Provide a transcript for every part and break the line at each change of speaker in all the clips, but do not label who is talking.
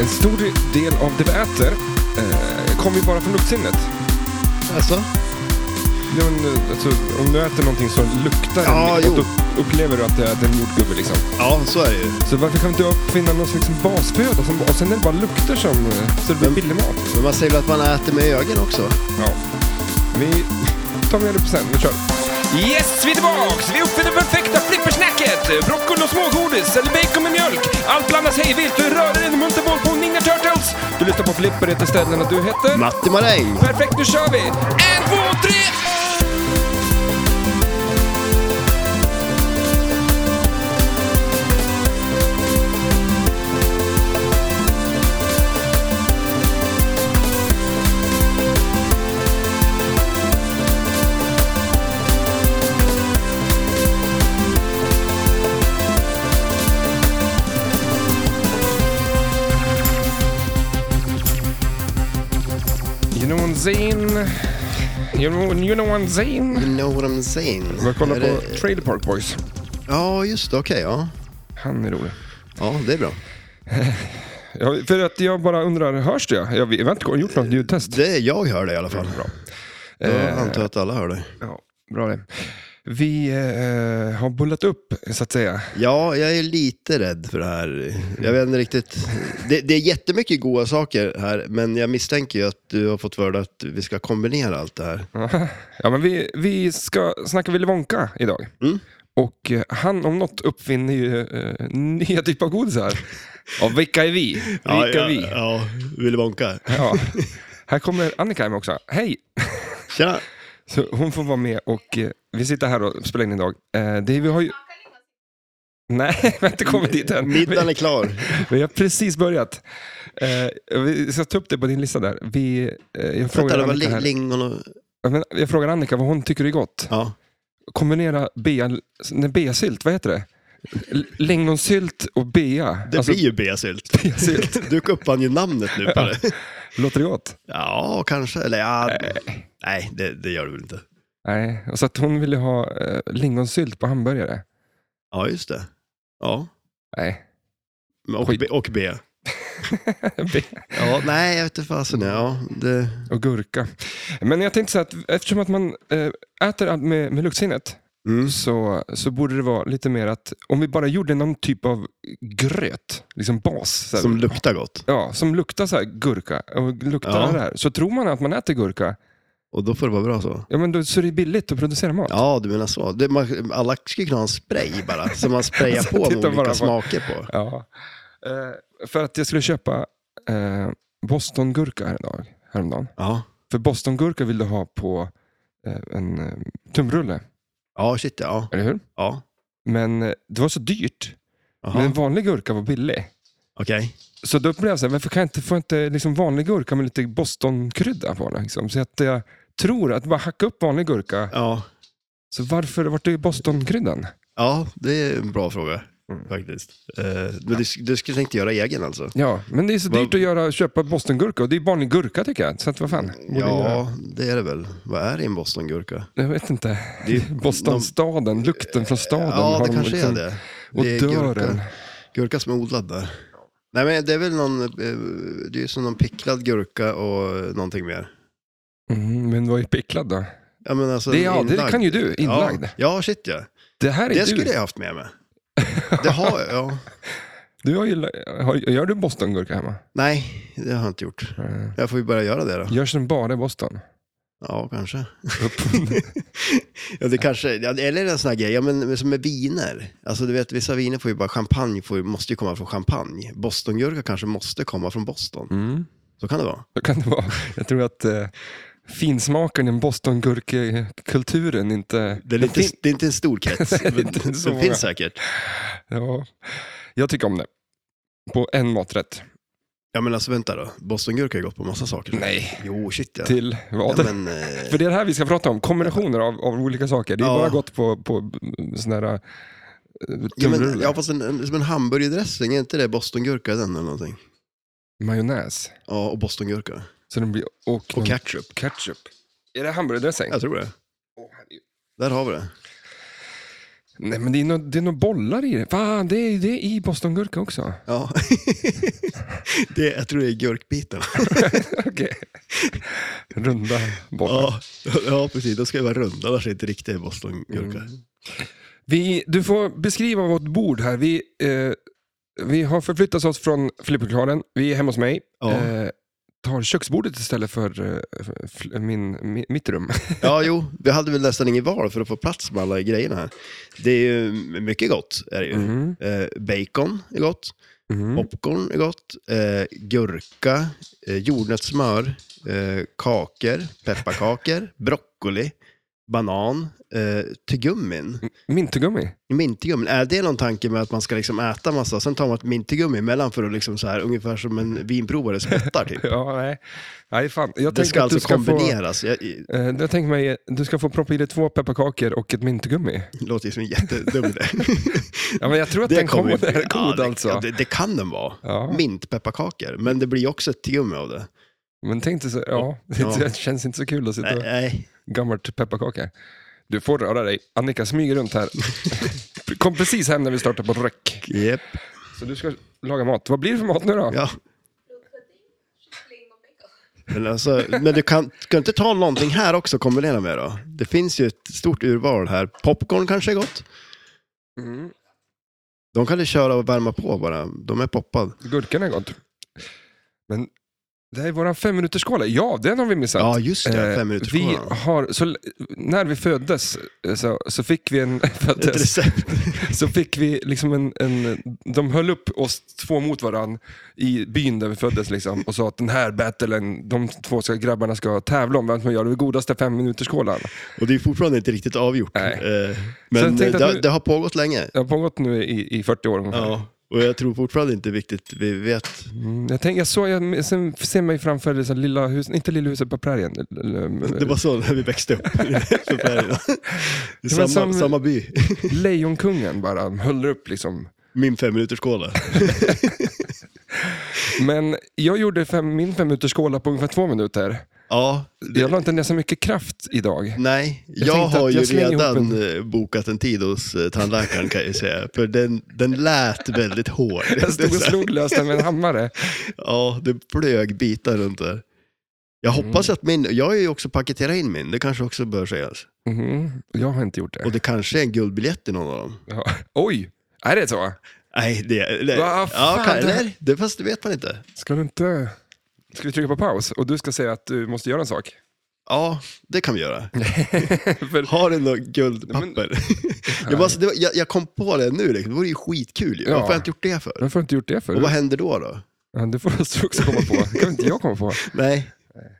En stor del av det vi äter eh, kommer ju bara från luktsinnet.
Alltså?
Ja, men, eh, alltså, om du äter någonting som luktar
Ja,
och
jo.
då upplever du att du äter en jordgubbe. Liksom.
Ja, så är det ju.
Så varför kan vi inte uppfinna någon slags basföda som, och sen är det bara lukter som... eh, Så det blir
Men-
billig mat.
Men man säger väl att man äter med ögonen också?
Ja. Vi tar med det på sen. Vi kör. Yes, vi är tillbaks! Vi uppfinner det perfekta flippersnacket! Broccoli och smågodis, eller bacon med mjölk. Allt blandas hejvilt och rör en munterboll på Ninja Turtles. Du lyssnar på Flipper, heter ställena du heter.
Matti Maräng!
Perfekt, nu kör vi! En, två, tre! You know one zin. You know, you know one zin.
You know what I'm saying?
Jag kollar
Är
på
det-
Trailer Park Boys.
Ja, just det. Okej, ja.
Han är rolig.
Ja, det är bra.
Ja, för att jag bara undrar, hörs det? Jag, vi har inte gjort något ljudtest.
Det, jag hör dig i alla fall.
Bra.
Jag antar att alla hör dig.
Ja, bra det. Vi eh, har bullat upp, så att säga.
Ja, jag är lite rädd för det här. Jag vet inte riktigt. Det, det är jättemycket goda saker här, men jag misstänker ju att du har fått för att vi ska kombinera allt det här.
Ja, men vi, vi ska snacka Willy Wonka idag.
Mm.
Och eh, han om något uppfinner ju eh, nya typer av godisar. Och vilka är vi? Vilka är vi? Ja.
Ja, Willy Wonka.
Här kommer Annika med också. Hej!
Tjena!
Så hon får vara med och eh, vi sitter här och spelar in idag. Eh, det vi har ju... Nej, vi har inte kommit dit än. Vi,
Middagen är klar.
vi har precis börjat. Eh, vi ska ta upp det på din lista där. Vi, eh, jag,
Vänta,
frågar
det var
Annika
li-
här.
lingon och...
Ja, men jag frågar Annika vad hon tycker är gott.
Ja.
Kombinera bea, nej, beasylt, vad heter det? L- Lingonsylt och bea.
Det
Alltså,
blir ju beasylt.
beasylt.
Du uppfann ju namnet nu på det.
Låter det gott?
Ja, kanske. Eller ja... Nej, det, det gör du väl inte.
Nej, och så att hon ville ha eh, lingonsylt på hamburgare.
Ja, just det. Ja.
Nej.
Men Och
Skit.
B. Och B.
Be-
Ja, nej, jag vet inte fasen. Ja, det...
och gurka. Men jag tänkte så här att eftersom att man eh, äter allt med, med luktsinnet
Mm.
så, så borde det vara lite mer att om vi bara gjorde någon typ av gröt, liksom bas. Så här,
Som luktar gott.
ja, som luktar så här gurka och luktar
Ja.
det här. Så tror man att man äter gurka,
Och då får det vara bra så.
ja, men då, så är det billigt att producera mat.
Ja, du menar så. Det, man, alla skulle kunna ha en spray bara, som man sprayar
Alltså,
på med
titta
olika
bara på-
smaker på.
Ja. Eh, för att jag skulle köpa eh, Bostongurka häromdag, häromdagen.
Ja,
För Bostongurka vill du ha på eh, en eh, tumrulle,
ja shit ja.
eller hur?
ja.
Men eh, det var så dyrt.
Jaha,
Men en vanlig gurka var billig.
okej.
Så då blev jag så här, varför kan jag inte få inte liksom vanlig gurka med lite bostonkrydda på den? Liksom? Så att jag tror att bara hacka upp vanlig gurka,
Ja.
så varför vart det bostonkryddan?
ja, det är en bra fråga
Mm.
faktiskt. Eh, men du, du skulle inte göra egen alltså?
Ja, men det är så
Vad-
dyrt att göra, köpa bostongurka och det är vanlig gurka tycker jag. Så att, vad fan. borde jag-
Ja, det är det väl. Vad är det i en bostongurka?
Jag vet inte.
Det är ju
Bostonstaden, lukten från staden.
Ja,
har
det
de
kanske
liksom-
är det.
Och
det är
dörren.
Gurka, gurka som är odlad där. Nej, men det är väl någon, eh, det är ju som någon picklad gurka och eh, någonting mer.
Mm, men vad är picklad då?
Ja, men alltså
Det, är, ja, det
inlagd.
kan ju du, inlagd.
Ja, ja shit ja.
Det här är
Det
du.
skulle jag haft med mig. Det har jag, ja.
du har ju, har, gör du bostongurka hemma?
Nej, det har jag inte gjort.
Mm.
Jag får ju börja göra det då.
Görs den bara i Boston?
Ja, kanske.
Upp.
Ja, det kanske ja, eller en sån här grej, ja, men men som med viner. Alltså du vet, vissa viner får ju bara, champagne får, ju- måste ju komma från champagne. Bostongurka kanske måste komma från Boston.
Mm.
Så kan det vara.
Så kan det vara. Jag tror att eh, finsmaken i bostongurkekulturen inte...
Det är, lite,
fin-
det är inte en stor krets.
Nej, det är
men
inte
den
så många.
finns säkert.
ja. Jag tycker om det. På en maträtt.
Ja, men alltså vänta då. Bostongurka har ju gått på massa saker.
Nej.
Jo, shit ja.
Till vad?
ja, men, eh,
För det är det här vi ska prata om, kombinationer av, av olika saker. Det är
Ja.
bara gott på, på sådana här eh,
ja, men,
tunnrulle.
ja, fast en, en, som en hamburgerdressing, är inte det bostongurka den eller någonting?
Majonnäs.
Ja, och bostongurka.
Så den blir, och,
Och
någon
ketchup. Alltså-
ketchup. Är det hamburgardressing?
Jag tror det.
Åh, herregud.
Där har vi det.
Nej, men det är nog det är nog bollar i det. Fan, det är, det är i bostongurka också.
Ja. det, jag tror det är gurkbitar.
Okej. Runda bollar.
Ja, Mm. ja, precis. De ska ju vara runda, annars är det inte riktiga bostongurka.
Vi, du får beskriva vårt bord här. Vi, eh, vi har förflyttat oss från flipperklaren. Vi är hemma hos mig.
Ja.
Eh, tar köksbordet istället för eh, för fl- min, mi- mitt rum.
Ja, jo. Vi hade väl nästan ingen val för att få plats med alla grejerna här. Det är ju mycket gott. Är det ju.
Mm.
Eh, bacon är gott.
Mm.
Popcorn är gott. Eh, gurka. Eh, jordnötssmör. Eh, kakor. Pepparkakor. broccoli. Banan. Eh, tuggummin.
Mintgummi.
Mintigummin, är det någon tanke med att man ska liksom äta massa, sen tar man ett mintigummi emellan för att liksom så här, ungefär som en vinprovare spottar typ.
Ja, nej. nej fan. Jag
Det
tänker
ska
att du
alltså
ska få...
kombineras. Jag, jag,
Eh, jag tänker mig, du ska få proppa i dig två pepparkakor och ett mintgummi.
det låter ju som en jättedum idé.
Ja, men jag tror att den kommer där god
ja, det,
alltså.
ja, det, det kan den vara.
Ja,
Mintpepparkakor, men det blir också ett tuggummi av det.
men tänk dig så, ja,
Ja.
det känns inte så kul att sitta
Nej,
och
nej.
gammalt pepparkaka. Du får röra dig. Annika smyger runt här. Kom precis hem när vi startar på röck.
Yep.
Så du ska laga mat. Vad blir det för mat nu då?
Ja.
kyckling och bacon.
Men, alltså, men du kan, kan inte ta någonting här också och kombinera med då? Det finns ju ett stort urval här. Popcorn kanske är gott.
Mm.
De kan du köra och värma på bara. De är poppad.
Gurkan är gott. Men det här är vår femminutersskål. Ja, den har vi missat.
Ja, just det.
Eh,
Fem minuters
vi har, så, l- när vi föddes eh, så, så fick vi en...
Ett
Föddes,
recept.
så fick vi liksom en, en... De höll upp oss två mot varann i byn där vi föddes liksom, och sa att den här battlen, de två ska, grabbarna ska tävla om vem som gör det godaste femminutersskålan.
Och det är fortfarande inte riktigt avgjort.
Nej.
Eh,
Så
Men
jag
det,
tänkte att nu-
det har pågått länge.
Det har pågått nu i, i 40 år ungefär.
Ja. Och jag tror fortfarande inte riktigt vi vet.
Mm, jag, tänk, jag, såg, jag sen ser mig framför det så här lilla huset, inte lilla huset på prärien.
Det var så när vi växte upp. Så där, ja. I samma,
som-
samma by.
Lejonkungen bara höll upp liksom.
Min femminuterskåla.
Men jag gjorde fem, min femminutersskåla på ungefär två minuter.
Ja,
Jag la inte ner så mycket kraft idag.
nej. Jag,
tänkte
har
att
ju
jag slänger ihop
redan eh, bokat en tid hos eh, tandläkaren kan jag ju säga. För den, den lät väldigt hård.
Jag
Det är
stod och
så här-
slog lös den med en hammare.
Ja, det flög bitar runt där. Jag hoppas
Mm.
att min, jag har ju också paketerat in min, det kanske också bör sägas.
Mhm, Jag har inte gjort
Och
det.
det kanske är en guldbiljett i någon av dem.
Ja. Oj, är det så?
Nej, det... Eller,
Vad fan,
ja, kan,
det-
eller, det, fast det vet man inte.
Ska du inte... Ska vi trycka på paus och du ska säga att du måste göra en sak?
Ja, det kan vi göra.
För,
Har du något guldpapper? jag, bara, så- det var, jag, jag kom på det nu, liksom. det vore ju skitkul. ju.
Ja.
Varför har jag inte gjort det för?
varför har du inte gjort det
Och vad
för?
händer då? då?
Ja, det får du också komma på. Det kan inte jag komma på.
Nej.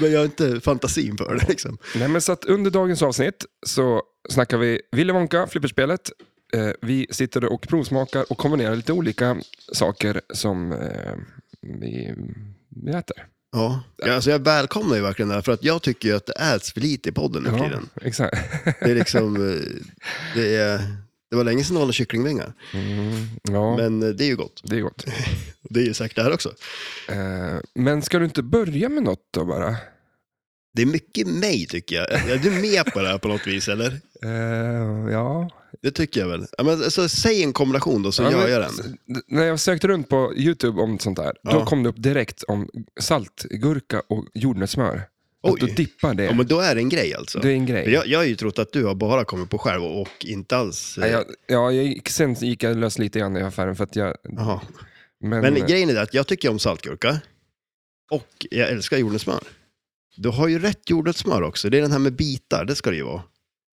Men jag har inte fantasin för det. Liksom.
Nej, men så att under dagens avsnitt så snackar vi Willy Wonka, flipperspelet. Eh, vi sitter och provsmakar och kombinerar lite olika saker som eh, vi, vi äter.
Ja. Ja, Alltså jag välkomnar ju verkligen det här, för att jag tycker ju att det äts för lite i podden nu för tiden.
exakt.
Det är liksom, eh, det, är, det var länge sedan jag åt kycklingvingar,
Mm, ja,
men eh, det är ju gott.
det är gott.
Och Det är ju säkert det här också.
Eh, men ska du inte börja med något då bara?
Det är mycket mig tycker jag. Är du med på det här på något vis eller?
Eh, ja.
Det tycker jag väl. Ja, men, alltså, säg en kombination då så
ja,
gör
men
jag den.
s- När jag sökte runt på YouTube om sånt där, då
Ja.
kom det upp direkt om saltgurka och jordnötssmör. Att
Oj.
du dippar det.
Ja, men då är det en grej alltså.
Det är en grej.
Jag, jag har ju trott att du har bara kommit på själv och, och inte alls... eh,
Ja, jag, ja, jag gick, sen gick jag lös lite grann i affären för att jag...
jaha.
Men,
Men grejen är det att jag tycker om saltgurka och jag älskar jordnötssmör. Du har ju rätt jordnötssmör också. Det är den här med bitar, det ska det ju vara.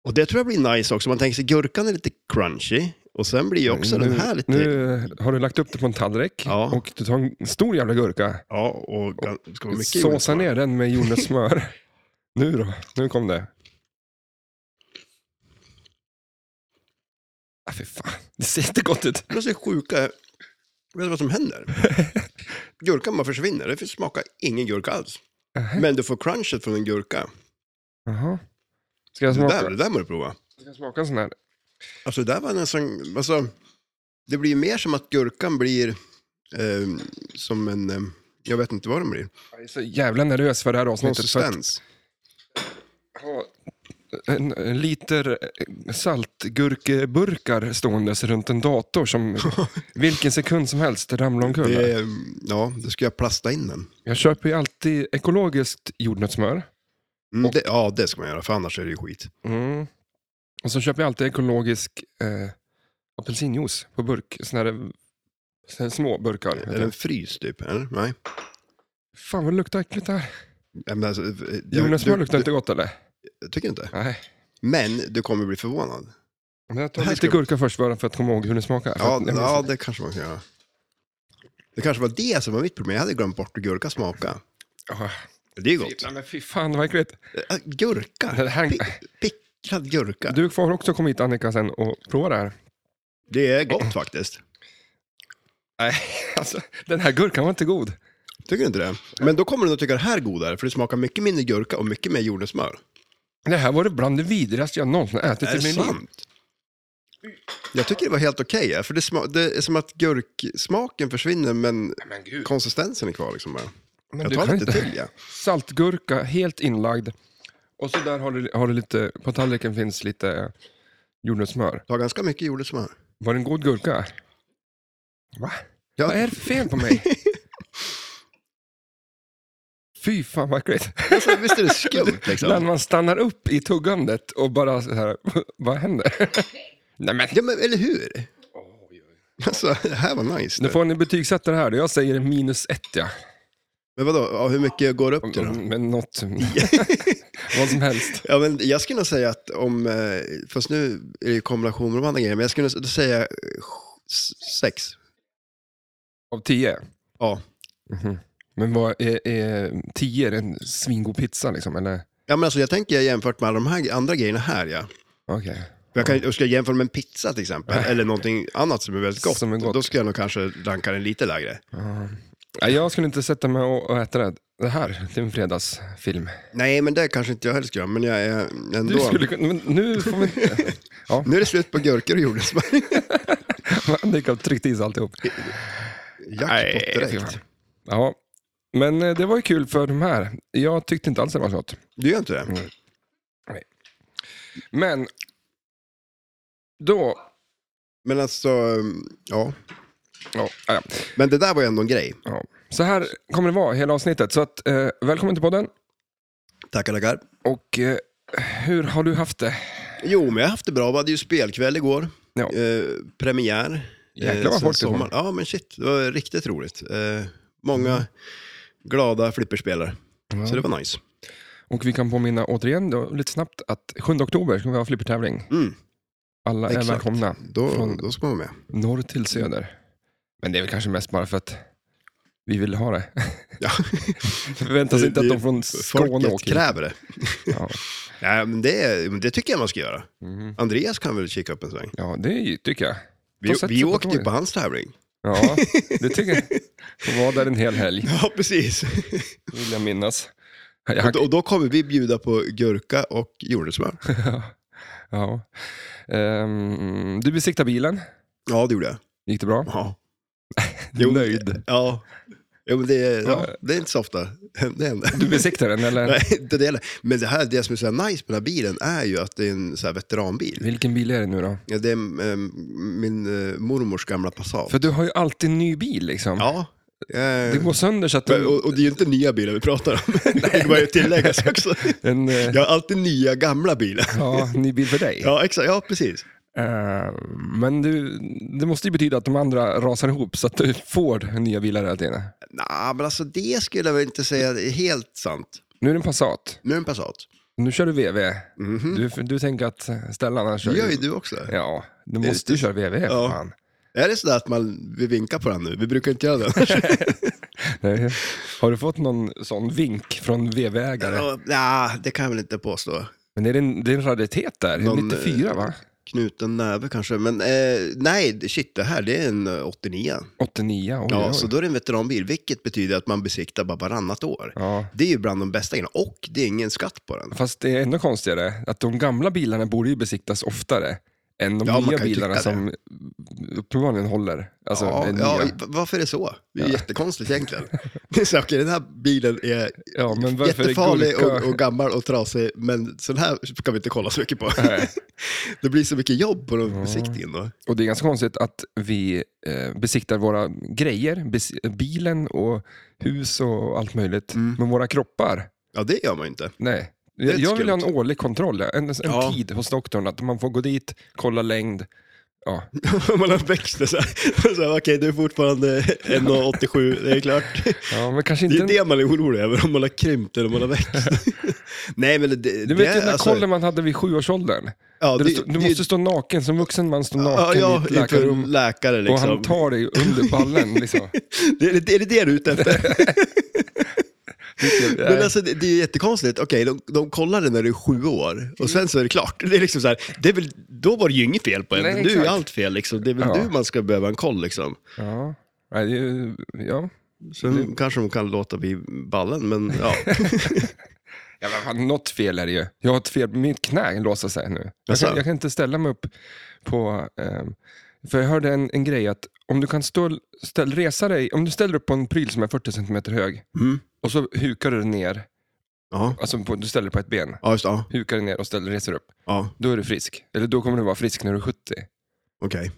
Och det tror jag blir nice också. Man tänker sig gurkan är lite crunchy och sen blir ju också
eh, Mm, nu,
den här lite...
Nu har du lagt upp det på en tallrik
Ja.
och du tar en stor jävla gurka.
Ja, och gan- det ska vara mycket
Såsa
jordnötssmör.
ner den med jordnötssmör. nu då, nu kom det. Ah, fy fan, det ser inte gott ut.
Det är så sjuka... Vet du vad som händer? Gurkan bara försvinner. Det smakar ingen gurka alls.
Nähä.
Men du får crunchet från en gurka.
Jaha. Ska jag
Det
smaka,
där, det där må du prova.
Ska jag smaka en sån här?
Alltså det där var nästan, alltså, det blir ju mer som att gurkan blir eh, som en, eh, jag vet inte vad den blir,
Jag är så jävla nervös för det här avsnittet. För att,
konsistens.
ha- en, en liter eh, saltgurkeburkar ståendes runt en dator som vilken sekund som helst ramlar omkull.
Det, är, ja, då ska jag plasta in den.
Jag köper ju alltid ekologiskt jordnötssmör.
Mm,
Och-
det, ja, det ska man göra, för annars är det ju skit.
Mm. Och så köper jag alltid ekologisk eh, apelsinjuice på burk. Såna här, såna här små burkar.
Är den fryst typ? Eller? Nej.
Fan vad det luktar äckligt det här.
Ja, men Alltså, eh,
Jordnötssmör
du-
luktar
du-
inte gott eller?
Jag tycker inte.
Nej.
Men du kommer bli förvånad.
Men jag
Det
tar
här
lite
ska-
gurka först bara för att komma ihåg hur den smakar. För
Ja,
att jag minns
ja
inte.
det kanske man kan göra. Det kanske var det som var mitt problem. Jag hade glömt bort att gurka smaka.
Ja.
Det är gott.
Nej, men fy fan vad äckligt.
Äh, Gurka?
Det här-
Pi- Picklad gurka.
Du får också komma hit Annika sen och prova det här.
Det är gott faktiskt.
Nej, alltså den här gurkan var inte god.
Tycker du inte det? Men då kommer du nog tycka det här är godare, för det smakar mycket mindre gurka och mycket mer jordnötssmör.
Det här var det bland det vidrigaste jag någonsin ätit
Är
i
det
min liv.
sant? Jag tycker det var helt okej, ja, för det, sma- det är som att gurksmaken försvinner men
Men gud.
konsistensen är kvar. Liksom. bara.
Men
Jag
du
tar
kan
lite
inte-
till, ja.
Saltgurka, helt inlagd. Och så där har du, har du lite, på tallriken finns lite jordnötssmör.
Jag har ganska mycket jordnötssmör.
Var det en god gurka? Va?
Ja.
Vad är det för fel på mig? Fy fan vad äckligt.
Alltså, visst är det skumt
När
liksom?
man stannar upp i tuggandet och bara så här, vad händer? Nej men.
Ja, men eller hur? Alltså, det här var nice.
Nu
Det.
får ni betygsätta det här. Jag säger minus ett ja.
Men vadå, ja, hur mycket går det upp till då?
Men något, vad som helst.
Ja, men jag skulle nog säga att om, eh, fast nu är det ju kombination med de andra grejerna, men jag skulle nog säga eh, s- sex.
Av tio?
Ja.
Mhm. Men vad är, är tio är det en svingod pizza liksom? Eller?
Ja, men alltså, jag tänker jämfört med alla de här andra grejerna här. Ja.
Okej.
För Jag, kan,
Mm.
jag skulle jämföra med en pizza till exempel, eller någonting annat som är väldigt gott.
Som är gott.
Då skulle jag nog kanske ranka den lite lägre.
Ja. Nej, Jag skulle inte sätta mig och och äta det, det här till en fredagsfilm.
Nej, men det kanske inte jag heller skulle göra, men jag är ändå...
Du skulle, kunna- men nu får vi inte... Ja,
Nu är det slut på gurkor och jordnötssmör.
Annika har tryckt i sig alltihop.
Jackpot
fy
direkt.
fan. Ja, men eh, det var ju kul för de här. Jag tyckte inte alls det var så gott.
Du gör inte det?
Men då...
Men alltså, ja.
Ja, ja.
Men det där var ju ändå en grej.
Ja. Så här kommer det vara hela avsnittet. Så att, eh, välkommen till podden.
Tackar, tackar.
Och eh, hur har du haft det?
Jo, men jag har haft det bra. Vi hade ju spelkväll igår.
Ja.
Eh, premiär. eh,
Jäklar vad
sen
folk det
sommar. Ja, men shit. Det var riktigt roligt. Eh, många glada flipperspelare.
Ja.
Så det var nice.
Och vi kan påminna återigen då, lite snabbt att 7 oktober ska vi ha flippertävling.
Mm,
Alla
Exakt.
är välkomna,
då,
Från-
då ska man vara med.
norr till söder. Men det är väl kanske mest bara för att vi vill ha det.
Ja.
Förväntas
Det-
inte att
det-
de från Skåne
Folket
åker hit.
kräver det.
ja.
Nej, men det, men det tycker jag man ska göra.
Mm.
Andreas kan väl kika upp en sväng.
ja, det är ju- tycker jag.
Vi,
Ta sätt
vi
sig på
åkte ju
tåget.
på hans tävling.
Ja, det tycker jag. Får vara där en hel helg,
Ja, precis.
vill jag minnas.
och,
Jag,
då, och då kommer vi bjuda på gurka och jordnötssmör.
ja. Ehm, du besiktade bilen.
Ja, det gjorde jag.
Gick det bra?
Ja.
Nöjd.
Ja. Jo, men det, ja,
Ja.
det är inte så ofta det händer.
Du besiktade den eller?
Nej, inte det heller. Men det, här, det som är så här nice med den här bilen är ju att det är en så här veteranbil.
Vilken bil är det nu då?
Ja, det är eh, min eh, mormors gamla Passat.
För du har ju alltid en ny bil liksom.
Ja.
Det
Eh,
går sönder så att
men-
en,
och, och det är ju inte nya bilar vi pratar om. det kan man ju tilläggas också.
en eh,
Jag har alltid nya gamla bilar.
ja, ny bil för dig.
Ja, exakt. Ja, precis.
Eh, men du, det måste ju betyda att de andra rasar ihop så att du får nya bilar hela tiden.
Nej, men alltså det skulle jag väl inte säga är helt sant.
Nu är det en Passat.
Nu är det en Passat.
Nu kör du VW.
Mhm.
Du, du tänker att Stellan han kör
Det gör ju du också.
Ja, du måste ju köra VW.
Ja.
Fan.
Är det sådär att man vill vinka på den nu? Vi brukar inte göra det.
Nej. Har du fått någon sån vink från VW-ägare?
Ja, Nej, det kan jag väl inte påstå.
Men är det en, det är en raritet där?
Någon, eh,
94 va?
knuten näve kanske. Men eh, nej, shit, det här det är en eh, 89.
89? Oj,
ja,
oj.
Så då är det en veteranbil, vilket betyder att man besiktar bara varannat år.
ja.
Det är ju bland de bästa grejerna och det är ingen skatt på den.
Fast det är ännu konstigare att de gamla bilarna borde ju besiktas oftare än de
Ja, man
nya
kan ju
bilarna
tycka det.
som uppenbarligen håller. Alltså,
ja,
är nya.
ja, varför är det så? Det är ju jättekonstigt egentligen. Så, okej, den här bilen är
Ja, men varför är
jättefarlig
gurka-
och, och gammal och trasig, men sån här ska vi inte kolla så mycket på.
Nej.
det blir så mycket jobb på
Ja.
de besiktningen då.
Och det är ganska konstigt att vi eh, besiktar våra grejer, bes- bilen och hus och allt möjligt.
Mm.
Men våra kroppar,
Ja, det gör man ju inte.
nej.
är
Jag,
lite
jag vill ha en
skumt.
årlig kontroll, en, en
Ja.
tid hos doktorn. Att man får gå dit, kolla längd. Ja,
man har växt det så här. Så här, Okej, du är fortfarande 1,87, det är klart.
ja men kanske
Det
inte...
är det man är orolig över, om man har krympt eller om man har växt. Nej, men det, det,
du vet
är
den där
alltså-
kollen man hade vid sjuårsåldern.
ja,
Där
det-
du, stå- du
det-
måste stå naken, som vuxen man står
Ja,
naken
ja,
i ett
inför
läkarrum.
läkare
Och
liksom.
han tar dig under ballen. Liksom.
det, det, är det det du är ute efter? Men
Nej.
alltså, det, det är jättekonstigt. Okej, de, de kollar det när du är sju år och sen så är det klart. Det är liksom så här, det är väl, då var det ju inget fel på en.
Nej,
nu är
exakt.
ju allt fel. Liksom. Det är väl
Ja.
nu man ska behöva en koll. Liksom.
Ja. Nej, det är ju- ja.
Sen
Mm.
kanske de kan låta bli ballen, men ja.
Ja, men fan, något fel är det ju. Jag har ett fel, mitt knä låser sig nu. Jag
Jaså?
kan, jag kan inte ställa mig upp på... ehm, för jag hörde en, en grej att om du kan stå, ställ, resa dig, om du ställer upp på en pryl som är 40 cm hög
Mm.
och så hukar du dig ner,
Ja,
alltså på, du ställer dig på ett ben,
ja just det. Ja,
hukar dig ner och ställer, reser upp,
ja
då är du frisk. Eller då kommer du vara frisk när du är 70.
okej.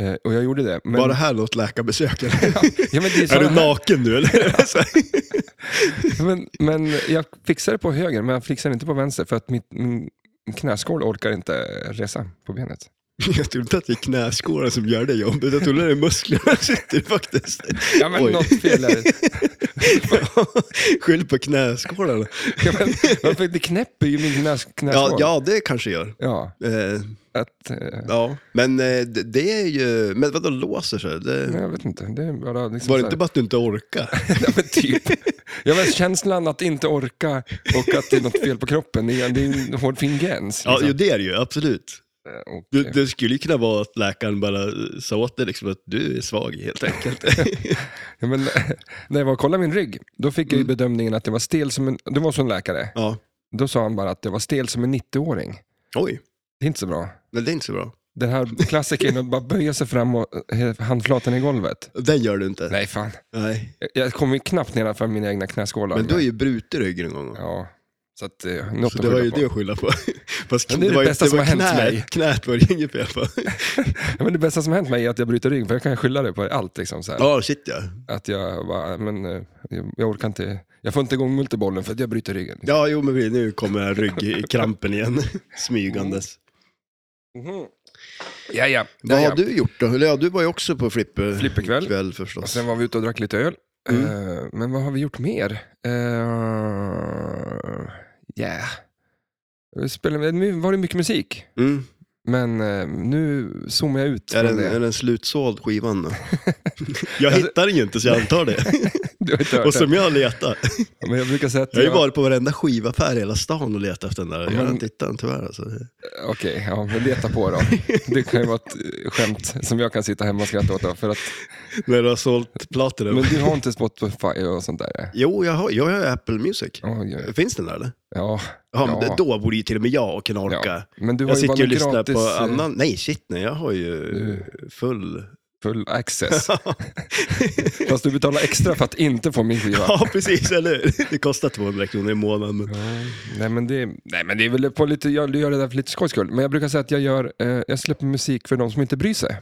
Eh, och jag gjorde det. Men,
Var det här något läkarbesök? eller?
ja, men det är,
är
sådana
du
här-
naken nu eller? Så här.
Men, men jag fixade på höger, men jag fixade inte på vänster för att mitt, min knäskål orkar inte resa på benet.
jag tror inte att det är knäskålen som gör det jobbet. Jag tror att det är musklerna som sitter faktiskt.
Ja, men
Oj.
något fel är det.
Skyll på knäskålen.
ja, men, varför, Det knäpper ju min knäs,
Ja,
knäskål.
ja, det kanske gör.
Ja,
Eh,
att, eh,
Ja, men eh, det, det är ju... Men vadå låser sig? Det,
nej, jag vet inte. Det är bara liksom
var det
så
inte bara att du inte orkar?
här- Ja, men typ. Jag vet, känslan att inte orka och att det är något fel på kroppen, det är det är en hård fin gräns.
Ja,
liksom.
ju det är det ju, absolut.
Eh, och,
Du,
eh,
Det skulle ju kunna vara att läkaren bara sa åt dig liksom att du är svag helt enkelt.
ja, men, eh, när jag var och kollade min rygg, då fick jag ju
Mm.
bedömningen att jag var stel som en... Det var som en läkare.
ja.
Då sa han bara att jag var stel som en 90-åring.
Oj,
Det är inte så bra.
men det är inte så bra.
Den här klassikern att bara böja sig fram och eh, handflatan i golvet.
Den gör du inte.
Nej, fan.
Nej.
Jag- Jag kommer ju knappt nedanför mina egna knäskålar.
Men du har ju brutit ryggen en gång.
Ja, så att eh, något
Så
att
det var
skylla
ju
på.
det att skylla på. Fast
Men det är det
var ju-
bästa
det
som
var
har hänt
knät,
mig.
Knät var det inget fel på.
Ja, men det bästa som hänt mig är att jag bryter ryggen, för jag kan skylla det på allt. Liksom, så här.
Ja, shit ja.
Att jag bara, men eh, jag, jag orkar inte, jag får inte igång multibollen för att jag bryter ryggen.
Ja, jo, men vi- nu kommer ryggkrampen igen, smygandes.
Mhm. Ja, ja. ja,
Mm-hmm. Vad
ja.
har du gjort då? Eller ja, du var ju också på flipper...
Flipperkväll.
kväll
Och
förstås.
sen var vi ute och drack lite öl.
Mm.
Eh, men vad har vi gjort mer? Eh, yeah. Vi spelade, nu var det mycket musik,
Mm.
men eh, nu zoomar jag ut
Är
från
den,
det.
är den slutsåld skivan då? Alltså- jag hittar den ju inte så jag antar det.
Du har inte hört
Och som jag letar.
det. Men jag brukar säga att
Jag har ju
jag-
varit på varenda skivaffär i hela stan och letat efter den där. Jag har
Men-
inte hittat den tyvärr alltså.
Okej, ja, men leta på då. Det kan ju vara ett eh, skämt som jag kan sitta hemma och skratta åt. Då, för att,
När du har sålt platinum.
men du har inte Spotify och sånt där? eh?
Jo, jag har, jag har Apple Music.
Ja, ja.
Finns den där eller?
ja,
Ja, men
Ja.
Då borde ju till och med jag kunna orka.
Men du har
Jag
ju
sitter ju
bara
och lyssnar
gratis
på
eh,
annan... Nej, shit nej, jag har ju full...
full access. Fast du betalar extra för att inte få min skiva.
Ja, precis, eller hur? Det kostar 200 kronor i månaden. Men...
Ja, nej, men det, nej men det är väl på lite, jag gör det där för lite skojs skull. Men jag brukar säga att jag, gör, eh, jag släpper musik för de som inte bryr sig.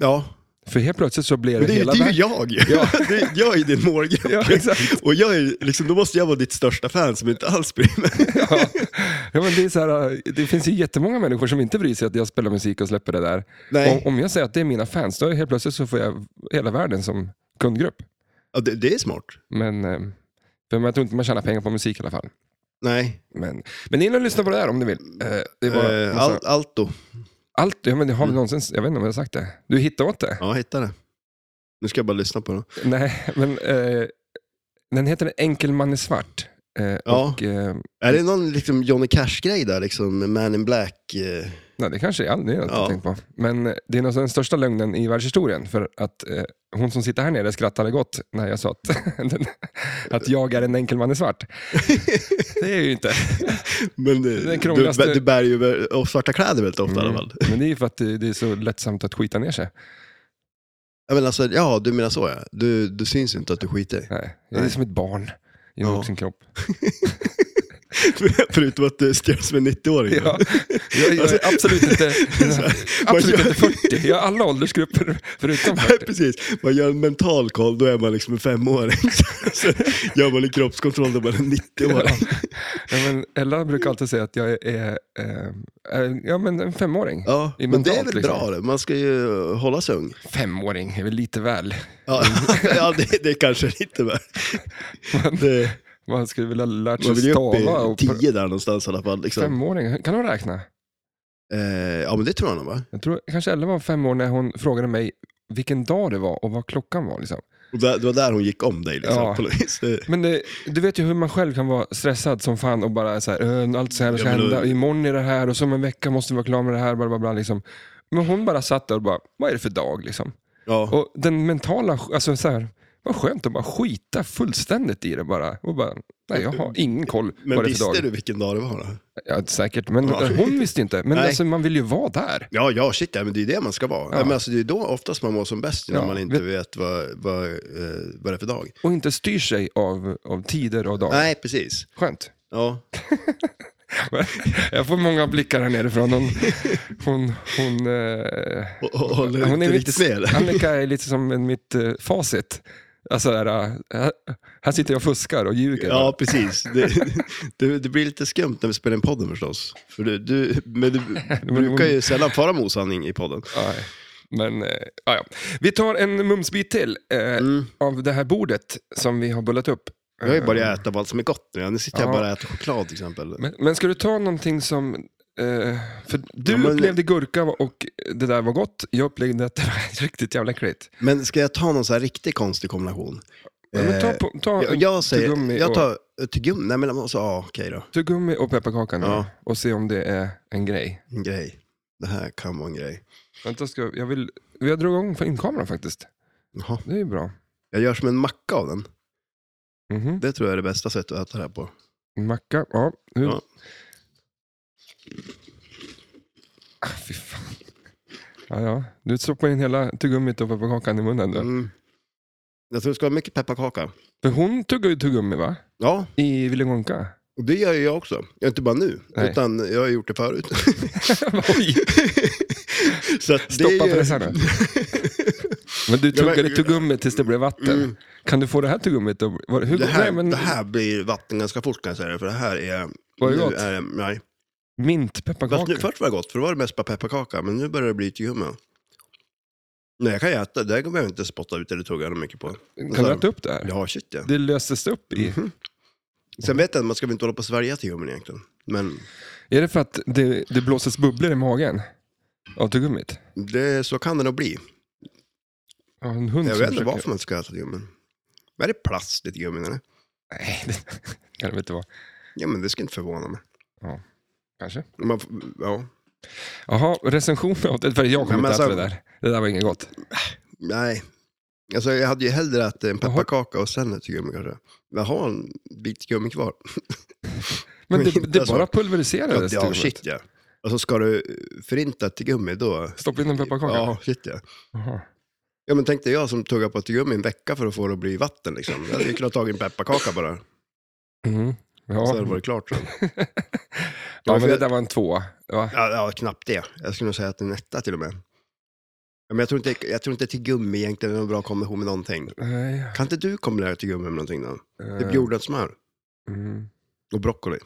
Ja,
För helt plötsligt så blir det,
men det, är ju-
hela
det är
världen.
ju jag ju.
Ja.
Det- Jag är ju din målgrupp.
Ja, exakt.
Och jag är, liksom, då måste jag vara ditt största fan som inte alls bryr mig.
Ja. Ja, men det, är så här, eh, det finns ju jättemånga människor som inte bryr sig att jag spelar musik och släpper det där.
Nej.
Om, om jag säger att det är mina fans, då är helt plötsligt så får jag hela världen som kundgrupp.
Ja, det, det är smart.
Men, eh, för jag tror inte man tjänar pengar på musik i alla fall.
Nej.
Men, men in och lyssna på det där om du vill. Eh, det var,
Eh, Mm. Al- Alto.
allt, ja, men det har vi någonsin, jag vet inte om jag har sagt det. Du hittade åt det.
Ja, jag hittade det. Nu ska jag bara lyssna på det.
Nej, men eh, den heter Enkel man är svart. Eh,
Ja.
och, eh,
Är det någon liksom, Johnny Cash-grej där, liksom Man in Black? Eh,
nej, det kanske är all- det är något jag
Ja.
tänkt på. Men eh, det är nog den största lögnen i världshistorien. För att eh, hon som sitter här nere skrattade gott när jag sa att, den, att jag är en enkel man är svart. Det är jag ju inte.
men eh,
Den
du,
krångligaste- Mm.
du bär ju vä- och svarta kläder väldigt ofta i alla fall.
Men det är ju för att det, det är så lättsamt att skita ner sig.
Ja, men alltså, ja, du menar så ja. Du, du syns inte att du skiter.
Nej, jag är
Nej.
som ett barn i en
Ja.
vuxen kropp.
Förutom att du skrevs med 90-åring.
Ja, jag, jag är absolut inte, absolut inte 40. Jag har alla åldersgrupper förutom 40.
Precis, man gör en mental koll, då är man liksom en femåring. Sen gör man en kroppskontroll, då är man en 90-åring.
Ja, men Ella brukar alltid säga att jag är eh, eh, ja, men en femåring.
Ja,
I
men det är
mentalt,
väl
liksom.
bra det. Man ska ju hålla sig ung.
Femåring är väl lite väl.
Ja,
Mm.
ja det, det är kanske lite väl.
Man,
Det,
man skulle vilja lärt
man vill
sig
ju upp
stava.
i
Och
tio där någonstans i alla fall. Liksom.
femåring, kan de räkna?
Eh, ja, men det tror jag nog va?
Jag tror kanske Ella var fem år när hon frågade mig vilken dag det var och vad klockan var. Liksom.
Och där, det var där hon gick om dig liksom,
Ja.
på något vis. Det,
Men det, du vet ju hur man själv kan vara stressad som fan och bara så här, "Äh, allt så här ska
Ja, men då-
hända, imorgon är det här och så om en vecka måste vi vara klara med det här. Bla, bla, bla, liksom. Men hon bara satt där och bara, vad är det för dag? Liksom.
ja.
Och den mentala, alltså så här, vad skönt att bara skita fullständigt i det bara. Och bara nej, jag har ingen koll
Men
vad det är för
visste
dag.
du vilken dag det var? Då?
Ja, säkert, men
Ja.
hon visste inte. Men
Nej.
alltså, man vill ju vara där.
Ja, ja, shit, ja, men det är ju det man ska vara.
Ja.
Ja. men alltså, det är ju då oftast man mår som bäst, när
Ja,
man inte vet vad, vad, eh, vad det är för dag.
Och inte styr sig av, av tider och dagar.
Nej, precis.
Skönt.
Ja.
Jag får många blickar här nerifrån. Hon, hon, hon, eh,
Och, och, håller
hon
inte
är
riktigt med
lite,
eller?
Annika är lite som en- mitt eh, facit. Alltså, där, eh, här- här sitter jag och fuskar och ljuger.
Ja, precis. Det, det, det blir lite skumt när vi spelar in podden förstås. För du, du, men du brukar ju sällan fara med osanning i podden.
Nej, Men, eh, ja, ja. Vi tar en mumsbit till eh,
Mm.
av det här bordet som vi har bullat upp.
Jag har ju börjat äta på allt som är gott nu. Nu sitter jag
Ja.
bara och äter choklad till exempel.
Men, men ska du ta någonting som... Eh, för du
Ja, men-
upplevde gurka och det där var gott. Jag upplevde att det var riktigt jävla äckligt.
Men ska jag ta någon så här riktig konstig kombination?
Ja, men ta
Eh,
på, ta
jag,
en
jag säger,
tuggummi
jag
och-
tar eh, tuggummi. Nej, men alltså, ja, okej då.
tuggummi och pepparkaka nu
Ja.
och se om det är en grej.
En grej. Det här kan vara en grej.
Vänta, ska jag, jag vill... Jag drog igång för inkameran faktiskt.
Jaha.
Det är ju bra.
Jag gör som en macka av den.
Mhm.
Det tror jag är det bästa sättet att äta det här på.
Macka, ja. Hur?
Ja.
Ah, fy fan. Ja, ja. Du stoppar in hela tuggummit och pepparkakan i munnen. Du.
Mm. Jag tror det ska vara mycket pepparkaka.
För hon tuggar ju tuggummi va?
Ja,
I Villingonka.
och det gör ju jag också. Jag är inte bara nu,
Nej.
utan jag har gjort det förut.
Oj,
Så att det
stoppa
är ju...
pressarna. Men du
Ja, men-
tuggade tuggummi tills det blev vatten.
Mm.
Kan du få det här tuggummit att... var- Hur,
Det här,
nej, men,
det här blir vatten ganska fort kan jag säga dig, för det här är...
Var det
nu
gott?
Är, det- nej.
Mint,
Fast nu,
pepparkaka.
först var det gott, för det var det mest bara pepparkaka, men nu börjar det bli tuggummi. Nej, jag kan ju äta, det här behöver jag inte spotta ut eller tugga mycket på.
Kan du äta upp det här?
Ja, shit ja.
Det löstes upp i...
Mhm. Sen vet jag att man ska väl inte hålla på och svälja tuggummin egentligen. Men
Är det för att det, det blåses bubblor i magen av tuggummit?
det, så kan det nog
Mm,
bli.
Ja, en hund
Jag
som
vet inte
försöker-
varför man ska äta tuggummin. Men Är det plast i tuggummin eller?
Nej, det kan det väl inte vara.
Ja, men det ska inte förvåna mig.
Kanske.
Man, f- ja.
Jaha, recension av det. För jag
Nej,
kommer
men
inte äta det
alltså-
där. Det där var inget gott.
Nej. Alltså, jag hade ju hellre ätit en
Jaha.
pepparkaka och sen ett tuggummi kanske. Jag har en bit tuggummi kvar.
Men
Men
det,
inte
det
så.
bara
Ja,
pulveriserades.
ja
tuggummit.
shit ja. Alltså ska du förinta ett tuggummi då?
Stoppa in en pepparkaka.
Ja, shit ja.
Jaha.
Ja men tänk dig jag som tuggar på ett tuggummi en vecka för att få det att bli vatten liksom. Jag hade ju kunnat ta en pepparkaka bara.
Mm.
Så hade det
Ja.
varit klart sen.
ja, men
för-
det där var en tvåa. Va?
Ja, ja, knappt det. Jag skulle nog säga att det är en etta till och med. Ja, Men jag tror inte, jag tror inte tuggummi egentligen är någon bra kombination med någonting.
Nej. eh,
Kan inte du kombinera tuggummi med någonting då? Typ jordnötssmör
mm,
och broccoli.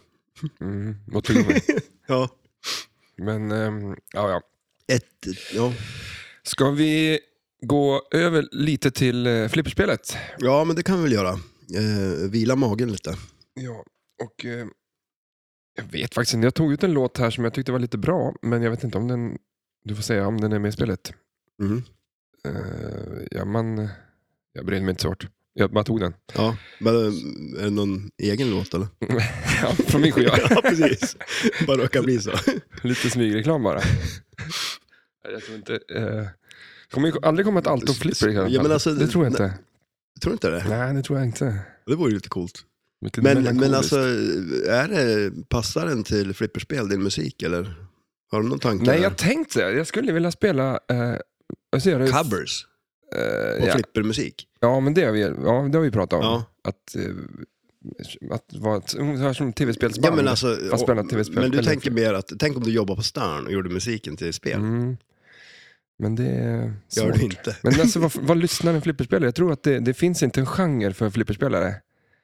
mm, och tuggummi.
Ja.
Men, ehm, ja, ja.
Ett, ja.
Ska vi gå över lite till eh, flipperspelet?
ja, men det kan vi väl göra. Eh, vila magen lite.
Ja, och eh, jag vet faktiskt inte. Jag tog ut en låt här som jag tyckte var lite bra, men jag vet inte om den... Du får säga om den är med i spelet.
Mhm.
Eh, ja, man, jag bryr mig inte så hårt. Jag bara tog den.
Ja, men eh, är det någon egen låt eller?
ja, från min skiva.
ja, precis. Bara råkar bli så.
lite smygreklam bara. Nej, jag tror inte... Eh, kommer ju aldrig komma ett alto flipper i alla fall.
Ja, men alltså,
det tror jag inte.
Tror inte det?
Nej, det tror jag inte.
Det vore ju lite coolt.
Lite
Men, men
melankoliskt.
alltså, är det, passar den till flipperspel, din musik eller? Har du någon tanke?
Nej,
där?
jag tänkte det. Jag skulle vilja spela... Eh, vad säger du?
Covers?
Eh,
Och
ja.
flippermusik.
ja, men det har vi, ja, det har vi pratat om.
Ja.
Att, eh, att vara ett, ungefär som tv-spelsband.
Ja, men, alltså,
Fast
och,
spela tv-spel.
men du
Eller-
tänker mer att, tänk om du jobbar på Stern och gjorde musiken till spel.
Mm. Men det är svårt.
Gör du inte?
Men alltså, vad, vad lyssnar en flipperspelare? Jag tror att det, det finns inte en genre för flipperspelare.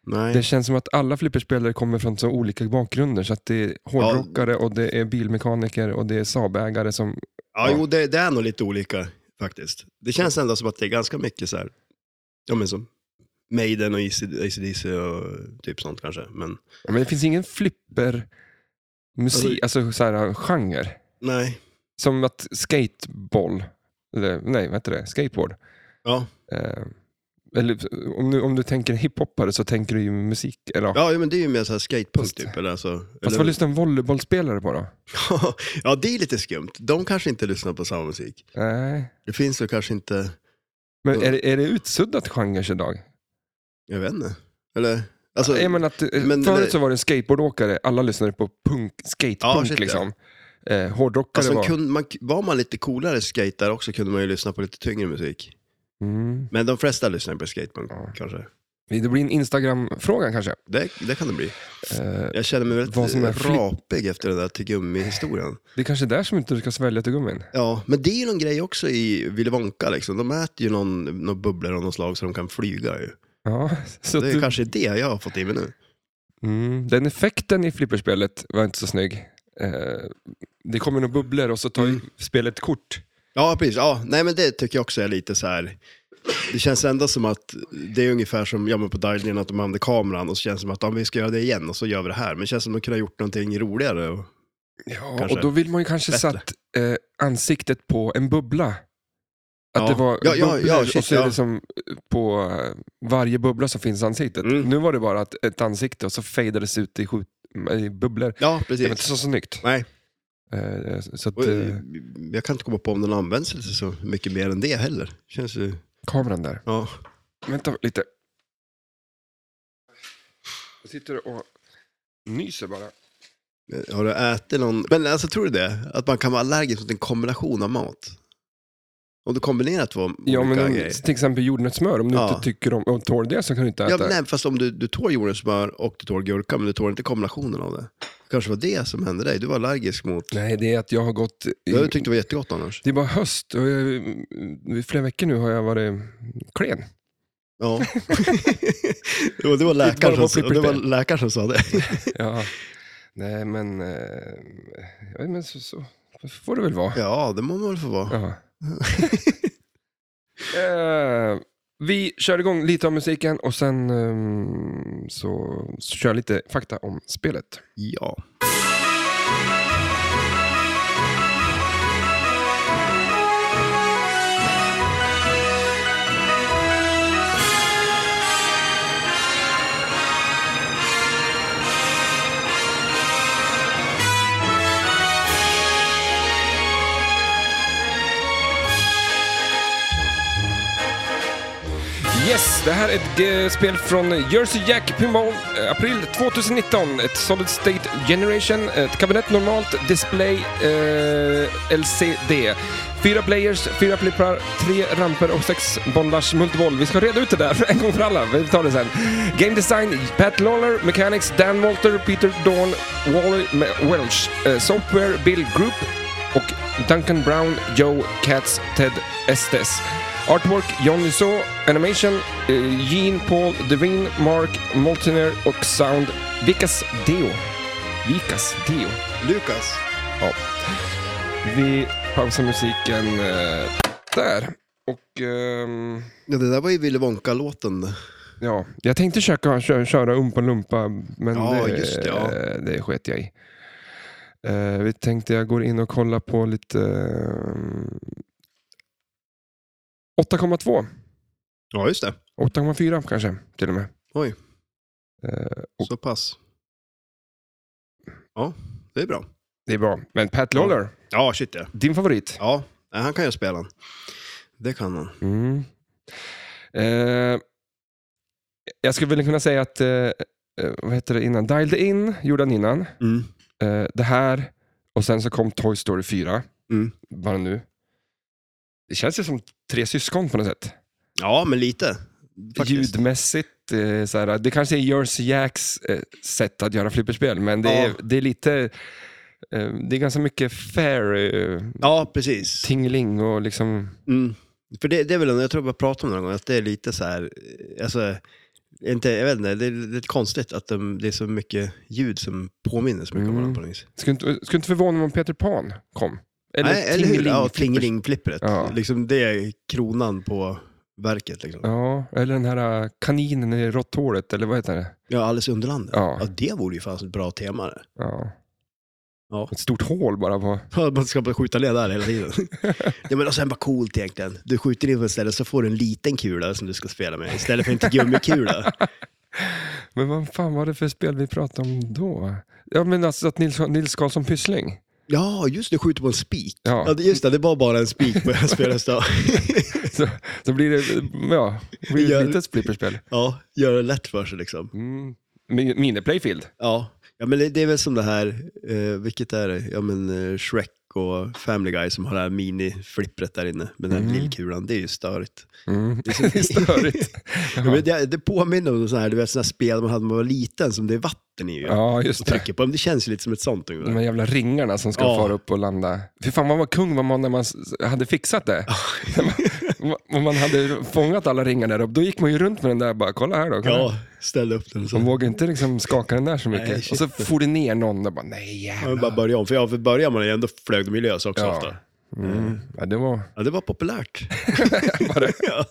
Nej.
Det känns som att alla flipperspelare kommer från så olika bakgrunder. Så att det är hårdrockare och det är bilmekaniker och det är saabägare som...
Ja, jo, det, det är nog lite olika faktiskt. Det känns ändå som att det är ganska mycket så här, ja men som Maiden och ACDC och typ sånt kanske. Men
Ja, Men det finns ingen flipper musik, alltså, så här, genre.
nej,
Som att skateboll, eller nej vad heter det, skateboard.
ja.
Eh, eller om du, om du tänker hiphoppare så tänker du ju musik. Eller,
Ja, jo, men det är ju mer så här skatepunk
Fast-
typ. Eller alltså,
Fast vad
eller,
lyssnar en volleybollspelare på då?
ja, det är lite skumt. De kanske inte lyssnar på samma musik.
Nej.
Det finns väl kanske inte,
Men är, det- är det utsuddat genre idag?
jag vet inte. Eller? Alltså,
jag menar att, eh,
men-
förut
men-
så var det en skateboardåkare, alla lyssnade på punk, skatepunk
Ja, shit, ja.
liksom. Eh, hårdrockare
alltså,
var...
kunde man, var man lite coolare skater också kunde man ju lyssna på lite tyngre musik.
Mm.
Men de flesta lyssnar på skatepunk
Ja.
kanske.
Det blir en Instagram-fråga kanske.
Det, det kan det bli.
Eh,
Jag känner mig väldigt
Vad som är flipp-
rapig efter den där tuggummi-historien.
det är kanske är där som inte du ska svälja tuggummin.
Ja, men det är ju någon grej också i Willy Wonka liksom. De äter ju någon, någon bubblor av något slag så de kan flyga ju.
Ja, så
Det är
du...
kanske det jag har fått i mig nu.
mm, den effekten i flipperspelet var inte så snygg. Eh, det kommer några bubblor och så tar
Mm.
spelet kort.
Ja, precis. Ja, nej, men det tycker jag också är lite så här. Det känns ändå som att det är ungefär som ja, men på Dialin, att de använder kameran och så känns det som att ja, men vi ska göra det igen och så gör vi det här. Men det känns som att de kunde ha gjort någonting roligare. Och...
Ja,
Kanske
och då vill man ju kanske
bättre.
satt eh, ansiktet på en bubbla. Att
Ja.
det var
Ja, ja,
bubblor
ja,
och
shit,
så är
ja.
det som på eh, varje bubbla så finns ansiktet.
Mm.
Nu var det bara att ett ansikte och så fejdades ut i, skjut, i bubblor.
Ja,
Det var inte
precis.
så snyggt.
Nej.
Eh, så att,
Och,
eh,
eh, jag kan inte komma på om den används lite så mycket mer än det heller. Känns ju,
kameran där.
ja.
Vänta lite. Jag sitter och nyser bara.
Har du ätit någon... Men alltså tror du det? Att man kan vara allergisk mot en kombination av mat? Om du kombinerar två
Ja,
olika
men om,
grejer.
till exempel jordnötssmör, om du
Ja.
inte tycker om och tål det så kan du inte
Ja,
äta.
nej, fast om du, du tål jordnötssmör och du tål gurka, men du tål inte kombinationen av det. Det kanske var det som hände dig. Du var allergisk mot...
nej, det är att jag har gått... i-
Jag tyckte det var jättegott annars.
Det är bara höst och jag, i flera veckor nu har jag varit klen.
Ja. det, var, det, var
bara på
läkaren som, det var
flipperspel.
läkaren som sa det.
Ja. Nej, men, eh, jag vet, men så, så får det väl vara.
Ja, det må man väl få vara.
Ja. eh, vi kör igång lite av musiken och sen eh, så, så kör jag lite fakta om spelet.
Ja.
Yes, det här är ett eh, spel från Jersey Jack Pinball, eh, april 2019. Ett Solid State Generation, ett kabinett normalt, display, eh, LCD. Fyra players, fyra flipprar, tre ramper och sex bollars multiboll. Vi ska reda ut det där en gång för alla. Vi tar det sen. Game design, Pat Lawler, Mechanics, Dan Walter, Peter Dawn, Wally Me- Welch. Eh, software, Bill Group och Duncan Brown, Joe Katz, Ted Estes. Artwork John Lusso, Animation eh, Gene Paul Devine, Mark Moltiner och Sound Vicas Deo. Vicas Deo.
Lukas.
Ja. Vi pausar musiken eh, där. Och ehm,
Ja, det där var ju Willy Wonka-låten.
ja, jag tänkte köka, kö, köra umpa lumpa men
Ja,
det,
just det, ja.
eh, det sket jag i. Eh, vi tänkte jag går in och kollar på lite eh, 8,2.
Ja, just det.
8,4 kanske till och med.
Oj.
Eh,
Så pass. Ja, det är bra.
det är bra. Men Pat Lawler,
Ja, shit ja.
din favorit.
Ja, nej, han kan ju spela. Det kan han.
Mm. Eh, jag skulle väl kunna säga att, eh, eh, vad heter det innan? Dial the In gjorde han innan.
Mm,
Eh, det här och sen så kom Toy Story 4.
Mm.
Bara nu. Det känns ju som tre syskon på något sätt.
Ja, men lite. Faktiskt.
Ljudmässigt, eh, så här, det kanske är Jersey Jacks eh, sätt att göra flipperspel, men det,
Ja.
är, det är lite... Eh, det är ganska mycket fair eh,
Ja, precis.
tingling och liksom...
Mm. För det, det är väl, jag tror jag pratade om det någon gång, att det är lite så här, eh, alltså, inte, jag vet inte, det är lite konstigt att de, det är så mycket ljud som påminner så mycket om
Mm.
varandra på något vis.
Skulle inte, skulle inte förvåna mig om Peter Pan kom. Eller,
Nej, eller hur? Ja,
Flippers-
Tingeling-flippret.
Ja.
Liksom det är kronan på verket. Liksom. Ja.
Ja, eller den här eh, kaninen i råtthålet, eller vad heter det?
Alice i Underlandet.
Ja.
Ja. det vore ju fan ett bra tema det.
Ja.
Ja.
Ett stort hål bara på...
Ja, Man ska bara skjuta ner där hela tiden. ja, men och sen bara coolt egentligen. Du skjuter in på ett ställe så får du en liten kula som du ska spela med istället för en gummikula.
Men vad fan var det för spel vi pratade om då? Ja, men alltså att Nils, Nils Karlsson Pyssling.
Ja, just det, skjuter på en spik.
Ja.
Ja. just det, det var bara en spik på hela spelhästa.
Så, så blir det, ja, blir det
Ja.
ett litet flipperspel.
ja, gör det lätt för sig liksom.
Mm. Mi- Miniplayfield.
Ja, ja men det, det är väl som det här, eh, vilket är det? Ja, men eh, Shrek och Family Guy som har det här mini-flippret där inne med den här
Mm.
lillkulan. Det är ju störigt.
Mm. Det är störigt.
Ja.
Ja,
Men det, det påminner om sådana här, du vet, såna här spel man hade när man var liten som det är vatten i ju.
ja just
Och
det.
trycker på dem. Det känns ju lite som ett sånt ungefär.
De här jävla ringarna som ska
Ja.
fara upp och landa. Fy fan vad man kung var man när man s- hade fixat det. När man, om man hade fångat alla ringar där uppe, då gick man ju runt med den där och bara, kolla här då. Kolla. här."
Ja, ställ upp den
De
så.
vågade inte liksom skaka den där så mycket.
Nej,
och
shit.
så for det ner någon och bara, nej
Ja, men
jävlar.
bara börja om. För, ja, för börjar man igen, då flög de ju lös också
Ja.
ofta.
Mm. Ja, det var,
Ja, det var populärt.
var det.
ja.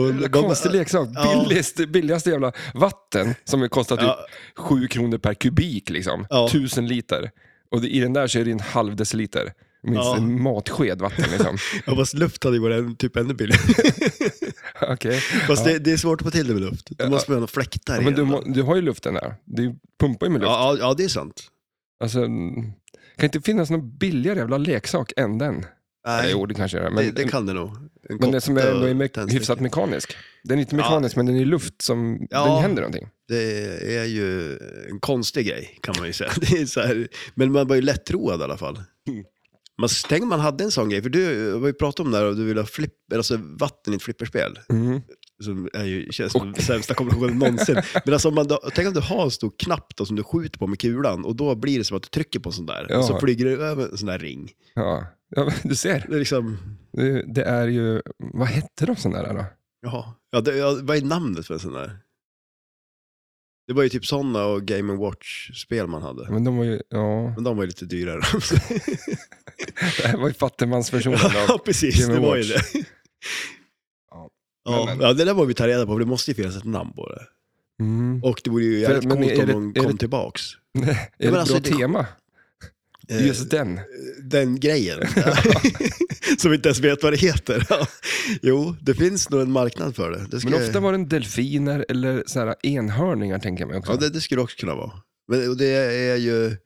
Och
Jävla
de-
konstig leksak.
Ja.
Billigaste, billigaste jävla vatten som ju kostar typ
Ja.
7 kronor per kubik. Liksom.
Ja.
1000 liter. Och det, i den där så är det en halv deciliter. Minst
Ja.
en matsked vatten. Liksom.
Ja, fast luft hade ju varit en- typ ännu billigare.
Okej.
Fast det, det är svårt att få till det med luft. Då måste man ha några fläktar
ja,
i
men du,
den.
må- du har ju luften där. Du pumpar ju med luft.
Ja, ja, ja, det är sant.
Alltså, mm, kan inte finnas någon billigare jävla leksak än den? Nej. Jo, det kanske är det. Men,
det, det kan det nog. En
men det som är,
kotte
ändå är
och
me-
tändstickor.
hyfsat mekanisk. Den är inte
Ja.
mekanisk, men den är i luft som
Ja.
den händer någonting.
Det är ju en konstig grej kan man ju säga. Det är så här, men man var ju lättroad i alla fall. Man, tänk om man hade en sån grej, för du var ju pratat om det här och du ville ha flipp, alltså vatten i ett flipperspel.
Mm.
Som är ju, känns som den sämsta kombinationen någonsin. Men alltså, om man då, tänk om du har en stor knapp då, som du skjuter på med kulan och då blir det som att du trycker på en sån där.
Ja.
Och så flyger det över en sån där ring.
Ja. Ja, men du ser.
Det är liksom,
Det, det är ju, vad hette de sådana där då?
jaha. Ja, det, ja, vad är namnet för en sån där? Det var ju typ såna och Game Watch-spel man hade.
Men de var ju, ja,
Men de var ju lite dyrare.
det här var ju fattigmansversionen av.
Ja, precis.
Game
Det var ju
Watch.
det.
Ja.
Ja,
Men-
ja, det där var vi ta reda på, för det måste ju finnas ett namn på det.
Mm.
Och det vore ju jävligt
men
coolt
är
om
det-
de
är
kom
det-
tillbaks.
är det
alltså,
bra
det-
tema?
Eh,
Just den.
Den grejen. Som vi inte ens vet vad det heter. Ja. jo, det finns nog en marknad för det. det ska...
Men ofta var den delfiner eller så här enhörningar tänker jag mig också.
Ja, det, det skulle det också kunna vara. Men och det är ju,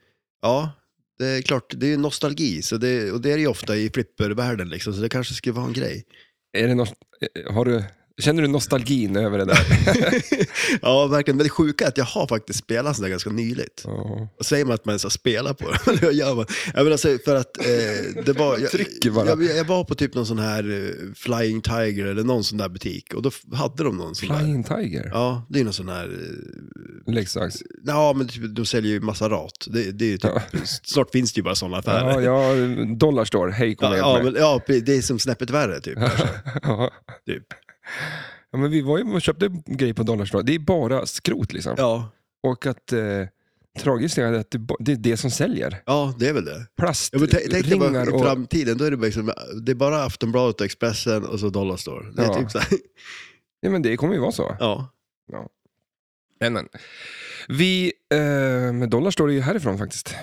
ja, det är klart, det är ju nostalgi. Så det, och det är det ju ofta i flippervärlden liksom, så det kanske skulle vara en grej.
Är det nost- eh, har du, känner du nostalgin över det där?
Ja, verkligen. Men det sjuka är att jag har faktiskt spelat sådär ganska nyligt.
Ja.
Och säger man att man ens har spelat på det, det gör man. Jag menar, alltså, för att eh, det var... Jag,
Trycker bara.
Jag, jag var på typ någon sån här eh, Flying Tiger eller någon sån där butik och då f- hade de någon sån där.
Flying Tiger,
Ja, det är någon sån här... eh,
leksaks.
Ja, men typ, de säljer ju Maserat. Det, det är ju typ, Snart finns det ju bara sådana affärer.
Ja, ja, dollar står, hej kom
Ja,
och hjälp
ja,
mig.
men, ja, pre- det är som snäppet värre typ.
Ja.
typ.
Ja, men vi var ju och köpte grejer på Dollarstore. Det är bara skrot liksom.
Ja,
Och att eh, tragiskt är att det, ba- det är det som säljer.
ja, det är väl det. Ja, men tänk tänk dig bara,
plastringar
i
och...
framtiden, då är det, bara liksom, det är bara Aftonbladet och Expressen och så Dollarstore. Det är
Ja.
typ så här.
Ja, men det kommer ju vara så.
Ja.
Men, men. Vi, eh, med dollar står det ju härifrån faktiskt.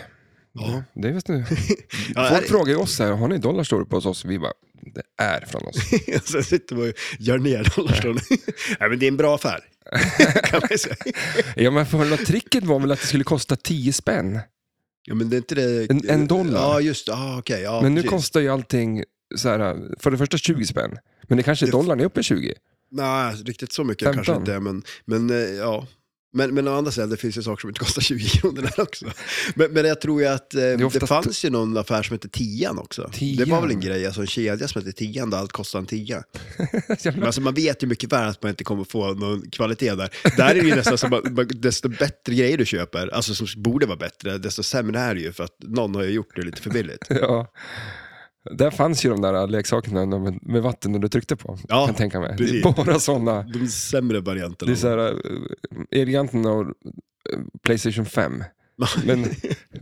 Ja.
Det vet du.
Ja,
Folk
här-
frågar ju oss här, har ni dollar står det på hos oss? Vi bara, det är från oss.
Och Sen sitter man och gör ner dollarstrån. Nej, men det är en bra affär. kan man ju säga.
ja, men själva tricket var väl att det skulle kosta 10 spänn.
Ja, men det är inte det...
En- en dollar.
Ja, just det. Ah, okej. ja,
men nu
precis.
kostar ju allting, så här, för det första 20 spänn. Men det kanske
Det-
dollarn är uppe i 20.
Nej, alltså, riktigt så mycket
15.
kanske inte. Men, men eh, ja, Men, men å andra sidan, det finns ju saker som inte kostar 20 kronor där också. Men, men jag tror ju att eh, det,
oftast-
fanns ju någon affär som hette Tian också. Det
Tian.
var väl en grej, alltså en kedja som hette Tian där allt kostade en tia. Men
Jävla-
alltså man vet ju mycket väl att man inte kommer få någon kvalitet där. Där är det ju nästan som att man- desto bättre grejer du köper, alltså som borde vara bättre, desto sämre är det ju för att någon har ju gjort det lite för billigt.
ja. Där fanns ju de där äh, leksakerna med, med vatten när du tryckte på.
Ja,
kan jag tänka mig.
precis.
Det är bara sådana.
De sämre varianterna.
Det är så här, eh, Elgiganten har eh, Playstation 5. Men,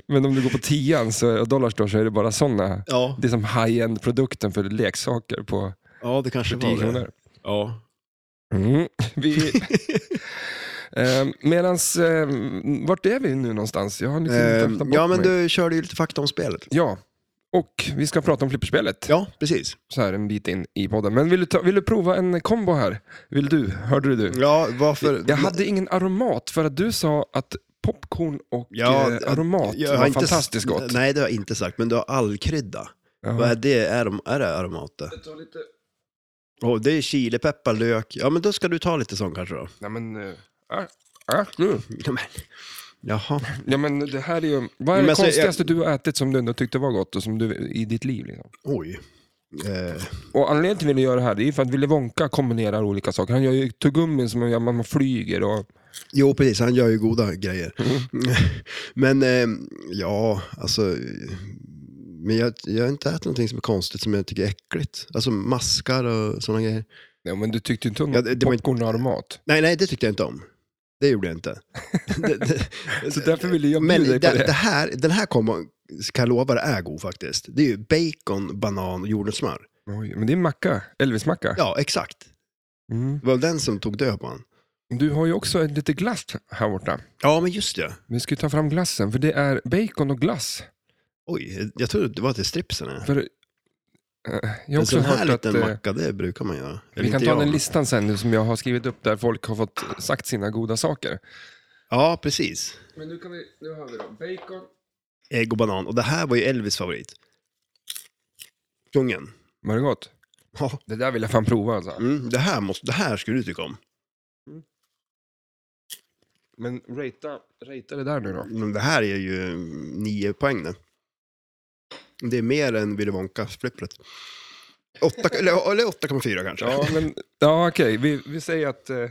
men om du går på 10 så, och Dollarstore så är det bara sådana.
ja,
Det är som high-end-produkten för leksaker på
ja, det kanske
10
var det.
kronor.
Ja.
Mm. Vi, eh, medans, eh, vart är vi nu någonstans? Jag har liksom
Ehm,
tappat bort
ja, men
mig.
du körde ju lite fakta om spelet.
Ja, och vi ska prata om flipperspelet.
Ja, precis.
så här en bit in i podden. Men vill du, ta, vill du prova en kombo här? Vill du? Hörde du?
Ja, varför?
Jag hade ingen aromat för att du sa att popcorn och
Ja,
eh, aromat
jag har
var
inte s-
fantastiskt gott.
Nej, det har jag inte sagt, men du har allkrydda. Vad
Jaha.
är det? Är, de, är det aromat det?
Jag tar lite-
Åh, det är chilipeppar, lök. Ja, men då ska du ta lite sån kanske då.
Nej men, eh, äh, äh, du.
Ja, men- Jaha.
ja men det här är ju, vad är
Men
det
alltså, jag-
konstigaste du har ätit som du ändå tyckte var gott och som du, i ditt liv? Liksom?
Oj. Eh,
Och anledningen till att vi ville göra det här, det är ju för att Willy Wonka kombinerar olika saker. Han gör ju tuggummin som man gör när man flyger och
jo, precis. Han gör ju goda grejer. men eh, ja, alltså. Men jag, jag har inte ätit någonting som är konstigt som jag tycker är äckligt. Alltså maskar och sådana grejer.
Ja, men du tyckte inte om
Ja, det- det var inte-
popcorn och aromat.
Nej, nej, det tyckte jag inte om. Det gjorde jag inte. det, det,
Så därför ville jag
Men
bjuda
det,
dig på det.
det här, den här kombon, kan jag lova, det är god faktiskt. Det är ju bacon, banan och jordnötssmör.
Oj, men det är macka. Elvis-macka.
Ja, exakt.
Mm.
Det var den som tog död på han.
Du har ju också en lite glass här borta.
Ja, men just det.
Vi ska ju ta fram glassen, för det är bacon och glass.
Oj, jag trodde det var till stripsen. Jag.
För, eh, jag har
En
också
sån här
hört att...
liten
eh,
macka, det brukar man göra. Eller
vi kan
inte
ta
jag,
den
men-
listan sen nu som jag har skrivit upp där folk har fått sagt sina goda saker.
Ja, precis.
Men nu, kan vi, nu har vi då bacon.
Ägg och banan. Och det här var ju Elvis favorit. Kungen.
Var det gott?
Ja.
Det där vill jag fan prova alltså.
Mm, det, här måste, det här skulle du tycka om.
Men ratea, ratea det där nu då.
Men det här är ju mm, nio poäng nu. Det är mer än Willy Wonka-flippret. Åtta- Eller eller 8,4 kanske.
Ja, men, ja okej. Vi, vi säger att... Eh,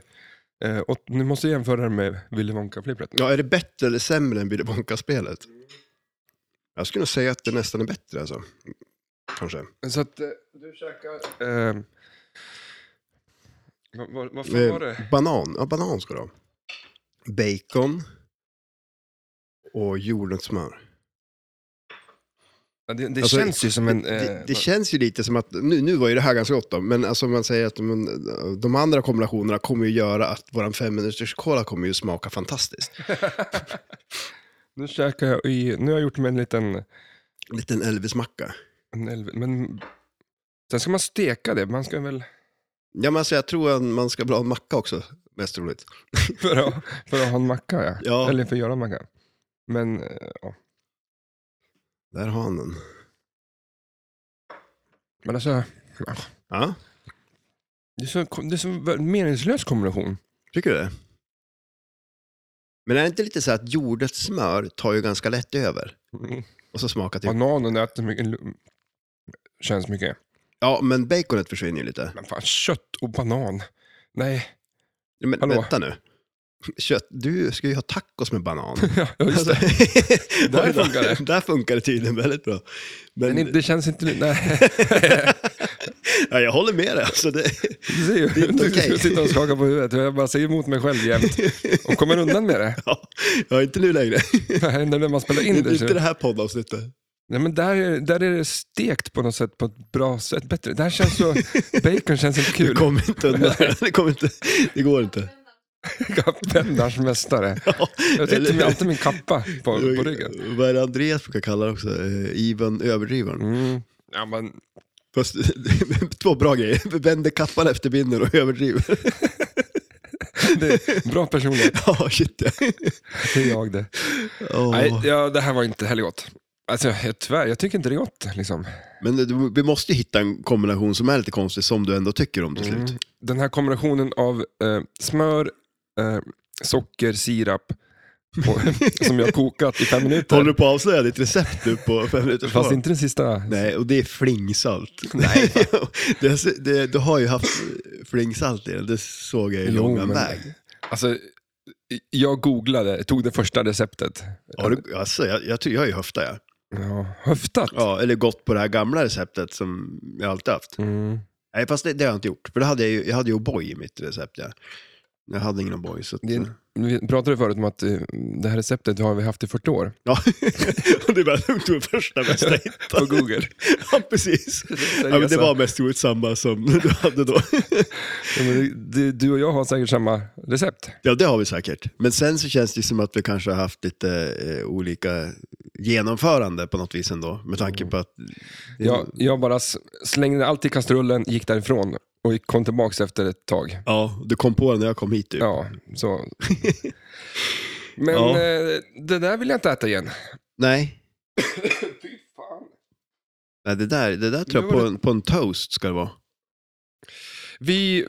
eh, och, nu måste jag jämföra det med Willy Wonka-flippret.
Ja, är det bättre eller sämre än Willy Wonka-spelet? Jag skulle nog säga att det nästan är bättre alltså. Kanske.
Så att eh, du käkar... Eh, vad, vad, vad fan var
Eh,
det?
banan, ja banan ska du ha. Bacon. Och jordnötssmör.
Ja, Det, det
alltså,
känns ju som en... Eh,
det, det känns ju lite som att, nu, nu var ju det här ganska gott då, men alltså om man säger att de, de andra kombinationerna kommer ju göra att våran femminuterskola kommer ju smaka fantastiskt.
nu käkar jag i... Nu har jag gjort mig en liten...
En liten Elvis-macka.
En elv, men, sen ska man steka det. Man ska väl...
Ja men alltså jag tror att man ska bra en macka också, mest roligt.
För att, för att ha en macka, ja.
Ja.
Eller för att göra en macka. Men eh, ja.
Där har han den.
Men alltså,
Ja,
det är så, det är så meningslös kombination.
tycker du det? Men är det inte lite så att jordnötssmör tar ju ganska lätt över? Och så smakar typ...
Bananen äter mycket... Känns mycket.
Ja, men baconet försvinner ju lite.
Men fan, kött och banan. Nej.
Ja, Men
Hallå?
vänta nu. Kött, du ska ju ha tacos med banan.
Ja, just det.
Alltså,
Där
oj då.
funkar det.
Där funkar det tydligen väldigt bra. Men,
Men det känns inte... Nej,
ja, jag håller med dig. Alltså, det,
du ser ju.
inte
Du
okej.
sitter och skakar på huvudet. Jag bara säger emot mig själv jämt. Och kommer undan med det.
ja, ja, inte nu längre.
Nej, När man spelar in
Inte,
det.
inte det
Så.
här poddavsnittet.
Nej, men där, är- där är det stekt på något sätt, på ett bra sätt. Bättre. Där känns så... Bacon känns inte
Du
kul.
kommer inte undan. Det, kommer inte, det går inte.
Kappvändars mästare.
Ja,
Jag sitter
eller-
med alltid min kappa på, på ryggen.
Vad är det Andreas brukar kalla det också? Eh, Ivan överdrivaren.
Mm. Ja, men,
Fast, två bra grejer. Vänder kappan efter vinden och överdriver.
det är bra personlighet.
Ja, shit ja.
Det är jag det.
Åh.
Nej, ja, det här var inte heller gott. Alltså, jag, tyvärr, jag tycker inte det är gott. Liksom.
Men du- vi måste ju hitta en kombination som är lite Mm. konstig, som du ändå tycker om till slut.
Mm. Den här kombinationen av eh, smör, eh, socker, sirap och, som jag kokat i fem minuter.
Håller du på att avslöja ditt recept nu på fem minuter
Fast inte den sista.
Nej, och det är flingsalt.
Nej,
det, det, du har ju haft flingsalt i den, det såg jag i
Jo,
långa
men-
väg.
Alltså, jag googlade, tog det första receptet.
Har du, alltså, jag, jag, tror- jag är ju höfta, ja.
Ja, höftat.
ja. Eller gått på det här gamla receptet som jag alltid haft.
Mm.
Nej, fast det, det har jag inte gjort. För det hade jag, ju, jag hade ju O'boy i mitt recept, ja. Jag hade ingen O'boy, så att,
Det är- Vi pratade förut om att eh, det här receptet har vi haft i 40 år.
Ja, och det var de tog första bästa
På
hittan.
Google.
Ja, precis. Ja, men det var mest troligt samma som du hade då.
Ja, men det- det- Du och jag har säkert samma recept.
Ja, det har vi säkert. Men sen så känns det som att vi kanske har haft lite eh, olika genomförande på något vis ändå. Med tanke på att...
Jag, jag bara s- slängde allt i kastrullen, gick därifrån och gick- kom tillbaka efter ett tag.
Ja, du kom på det när jag kom hit typ.
Ja, så. Men
Ja.
eh, det där vill jag inte äta igen.
Nej,
Fy fan.
nej det, där, det där tror
Nu
jag
var
på,
det-
en, på en toast ska det vara.
Vi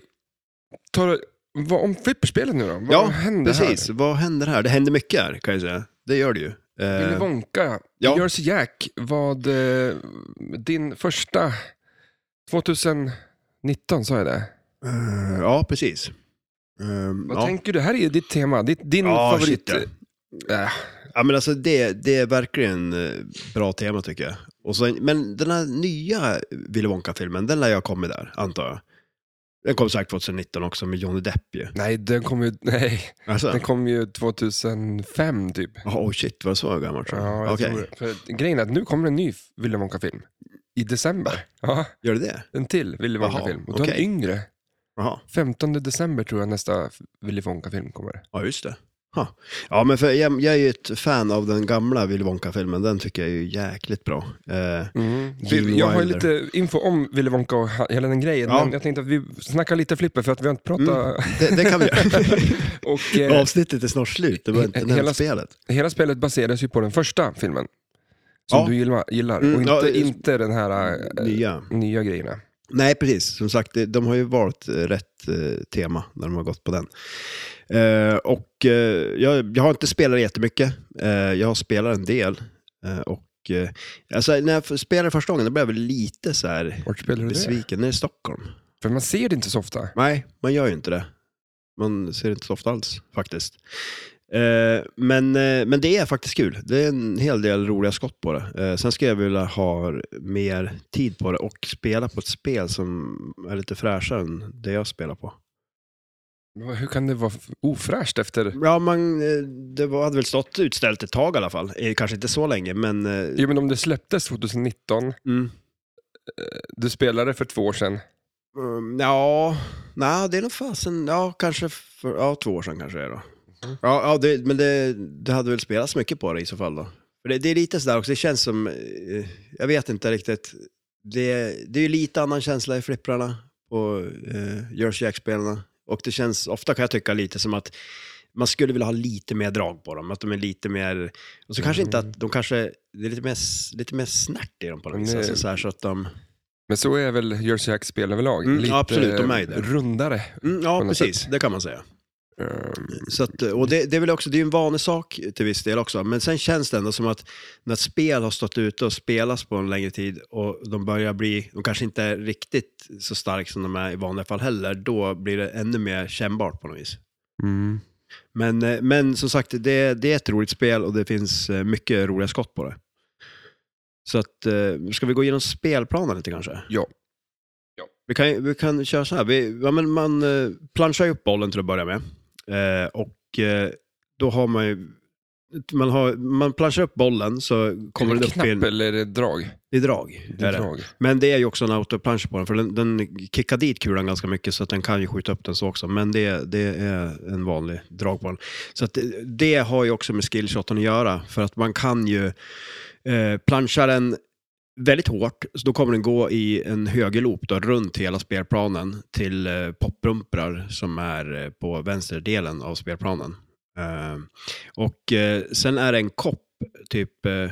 tar vad om flipperspelet nu då. Vad
Ja,
händer
Precis, vad händer här? Det händer mycket här kan jag säga. Det gör det ju.
här? Willy
Eh,
Wonka,
ja.
Jersey Jack, vad eh, din första 2019 sa jag det.
eh, ja, precis. Um,
Vad
ja.
tänker du? Det här är ju ditt tema, ditt, din
Ja,
favorit.
shit,
Äh,
Ja, men alltså det, det är verkligen eh, bra tema tycker jag. Och så, men den här nya Willy Wonka-filmen, den lär jag ha kommit där, antar jag. Den kom säkert 2019 också med Johnny Depp ju.
nej, den kom ju, nej,
Alltså,
den kom ju 2005 typ.
oh, oh shit, var det så gammalt?
Ja, jag
Okej,
tror det. För grejen är att nu kommer en ny Willy Wonka-film. I december. Ja,
gör det det?
en till Willy
Jaha,
Wonka-film. Och då är en
okej.
yngre.
Jaha,
15 december tror jag nästa Willy Wonka-film kommer.
ja just det. Ha. Ja, men för jag, jag är ju ett fan av den gamla Willy Wonka-filmen, den tycker jag är ju jäkligt bra. Eh,
Mm.
Gene
Jag har ju
Wilder.
lite info om Willy Wonka och hela den grejen,
Ja. Mm.
men jag tänkte att vi snackar lite flipper för att vi har inte pratat.
det, det kan vi göra.
Och, eh,
Avsnittet är snart slut, det var inte
Hela
nämnt
sp-
spelet.
Hela spelet baseras ju på den första filmen. Som
Ja.
du gillar, gillar.
Mm,
och inte,
ja, det-
inte den här eh,
Nya.
nya grejerna.
Nej, precis. Som sagt, det- de har ju valt eh, rätt eh, tema när de har gått på den. Eh, och eh, jag, jag har inte spelat jättemycket. Eh, jag har spelat en del. Eh, och, eh, alltså, när jag f- spelade första gången då blev jag väl lite så här
Vart spelar du det?
besviken. Nere i Stockholm.
För man ser det inte så ofta.
Nej, man gör ju inte det. Man ser det inte så ofta alls faktiskt. Eh, men, eh, men det är faktiskt kul. Det är en hel del roliga skott på det. Eh, sen skulle jag vilja ha mer tid på det och spela på ett spel som är lite fräschare än det jag spelar på.
Hur kan det vara f- ofräscht efter...
Ja, man, eh, det var, hade väl stått utställt ett tag i alla fall. Eh, kanske inte så länge, men... Eh,
Jo men om det släpptes 2019,
mm.
du spelade för två år sedan.
Mm, ja, nej, det är nog fasen, ja kanske för, ja, två år sedan kanske det är då.
Mhm.
Ja, ja det, men det, det hade väl spelats mycket på det i så fall då. För det, det är lite sådär också, det känns som, eh, jag vet inte riktigt. Det, det är ju lite annan känsla i flipprarna på eh, Jersey Jack-spelarna. Och det känns ofta kan jag tycka lite som att man skulle vilja ha lite mer drag på dem, att de är lite mer, och så kanske inte
Mm.
att de kanske, det är lite mer, s- lite mer snärt i dem på något
Men
vis.
det-
Alltså, så, här, så att de,
Men så är väl Jersey Jacks spel överlag.
Mm,
Lite
absolut, de är ju det.
rundare.
mm,
På
ja,
något
precis, det kan man säga.
Ehm,
Så att, och det, det är väl också, det är ju en vanesak till viss del också, men sen känns det ändå som att när ett spel har stått ute och spelats på en längre tid och de börjar bli, de kanske inte är riktigt så stark som de är i vanliga fall heller, då blir det ännu mer kännbart på något vis.
Mm.
Men, eh, men som sagt, det, det är ett roligt spel och det finns eh, mycket roliga skott på det. Så att, eh, ska vi gå igenom spelplanen lite kanske?
Ja. Ja.
Vi kan, ju- vi kan köra så här, vi, ja, men man eh, planchar ju upp bollen till att börja med. Eh, och eh, då har man ju, man, har, man planchar upp bollen så kommer
är
den
det
upp
knapp
i, en,
eller är det drag?
i drag.
Det är
är det.
drag.
Men det är ju också en autoplansch på den, för den, den kickar dit kulan ganska mycket så att den kan ju skjuta upp den så också. Men det, det är en vanlig drag på den. Så att det, det har ju också med skillshoten att göra, för att man kan ju eh, planscha den väldigt hårt, så då kommer den gå i en högerloop då, runt hela spelplanen till eh, poprumprar som är eh, på vänsterdelen av spelplanen. Eh, och eh, sen är det en kopp, typ eh,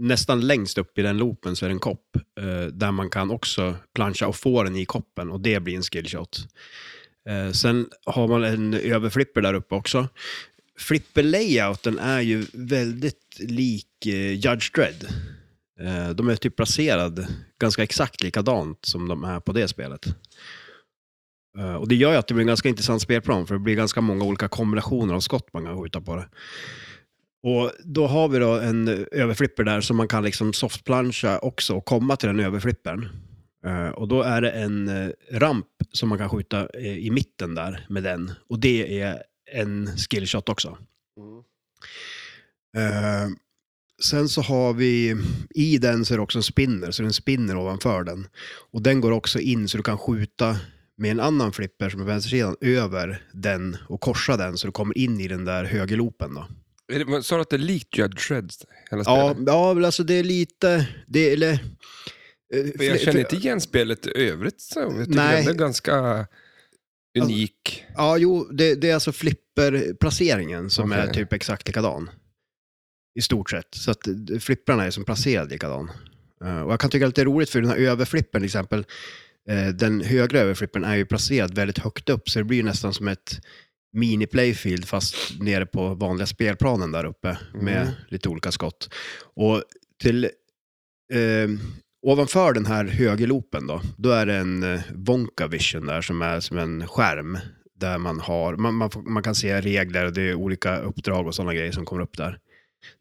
nästan längst upp i den loopen så är det en kopp eh, där man kan också plancha och få den i koppen och det blir en skillshot. Eh, sen har man en överflipper där uppe också. Flipper-layouten är ju väldigt lik eh, Judge Dredd. Eh, de är typ placerade ganska exakt likadant som de är på det spelet. Eh, och det gör ju att det blir en ganska intressant spelplan, för det blir ganska många olika kombinationer av skott man kan skjuta på det. Och då har vi då en överflipper där som man kan liksom softplancha också och komma till den överflippern. Eh, Och då är det en eh, ramp som man kan skjuta eh, i mitten där med den. Och det är en skillshot också. Eh, Sen så har vi, i den så är det också en spinner, så den spinner ovanför den. Och den går också in så du kan skjuta med en annan flipper som är vänstersidan över den och korsa den så du kommer in i den där högerloopen då.
Är det- men Sa du att det är likt Judge Dredd? Hela
Ja,
spelet?
ja, men alltså det är lite... Det, eller, eh,
Men
fl-
jag känner
fl-
inte igen spelet i övrigt. Så jag tycker
Nej. Alltså-
Nej. den är ganska unik.
Ja, jo, det, det är alltså flipperplaceringen som är
Okej.
typ exakt likadan. I stort sett. Så att eh, flipprarna är som placerad likadan. Eh, Och jag kan tycka det är lite roligt för den här överflippen till exempel, eh, den högra överflippen är ju placerad väldigt högt upp så det blir ju nästan som ett mini-playfield fast nere på vanliga spelplanen där uppe med
Mm.
lite olika skott. Och till eh, ovanför den här högerloopen då, då är det en eh, Vonka Vision där som är som en skärm där man har, man, man, får, man kan se regler och det är olika uppdrag och sådana grejer som kommer upp där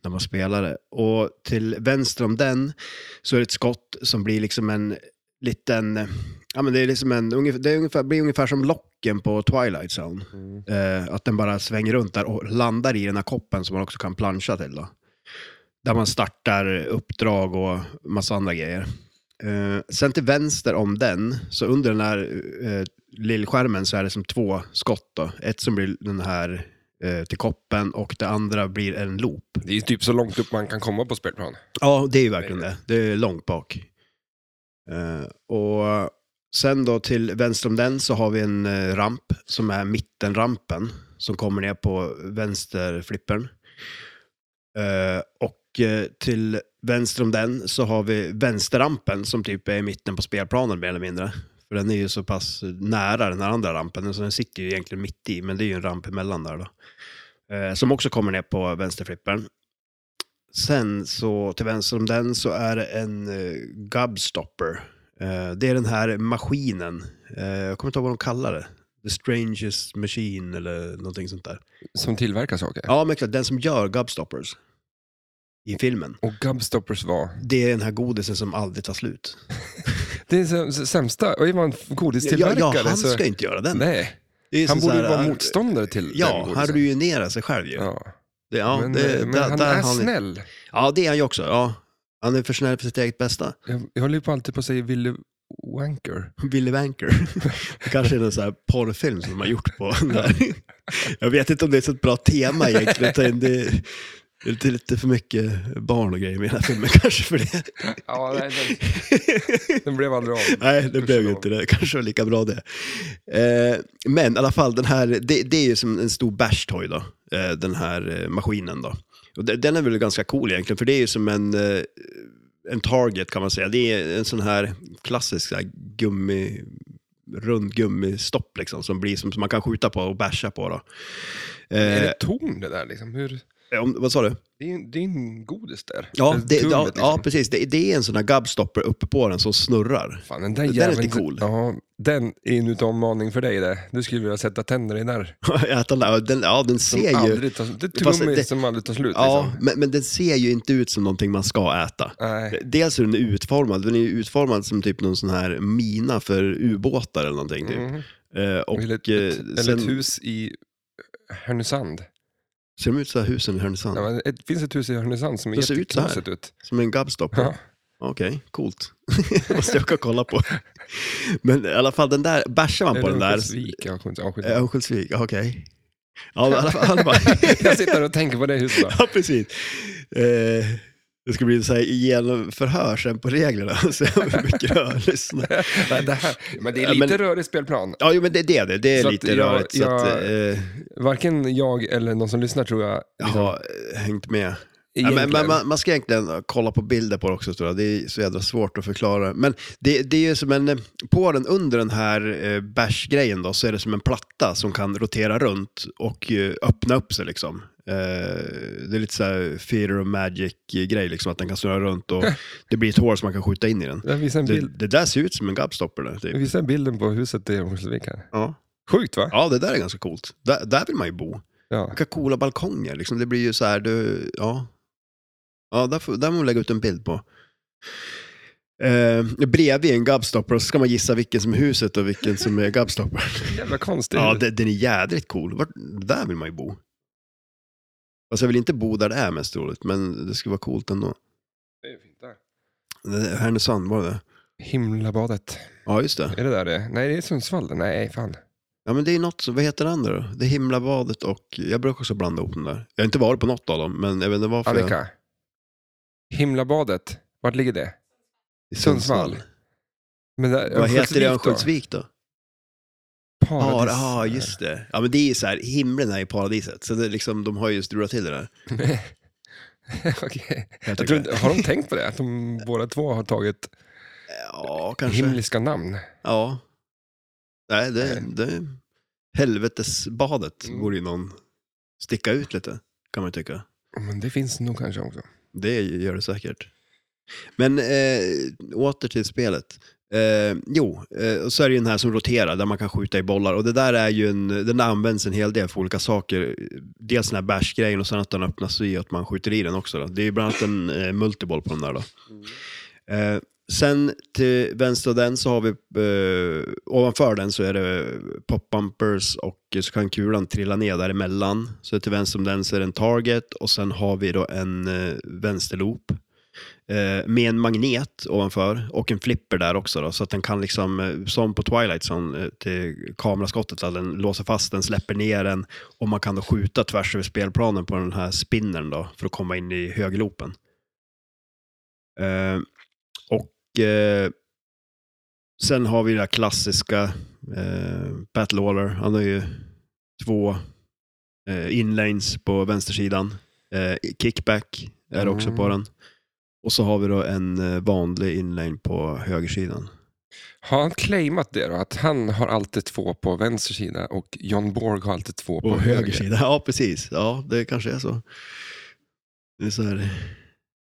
när man spelar det. Och till vänster om den så är det ett skott som blir liksom en liten, eh, ja men det är liksom en, ungefär, det är ungefär, blir ungefär som locken på Twilight Zone. Eh, att den bara svänger runt där och landar i den här koppen som man också kan plancha till. Då. Där man startar uppdrag och massa andra grejer. Eh, sen till vänster om den, så under den här eh, lillskärmen så är det som två skott. Då. Ett som blir den här eh, till koppen och det andra blir en loop.
Det är ju typ så långt upp man kan komma på spelplan.
Ja, det är ju verkligen det. Det är långt bak. Eh, och sen då till vänster om den så har vi en eh, ramp som är mittenrampen som kommer ner på vänsterflippern. Eh, och eh, till vänster om den så har vi vänsterrampen som typ är i mitten på spelplanen mer eller mindre. För den är ju så pass nära den här andra rampen, så den sitter ju egentligen mitt i, men det är ju en ramp emellan där då. Eh, som också kommer ner på vänsterflippern. Sen så till vänster om den så är det en eh, gubstopper. Eh, det är den här maskinen. Eh, jag kommer inte ihåg vad de kallar det. The strangest machine eller någonting sånt där.
Som tillverkar saker.
Ja, men klart, den som gör gubstoppers i filmen.
Och Gubstoppers var...
Det är den här godisen som aldrig tar slut.
Det är så- så- sämsta. Och är man
Ja,
godistillverkare
ja, han
så...
ska ju inte göra den.
Nej,
Det är
han
så
borde ju
här-
vara motståndare till den
Ja,
godisen.
han ruinerar sig själv ju. Ja,
Ja.
det, ja,
men eh,
det,
men
där,
han
där
är
har
snäll.
Ja, det är han ju också. Ja. Han är för snäll för sitt eget bästa.
Jag, jag håller ju på alltid på att säga Willy Wanker.
Willy Wanker. Det kanske är någon sån här porrfilm som de har gjort på den där. Jag vet inte om det är så ett bra tema egentligen. utan Det är, det är lite, lite för mycket barn och grejer med den här filmen kanske för det.
Ja, nej, den, den blev aldrig av.
Nej, det blev ju
Förstår.
inte det. Kanske var lika bra det. Eh, men i alla fall, den här, det, det är ju som en stor bashtoy då, eh, den här eh, maskinen då. Och de- den är väl ganska cool egentligen, för det är ju som en, eh, en target kan man säga. Det är en sån här klassisk så här, gummi, rund gummistopp liksom, som, blir, som, som man kan skjuta på och basha på. Då.
Är
Eh,
det torn det där liksom? Hur,
om, vad sa du?
det, är, ju- det är ju en godis där.
Ja,
Eller
det,
tummet,
ja,
liksom.
ja precis. Det, det är en sån här gubstopper uppe på den som snurrar.
Fan, den där
Det där är
jäveln-
lite cool.
Ja, den är ju en utmaning för dig det. Du skulle vilja sätta tänderna i där.
Att den, där- den, ja, den
Som
ser ju...
aldrig tar, det är
Fast
tummis
det-
som aldrig tar slut.
Ja,
Liksom.
men, men den ser ju inte ut som någonting man ska äta.
Nej.
Dels hur den är utformad, den är ju utformad som typ någon sån här mina för ubåtar eller någonting. Typ.
Mm.
Eh, och
eller ett,
eh,
ett, eller
sen
ett hus i Härnösand.
ser de ut så här husen i
Ja,
Härnösand?
men det finns ett hus i Härnösand som är
Det ser ut så här.
jätteknasigt ut.
Som en gubstopper?
Ja.
Okej, coolt. Måste jag kolla på. men i alla fall, den där, bärsar man på
Eller
den där?
Örnsköldsvik, jag kommer inte- ja, skitsamma.
Eh, Örnsköldsvik, okej. Ja, men i alla fall. bara-
Jag sitter och tänker på det huset. bara.
Ja, precis. Eh, det ska bli så här genomförhör sen på reglerna. Så hur mycket jag lyssnar.
Nej, det här, men det är
Ja,
lite
men-
rörig spelplan.
Ja, jo, men det är det. Det, det är
Så att
lite
jag-
rörigt. Så
jag-
att, eh,
Varken jag eller någon som lyssnar tror jag
jag har Liksom, eh, hängt med. Ja, men,
egentligen.
men man, man ska egentligen eh, kolla på bilder på det också, tror jag. det är så jädra svårt att förklara. Men det, det är ju som en, eh, på den, under den här eh, bärsgrejen då, så är det som en platta som kan rotera runt och eh, öppna upp sig liksom. Eh, det är lite så här theater of magic-grej, liksom, att den kan snurra runt och det blir ett hål som man kan skjuta in i den.
Jag visar en,
Det,
bild,
det där ser ut som en gubstopper. Där,
jag
typ.
visar en bilden på huset i Örnsköldsvik här.
ja.
Sjukt va?
ja, det där är ganska coolt. Där, där vill man ju bo.
Ja.
Vilka coola balkonger. Liksom. Det blir ju så här, du, ja. Ja, där, får, där må man lägga ut en bild på. Eh, bredvid en gubstopper och så ska man gissa vilken som är huset och vilken som är gubstoppern.
Jävla konstigt.
ja, det, den är jädrigt cool. Vart, där vill man ju bo. Fast jag vill inte bo där det är mest roligt, men det skulle vara coolt ändå.
Det är fint där.
Det- Härnösand, var det det
Himlabadet.
Ja, just det.
Är det där det? Nej, det är Sundsvall. det. Nej, fan.
Ja, men det är något som, vad heter det andra då? Det är Himlabadet och, jag brukar också blanda ihop dem där. Jag har inte varit på något av dem, men jag vet inte varför. jag-
Annika. Himlabadet. Vart ligger det?
i
Sundsvall. Men där,
Vad heter det i
då?
Örnsköldsvik då? Ja,
Paradis.
ah, just det. Ja, men det är ju så här, himlen är ju paradiset. Så det är liksom, de har ju strulat till det där.
Okej.
Jag
Jag tror inte, har de tänkt på det? Att de båda två har tagit
Ja, kanske.
himliska namn?
Ja. Nej, det... det... Helvetesbadet
Mm.
borde ju någon sticka ut lite, kan man ju tycka.
Men det finns nog kanske också.
Det gör det säkert. Men eh, åter till spelet. Eh, jo, eh, och så är det ju den här som roterar, där man kan skjuta i bollar. Och det där är ju en, den används en hel del för olika saker. Dels den här bärsgrejen och sen att den öppnas i och att man skjuter i den också. Då. Det är ju bland annat en eh, multiboll på den där då. Eh, sen till vänster av den så har vi, eh, ovanför den så är det pop-bumpers och så kan kulan trilla ner däremellan. Så till vänster om den så är det en target och sen har vi då en eh, vänsterloop eh, med en magnet ovanför och en flipper där också då, så att den kan liksom, eh, som på Twilight Zone, eh, till kameraskottet, att den låser fast den, släpper ner den och man kan då skjuta tvärs över spelplanen på den här spinnern då för att komma in i högerloopen. Eh, och eh, sen har vi det här klassiska eh, Battle Waller. Han har ju två eh, inlanes på vänstersidan. Eh, kickback är det också på
Mm.
den. Och så har vi då en eh, vanlig inlane på högersidan.
Har han claimat det då? Att han har alltid två på vänster sida och John Borg har alltid två på,
På
höger?
höger sida, ja precis. Ja, det kanske är så. Det är så här.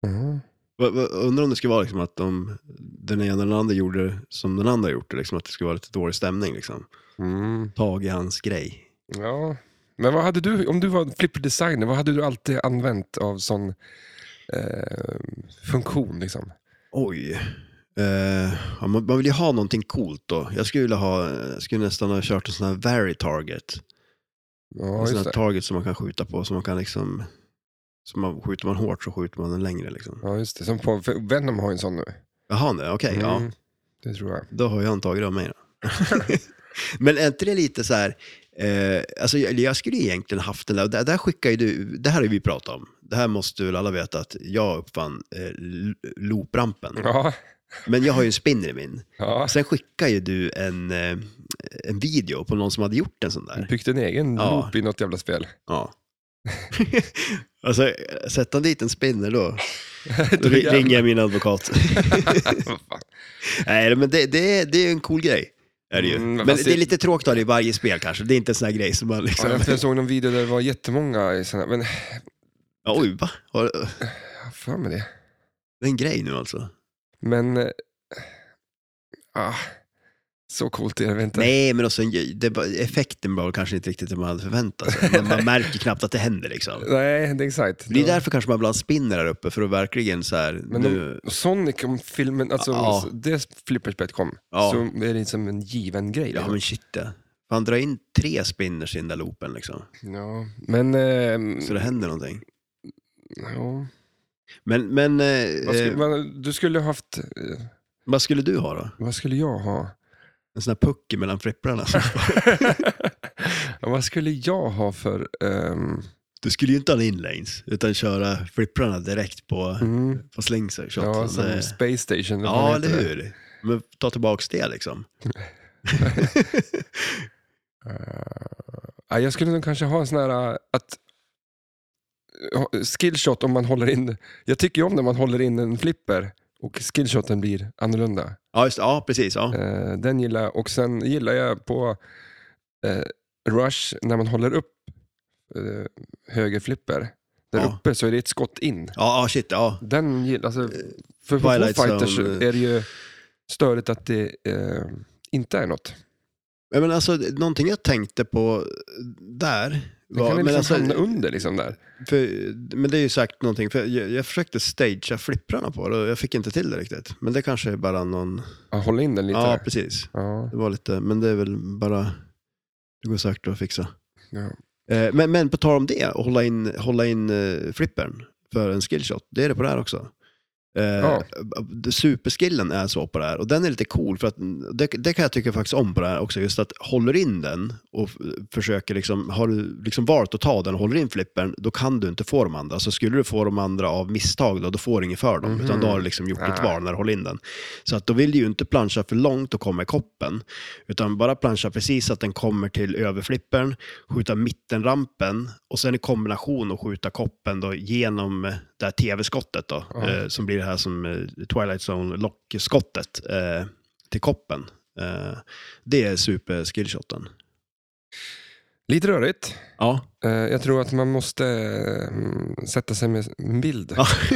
Mm.
Va- va- Undrar om det skulle vara liksom att de, den ena eller den andra gjorde som den andra gjort, liksom att det skulle vara lite dålig stämning. Liksom.
Mm.
Tag i hans grej.
Ja. Men vad hade du, om du var flipperdesigner, vad hade du alltid använt av sån eh, funktion? Liksom?
Oj. Eh, ja, man, man vill ju ha någonting coolt då. Jag skulle, vilja ha, jag skulle nästan ha kört en sån här vary target. en
Ja, just
sån här
det.
target som man kan skjuta på, som man kan liksom... Som man, skjuter man hårt så skjuter man den längre. Liksom.
Ja, just det. Som på, för Venom har ju en sån nu.
Jaha, nej, okej. ja.
Mm, Det tror jag.
Då har jag antagit det av mig då. Men är inte det lite så här, eh, alltså jag, jag skulle ju egentligen haft den där, och där, där skickar ju du, det här har ju vi pratat om, det här måste väl alla veta att jag uppfann eh, l- looprampen,
Ja,
men jag har ju en spinner i min.
ja.
Sen skickar ju du en, eh, en video på någon som hade gjort en sån där.
byggt en egen
Ja.
loop i något jävla spel.
Ja. alltså, sätta dit en spinner då, då
Då
ri-
jävlar.
ringer jag min advokat.
Vad fan.
Nej, men det, det, är- det är ju en cool grej. Är det ju.
Mm, men
men
fast
det är
det-
lite tråkigt att ha det i varje spel kanske. Det är inte en sån här grej som man liksom...
Ja, jag såg någon video där det var jättemånga i såna, men jag
Ja, oj, va? Har-
har för mig det.
Det är en grej nu alltså?
Men, eh, ah, så coolt är det väl inte?
Nej, men också, en- det, var- effekten var kanske inte riktigt det man hade förväntat sig. Men man märker knappt att det händer liksom.
Nej, det är exakt.
Det är därför kanske man ibland spinner där uppe, för att verkligen så här...
Men de-
nu,
Sonic, om filmen, alltså
Ja.
det flipperspelet kom,
Ja.
så är det liksom en given grej. liksom.
ja, men shit ja. Fan, dra in tre spinners i den där loopen liksom.
ja. men ehm,
Så det händer någonting.
ja.
Men, men eh,
Vad skulle,
eh,
vad- du skulle ha haft, eh,
vad skulle du ha då?
vad skulle jag ha?
En sån här puck mellan flipprarna?
Ja, vad skulle jag ha för... ehm,
Du skulle ju inte ha en inlanes, utan köra flipprarna direkt på,
mm,
på slingsar.
ja,
shots.
som
Det-
Space Station. vad
alltså. ja
fan heter
eller
det?
hur? Men ta tillbaks det liksom.
Eh, ja, jag skulle nog kanske ha en sån här... eh, Att, skillshot om man håller in... Jag tycker ju om när man håller in en flipper och skillshoten blir annorlunda.
Ja, just, ja precis. Ja.
Eh, den gillar jag. Och sen gillar jag på eh, Rush när man håller upp eh, högerflipper. Där
Ja.
uppe så är det ett skott in.
Ja, ja, shit. Ja.
Den gillar, alltså, för på Foo
Twilight
Fighters
Zone, eh.
är det ju störigt att det eh, inte är något.
Ja, Men alltså, någonting jag tänkte på där
Det kan
var...
ju
Men,
liksom
alltså,
hamna under liksom där.
för, men det är ju sagt någonting, för jag, jag försökte stagea flipprarna på det och jag fick inte till det riktigt. Men det kanske är bara någon...
Ja, hålla in den lite.
Ja,
där.
precis.
ja,
Det var lite, men det är väl bara... Det går säkert att fixa.
ja.
Eh, Men, men på tal om det, att hålla in, hålla in eh, flippern för en skillshot, det är det på det här också. Eh,
Ja.
det- Superskillen är så på det här och den är lite cool för att mm, det, det kan jag tycka faktiskt om på det här också. Just att håller in den och f- försöker liksom, har du liksom valt att ta den och håller in flippern, då kan du inte få de andra. Så skulle du få de andra av misstag då, då får du inget för dem.
Mhm.
Utan då har du liksom gjort
Ah.
ditt val när du håller in den. Så att då vill du ju inte plancha för långt och komma i koppen. Utan bara plancha precis så att den kommer till överflippern, skjuta mittenrampen och sen i kombination och skjuta koppen då genom eh, det här tv-skottet då,
Ja.
eh, som blir det här som eh, Twilight Zone-lock-skottet eh, till koppen. Eh, det är super-skillshoten.
Lite rörigt.
Ja.
Eh, jag tror att man måste eh, sätta sig med en bild.
Ja.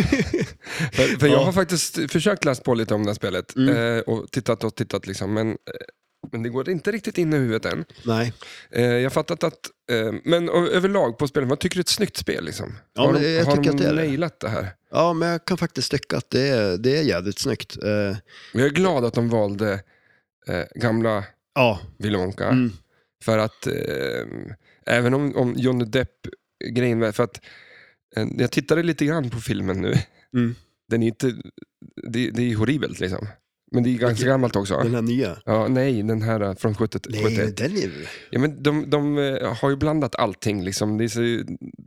För, för jag
Ja.
har faktiskt försökt läsa på lite om det här spelet
Mm.
eh, och tittat och tittat liksom, men, eh, men det går inte riktigt in i huvudet än.
Nej.
Eh, jag har fattat att, eh, men ö- överlag på spelet, vad tycker du är ett snyggt spel? Liksom?
Ja,
har
men
de,
jag
har
tycker
de
att det är det.
nailat det här?
Ja, men jag kan faktiskt tycka att det är, det är jävligt snyggt. Eh,
Jag är glad att de valde eh, gamla
ja.
Vilonka.
Mm.
För att, eh, även om, om Johnny Depp-grejen, var- för att eh, jag tittade lite grann på filmen nu.
Mm.
Den är inte, det, det är horribelt liksom. Men det är ganska gammalt också.
Den här nya.
Ja, nej, den här eh, från 70
Nej,
71.
den är ju...
Ja, men de, de eh, har ju blandat allting. Liksom. Det, är så,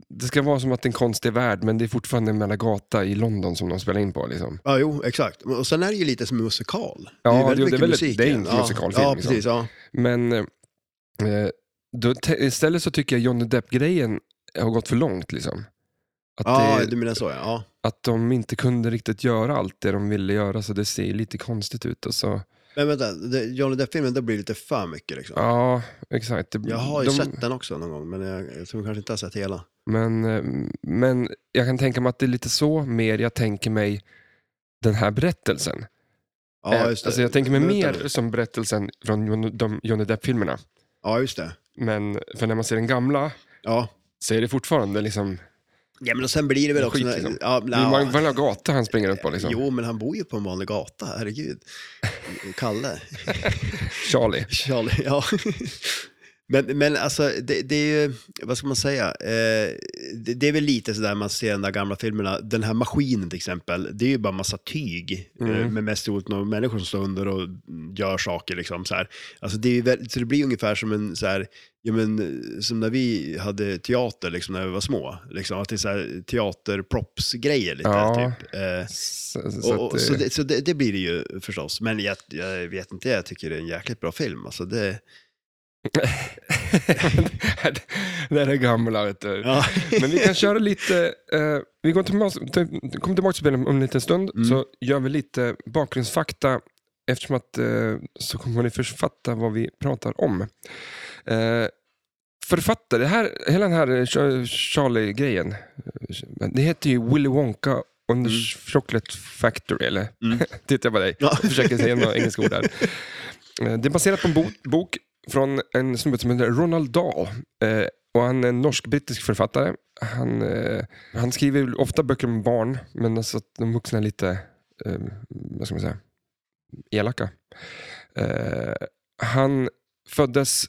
det ska vara som att det är en konstig värld, men det är fortfarande en mellan gata i London som de spelar in på. Liksom.
Ja, jo, exakt. Och sen är det ju lite som musikal.
Ja,
ju
jo, det är
mycket
väl-
musik
det är
i
ju
den.
en musikalfilm,
Ja,
liksom.
precis. Ja.
Men eh, eh, då, te- istället så tycker jag Johnny Depp-grejen har gått för långt. Liksom. Att,
ja,
det,
du menar så ja. ja.
att de inte kunde riktigt göra allt det de ville göra, så det ser lite konstigt ut. Och så.
Men vänta, det, Johnny Depp-filmen, det blir lite för mycket liksom.
Ja, exakt. Det-
Jag har ju
de-
sett den också någon gång, men jag, jag tror kanske inte jag har sett hela.
Men, eh, men jag kan tänka mig att det är lite så mer jag tänker mig den här berättelsen.
Ja,
Eh,
just det.
Alltså jag tänker mig
Vänta
mer
nu.
som berättelsen från Johnny- de Johnny Depp-filmerna.
Ja, just det.
Men för när man ser den gamla
Ja.
så är det fortfarande liksom...
ja, men och sen blir det väl
Skit,
också... när-
liksom.
ja,
Det är
nja.
en vanlig gata han springer runt på liksom.
Jo, men han bor ju på en vanlig gata, herregud. Kalle.
Charlie.
Charlie, ja. Men, men alltså, det, det är ju, vad ska man säga, eh, det, det är väl lite sådär man ser i de där gamla filmerna, den här maskinen till exempel, det är ju bara massa tyg
Mm.
eh, med mest troligt några människor som står under och gör saker liksom så här. Alltså det är ju väldigt, så det blir ungefär som en så här, ja men som när vi hade teater liksom när vi var små, liksom att det är så här teaterproppsgrejer lite
Ja.
typ. Eh,
Så, så
och,
att, eh,
och, så det, så det, det blir det ju förstås. Men jag, jag vet inte, jag tycker det är en jäkligt bra film. Alltså det,
det är det gamla vet du.
ja.
Men vi kan köra lite, eh, vi går tillbaka, till, kommer tillbaka till spelet om en liten stund,
Mm.
så gör vi lite bakgrundsfakta, eftersom att eh, så kommer ni först fatta vad vi pratar om. Eh, författare, det här, hela den här eh, Ch- Charlie-grejen, eh, det heter ju Willy Wonka and the
Mm.
Chocolate Factory, eller?
Mm.
Tittar jag på dig
Ja.
och försöker säga några engelska ord där. Eh, Det är baserat på en bo- bok från en snubbe som heter Ronald Dahl. Eh, Och han är en norsk-brittisk författare. Han, eh, han skriver ofta böcker om barn, men alltså att de vuxna är lite, eh, vad ska man säga, elaka. Eh, han föddes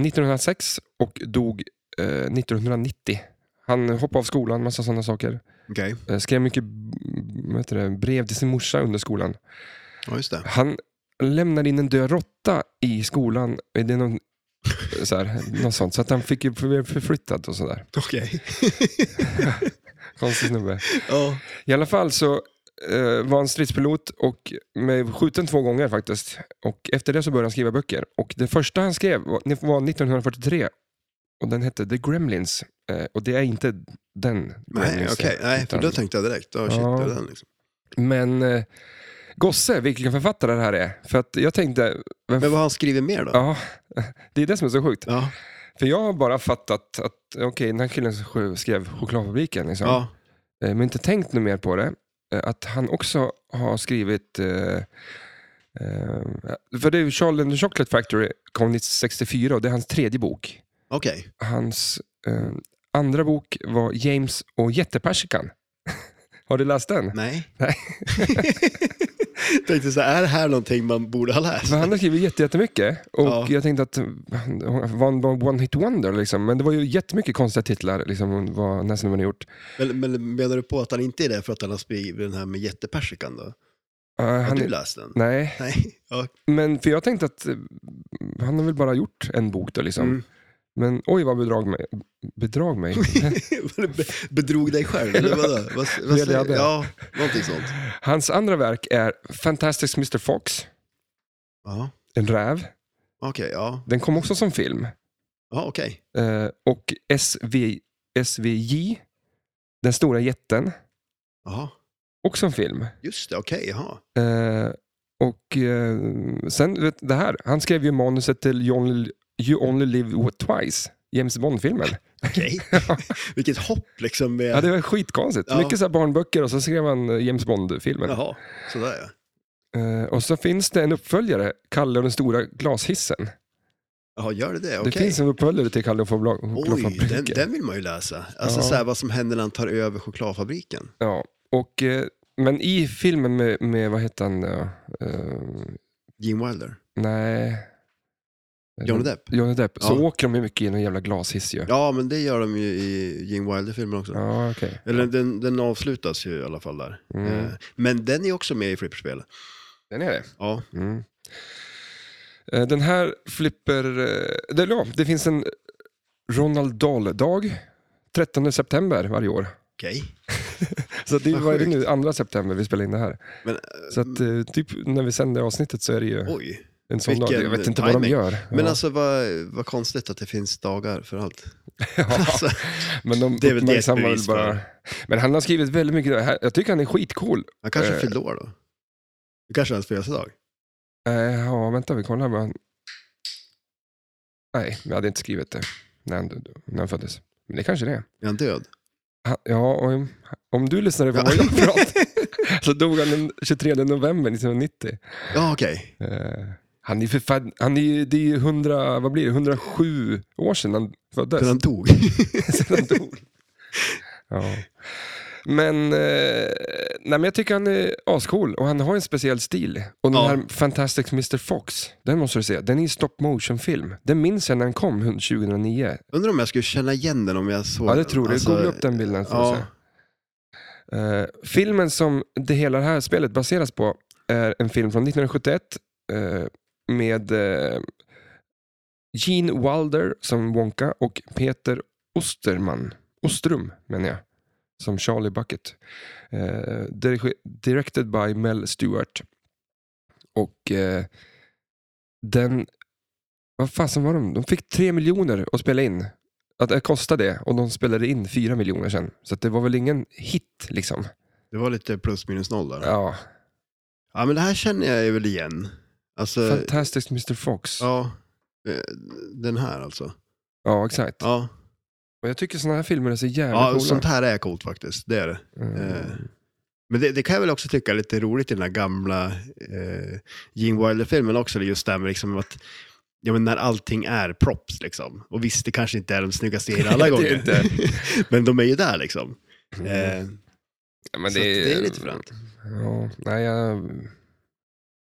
1906 och dog eh, 1990. Han hoppade av skolan, massa sådana saker.
Okej,
Eh, skrev mycket mm, vad heter det, brev till sin morsa under skolan.
ja just det.
Han lämnade in en död råtta i skolan. Är det någon, så här, något sånt? Så att han fick ju bli förflyttad och sådär.
Okej.
Konstig snubbe.
ja.
I alla fall så eh, var han stridspilot och med skjuten två gånger faktiskt. Och efter det så började han skriva böcker. Och det första han skrev var, var 1943 Och den hette The Gremlins. Eh, och det är inte den
Nej,
Gremlins.
okej. Nej, för
utan-
då tänkte jag direkt, oh, shit,
Ja.
det är den liksom.
Men eh, Gosse, vilken författare det här är. För att jag tänkte... Vem
Men vad har han skrivit mer då?
Ja, det är det som är så sjukt.
Ja,
För jag har bara fattat att okej, den här killen sk- skrev Chokladfabriken. Liksom.
ja.
Eh, Men inte tänkt något mer på det. Eh, Att han också har skrivit... Eh, eh, för det är ju Charlie and the Chocolate Factory kom 1964 och det är hans tredje bok.
okej.
Hans eh, andra bok var James och jättepersikan. har du läst den?
Nej.
Nej.
tänkte så här, är det här någonting man borde ha läst?
För han har skrivit jätte- jättemycket och
Ja.
jag tänkte att han var en one hit wonder liksom. Men det var ju jättemycket konstiga titlar liksom, vad nästan man har gjort.
Men, men menar du på att han inte är det för att han har skrivit den här med jättepersikan då?
Eh,
Har
han,
du läst den?
nej,
Nej. Ja.
men för jag tänkte att eh, han har väl bara gjort en bok då liksom.
Mm.
Men oj vad bedrag mig. Bedrag mig?
Be- Bedrog dig själv, eller vadå? Vad, vad
det
säger-
hade jag.
Ja, någonting sånt.
Hans andra verk är Fantastic Mr Fox,
Ja,
En räv.
okej. ja.
Den kom också som film.
Ja, okej.
Eh, och SV, SVJ, Den stora jätten,
Jaha,
också en film.
just det, okej, jaha.
Eh, och eh, sen, vet, det här, han skrev ju manuset till you only, you only live twice, James Bond-filmen.
Okej. Vilket hopp liksom med...
Ja, det var skitkonstigt.
Ja.
Mycket så här barnböcker och så skrev han eh, James Bond-filmen.
Jaha, sådär ja.
Eh, och så finns det en uppföljare, Kalle och den stora glashissen.
Jaha, gör det det? Okej.
Det finns en uppföljare till Kalle och Chokla-
Oj, den,
chokladfabriken.
den vill man ju läsa. Alltså
Ja.
så här, vad som händer när han tar över chokladfabriken.
Ja, och, eh, men i filmen med, med vad heter han, eh, eh,
Gene Wilder,
nej,
Johnny Depp.
Johnny Depp, så
Ja.
åker de ju mycket i en jävla glashiss ju.
Ja, men det gör de ju i Gene Wilder-filmen också.
Ja, okej.
Eller den, den avslutas ju i alla fall där.
Mm.
Eh, Men den är också med i flipperspel.
Den är det.
Ja,
Mm. Eh, Den här flipper... eh, Det, ja, det finns en Ronald Dahl-dag. 13 september varje år.
okej.
Så det
Vad
var det
sjukt.
nu, 2 september vi spelar in det här.
Men, eh,
Så att, eh, typ när vi sänder avsnittet så är det ju
Oj.
en sån dag.
vilken
Jag vet inte vad de
timing.
gör.
Men
ja.
alltså vad, vad konstigt att det finns dagar för allt.
ja,
Alltså,
men de
det är väl det ett
uppmärksammar väl
bevis
bara... Men han har skrivit väldigt mycket. här- Jag tycker han är skitcool.
han kanske
Eh.
fyllde år då. Det kanske är hans födelsedag.
Eh, Ja, vänta vi kollar vad han... Nej, jag hade inte skrivit det när han, när han föddes. Men det kanske det är.
Är han död?
Ha- Ja, om, om du lyssnade på
Ja.
vad jag pratade så dog han den 23 november 1990.
Ja, okej.
Eh, han är för fan, han är ju, det är ju 100, vad blir det, 107 år sedan han föddes.
Men han dog.
Sedan han dog. Ja. Men, eh, nej, men jag tycker han är ascool och han har en speciell stil. Och den
Ja.
här Fantastic Mr Fox, den måste du se. Den är en stop motion film. Den minns jag när den kom 2009.
Undrar om jag skulle känna igen den om jag såg
Ja, det
den.
tror du.
Alltså,
Googla upp den bilden. får du se.
Ja,
Eh, filmen som det hela det här spelet baseras på är en film från 1971 eh, med eh, Gene Wilder som Wonka och Peter Osterman, Ostrum menar jag, som Charlie Bucket. Eh, dirige- directed by Mel Stewart. Och eh, den, vad fasen var de? De fick tre miljoner att spela in. Att det kostade det och de spelade in fyra miljoner sen. Så att det var väl ingen hit liksom.
det var lite plus minus noll där. Ja.
Ja,
men det här känner jag ju väl igen. Alltså,
Fantastic Mr Fox. Ja,
ja. eh, Den här alltså.
exakt.
Ja,
Och jag tycker sådana här filmer är så jävla
ja
coola.
sånt här är coolt faktiskt. Det är det.
Mm.
Eh, Men det, det kan jag väl också tycka är lite roligt i den här gamla eh, Gene Wilder-filmen också, just det här med liksom att ja, men när allting är props. Liksom. Och visst, det kanske inte är de snyggaste grejerna alla
Det är
gånger,
inte.
men de är ju där liksom.
Mm.
Eh,
Ja, men
så att det är lite fränt.
Ja, nej, jag...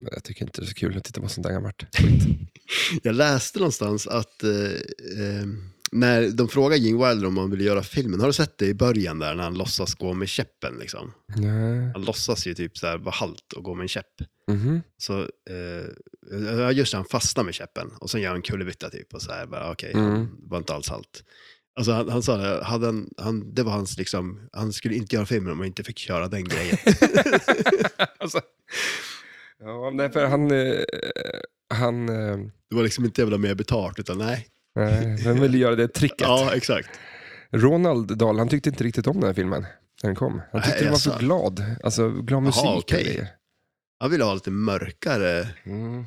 men jag tycker inte det är så kul att titta på sånt där gammalt.
Jag läste någonstans att eh, eh, när de frågar Gene Wilder om han vill göra filmen, har du sett det i början där när han låtsas gå med käppen? Liksom?
Nej.
Han låtsas ju typ så här vara halt och gå med en käpp.
Mhm.
Så, eh, ja, just det, han fastnar med käppen och sen gör han kullerbytta typ och så här, bara okej,
Mm.
han var inte alls halt. Alltså han, han sa det, hade han, han, det var hans liksom, han skulle inte göra filmen om han inte fick köra den grejen.
Alltså, ja, nej, för han... Eh, han eh,
Det var liksom inte jävla mer betalt, utan nej,
Nej, Vem ville göra det tricket?
Ja, exakt.
Ronald Dahl, han tyckte inte riktigt om den här filmen när den kom. Han tyckte
Nej,
den var för
jaså.
glad. Alltså, glad musik och
okej.
grejer.
Jag vill ha lite mörkare.
Mm.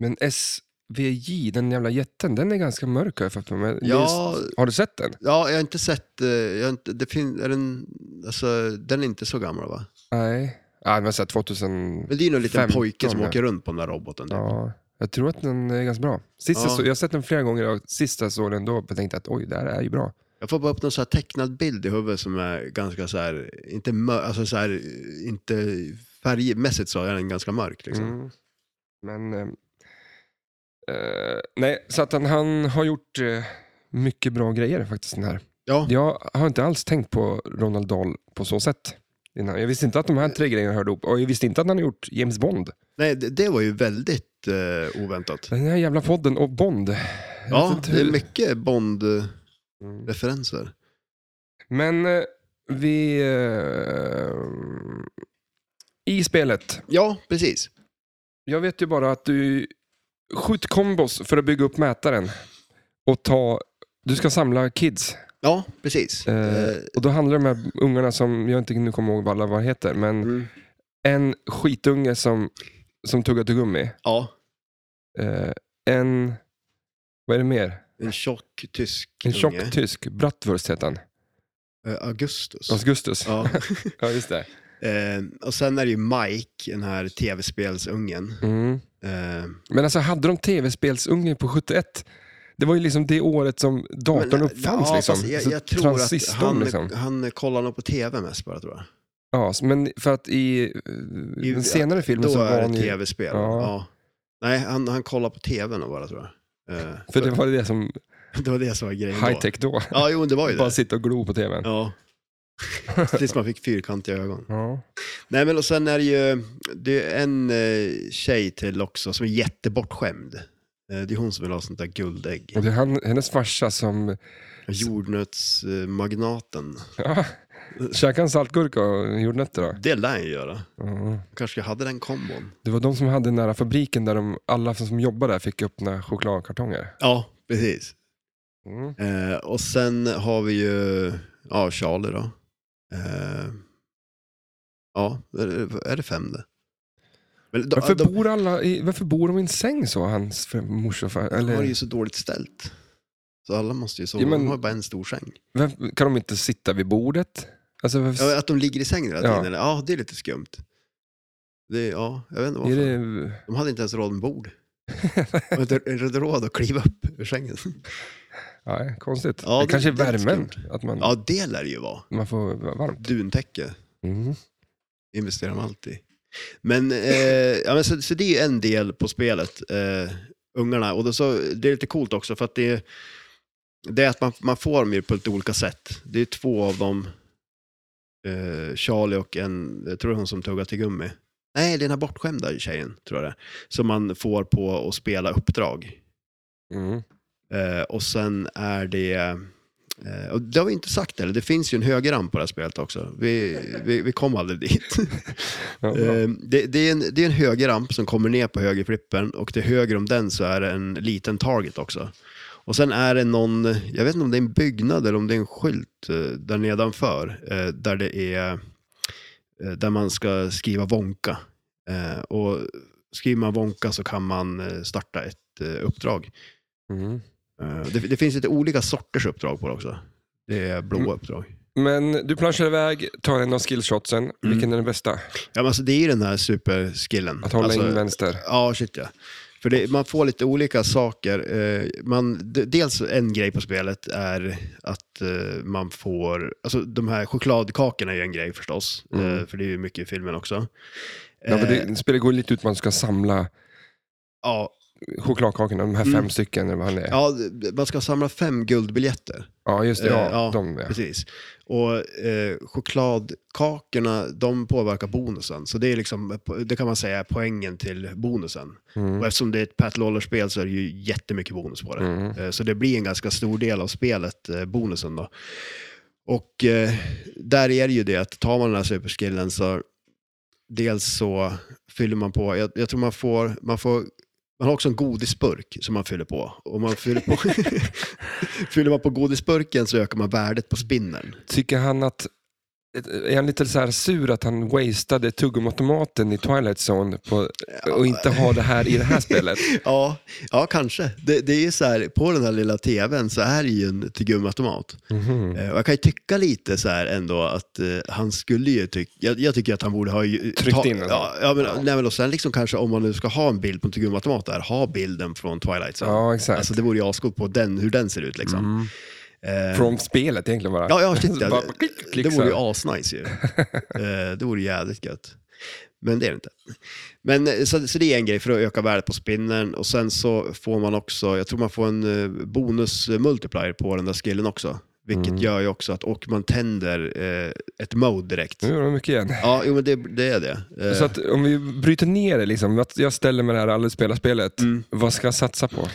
Men SVJ, den jävla jätten, den är ganska mörk har jag fått med mig.
Ja,
Just- Har du sett den?
ja jag har inte sett, eh, jag har inte, det fin, är den, alltså, den är inte så gammal va?
Nej. Ja, den var såhär 2000...
Men det är ju någon liten
15,
pojke som
ja.
åker runt på den där roboten. typ. Ja.
Ja, jag tror att den är ganska bra. Sist jag,
Ja.
så, jag har sett den flera gånger och sist jag såg den då tänkte jag att oj, det här är ju bra.
Jag får bara upp någon så här tecknad bild i huvudet som är ganska så här, inte mör, alltså så här, inte färgmässigt så är den ganska mörk liksom.
Mm. Men... ehm, eh, nej, så att han, han har gjort eh, mycket bra grejer faktiskt den här.
Ja,
Jag har inte alls tänkt på Ronald Dahl på så sätt. Innan. Jag visste inte att de här tre grejerna hörde ihop och jag visste inte att han har gjort James Bond.
nej, det, det var ju väldigt eh, oväntat.
Den här jävla podden och Bond. Jag vet
Ja,
inte
det är
hur-
mycket Bond-referenser.
Mm. Men eh, vi... Eh, I spelet.
Ja, precis.
Jag vet ju bara att du skjuter kombos för att bygga upp mätaren. Och ta... Du ska samla kids.
Ja, precis.
Eh,
Eh,
och då handlar det om de här ungarna som, jag inte nu kommer ihåg vad alla vad heter, men
mm.
en skitunge som, som tuggar tuggummi.
Ja,
Eh, en... Vad är det mer?
en tjock tysk
En tjock
unge.
tysk. Bratwurst heter han.
Eh, Augustus.
Augustus. Ja,
Ja.
just det.
Eh, och sen är det ju Mike, den här tv-spelsungen.
Mm.
Eh,
Men alltså hade de tv-spelsungen på 71? Det var ju liksom det året som datorn uppfanns.
ja,
liksom.
fast Jag,
Så
jag tror att
transistorn,
han,
liksom.
han kollar nog på tv mest bara tror jag.
Ja, s- men för att i, eh,
I-
den senare filmen
Då
så var
är
han
det
ju...
tv-spel.
Ja.
Ja. Nej, han, han kollar på tv nog bara tror jag. Eh,
För det var det som
det var det som var grejen då.
high-tech då.
Ja, jo, det var ju
Bara
det.
sitta och glo på tvn. Ja.
Ja. Tills man fick fyrkantiga ögon. Nej, men och sen är det ju det är en eh, tjej till också som är jättebortskämd. Eh, Det är hon som vill ha sånt där guldägg.
Och det är han, hennes farsa som...
Jordnötsmagnaten.
Ja, käkade han saltgurka och jordnötter då?
Det lär jag ju göra.
Ja.
kanske jag hade den kombon.
Det var de som hade nära fabriken där de, alla som jobbade där fick öppna chokladkartonger.
Ja, precis.
Mm.
Eh, och sen har vi ju ja, Charlie då. Eh, ja, är det- är det fem det? Men de,
Varför,
de,
bor alla i, varför bor de i en säng så, hans fr- morsa och far,
de
eller?
har ju så dåligt ställt. Så alla måste ju sova.
Ja, men-
De har ju bara en stor säng.
Varför- Kan de inte sitta vid bordet? Alltså, varför,
Ja, att de ligger i sängen hela tiden.
Ja.
Ja, eller? ja det är lite skumt. Det, är- ja, jag vet inte
är
varför.
det,
De hade inte ens råd med bord. De hade inte råd att kliva upp ur sängen.
nej, konstigt.
Ja,
det,
det-
kanske är
det är
värmen,
skumt.
att man,
Ja, det lär det ju vara.
man får varmt.
Duntäcke.
Mm.
investerar man alltid. Men, eh, ja, men så, så det är ju en del på spelet, eh, ungarna. Och då så, det är lite coolt också för att det är, det är att man, man får dem ju på lite olika sätt. Det är två av dem, eh, Charlie och en, jag tror det är hon som tuggar till gummi. Nej, det är den här bortskämda tjejen, tror jag det är, Som man får på att spela uppdrag.
Mm.
Eh, och sen är det... Eh, och det har vi inte sagt heller, det finns ju en högerramp på det här spelet också. Vi, vi, vi kom aldrig dit.
Ja, bra.
Eh, det, det, är en, det är en högerramp som kommer ner på högerflippen och till höger om den så är det en liten target också. Och sen är det någon, jag vet inte om det är en byggnad eller om det är en skylt eh, där nedanför eh, där det är eh, där man ska skriva Wonka. Eh, och skriver man Wonka så kan man eh, starta ett eh, uppdrag.
mm.
Eh, Det, det finns lite olika sorters uppdrag på det också. Det är blåa
Mm.
uppdrag.
Men du planschar iväg, tar en av skillshotsen.
Mm.
Vilken är den bästa?
Ja, men alltså, det är ju den här superskillen.
Att hålla
alltså,
in vänster.
Ja, shit ja. För det, man får lite olika saker. Eh, Man, d- dels en grej på spelet är att eh, man får, alltså de här chokladkakorna är ju en grej förstås,
Mm.
eh, för det är ju mycket i filmen också.
Ja, för
Eh,
det, spelet går lite ut på att man ska samla
ja,
chokladkakorna, de här
Mm.
fem stycken eller vad han är. Ja,
ja, d- man ska samla fem guldbiljetter.
just det. Ja,
Eh, ja.
de ja.
Precis. Och eh, chokladkakorna, de påverkar bonusen. Så det är liksom, det kan man säga är poängen till bonusen. Och
Mm.
eftersom det är ett Pat Lawler-spel så är det ju jättemycket bonus på det.
Mm.
Eh, Så det blir en ganska stor del av spelet, eh, bonusen då. Och eh, där är det ju det att tar man den här superskillen så dels så fyller man på, jag, jag tror man får, man får Man har också en godisburk som man fyller på. Om man fyller på, fyller man på godisburken så ökar man värdet på spinnen.
Tycker han att... Är han lite så här sur att han wastade tuggummiautomaten i Twilight Zone på, och inte har det här i det här spelet?
Ja, ja kanske. Det, det är ju så här, på den här lilla tvn så är det ju en tuggummiautomat.
Mhm.
Eh, och jag kan ju tycka lite så här ändå att eh, han skulle ju tycka, jag, jag tycker att han borde ha ju, eh,
Tryckt in den.
Ja, ja, men, Nej, men och sen liksom kanske om man nu ska ha en bild på en tuggummiautomat där, ha bilden från Twilight Zone.
Ja, exakt. Mhm.
Alltså det vore ju ascoolt på den, hur den ser ut liksom. Eh,
Från spelet egentligen bara.
Ja, ja, shit, ja.
bara, klick, klick,
det
så
vore
här.
ju asnice ju. Eh, det vore jävligt gött. Men det är det inte. Men, eh, så, så det är en grej för att öka värdet på spinnen och sen så får man också, jag tror man får en eh, bonus multiplier på den där skillen också. Vilket
Mm.
gör ju också att, och man tänder eh, ett mode direkt.
Nu är det mycket igen.
Ja, jo, men det, det är det. Eh,
Mm. Så att om vi bryter ner det, liksom, att jag ställer mig där och aldrig spelar spelet,
Mm.
vad ska jag satsa på?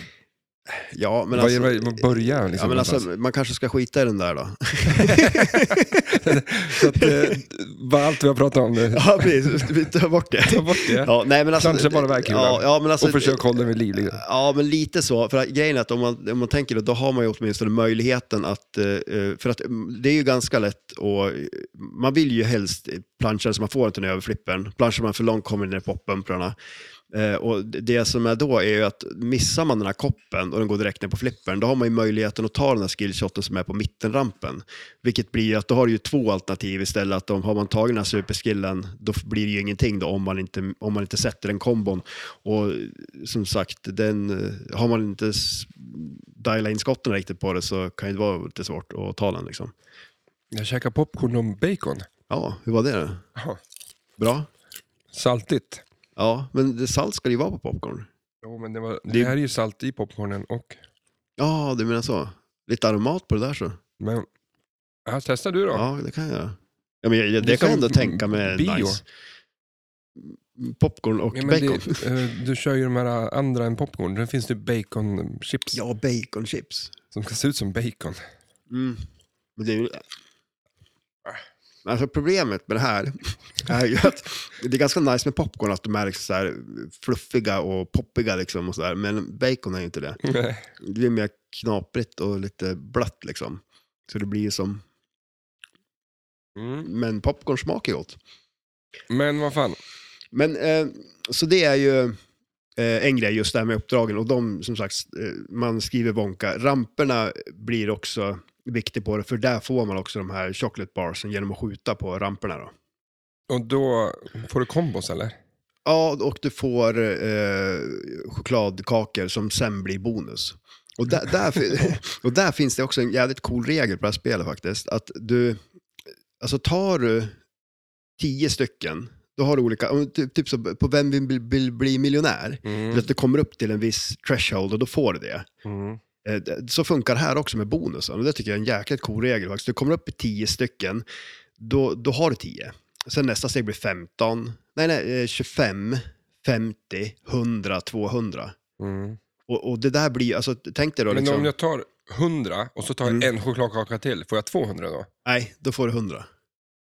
ja,
Vad
men alltså,
gör- vad- vad börjar jag
ja,
liksom
men alltså,
någonstans?
man kanske ska skita i den där då.
Så att, eh, bara allt vi har pratat om nu,
ja, precis. Vi tar bort det.
ta bort det.
Ja, nej, men alltså,
Kanske bara verkligen.
ja, ja, men alltså,
och försök hålla den vid liv. Liksom.
Ja, men lite så. För att, grejen är att om man, om man tänker då, då har man ju åtminstone möjligheten att... eh, eh, För att mm, det är ju ganska lätt och eh, Man vill ju helst plancha så man får inte den över flippen. Planschar man för långt kommer den ner i poppumprarna. Eh, Och det- det som är då är ju att missar man den här koppen och den går direkt ner på flippen, då har man ju möjligheten att ta den här skillshoten som är på mittenrampen. Vilket blir ju att då har du ju två alternativ istället. Att om, har man tagit den här superskillen, då f- blir det ju ingenting då om man inte, om man inte sätter den kombon. Och eh, som sagt, den, eh, har man inte s- dialat in skotten riktigt på det så kan ju det vara lite svårt att ta den. Liksom.
Jag käkar popcorn och bacon.
Ja, hur var det då?
Jaha,
Bra?
Saltigt.
Ja, men det salt ska det ju vara på popcorn.
Jo, men det, var, det
Det-
här är ju salt i popcornen och...
Ja, du menar så. Lite aromat på det där så.
Men, ja, testa du då.
Ja, det kan jag göra. Ja, men jag, jag,
Det är
det kan jag
som
ändå tänka mig
bio.
nice. Popcorn och
Ja, men
bacon.
Det, eh, du kör ju de här andra än popcorn. Det finns det baconchips
Ja, baconchips.
som ska se ut som bacon.
Mm. Men det är ju... Alltså problemet med det här är ju att det är ganska nice med popcorn att de är liksom så här fluffiga och poppiga liksom och så där. men bacon är ju inte det.
Nej.
Det är mer knaprigt och lite blött liksom. Så det blir ju som,
Mm.
men popcorn smakar ju gott.
Men vad fan.
Men eh, så det är ju eh, en grej just det här med uppdragen och de som sagt, eh, man skriver Wonka. Ramperna blir också viktigt på det för där får man också de här chocolate barsen genom att skjuta på ramperna då.
Och då får du kombos eller?
Ja, och du får eh, chokladkakor som sen blir bonus. Och där, där, fi- och där finns det också en jävligt cool regel på det här spelet faktiskt. Att du, alltså tar du tio stycken, då har du olika, om- typ, typ så på vem vill, vill bli miljonär?
Mm.
Mm. Att du kommer upp till en viss threshold och då får du det.
Mm.
Eh, d- Så funkar det här också med bonusen och det tycker jag är en jäkligt cool regel faktiskt. Du kommer upp i 10 stycken, då, då har du 10. Sen nästa steg blir 15, nej nej eh, 25, 50, 100, 200.
Mm.
Och, och det där blir ju, alltså tänk dig då
Men om
liksom, Mm.
jag tar 100 och så tar jag en chokladkaka till, får jag 200 då?
nej då får du 100.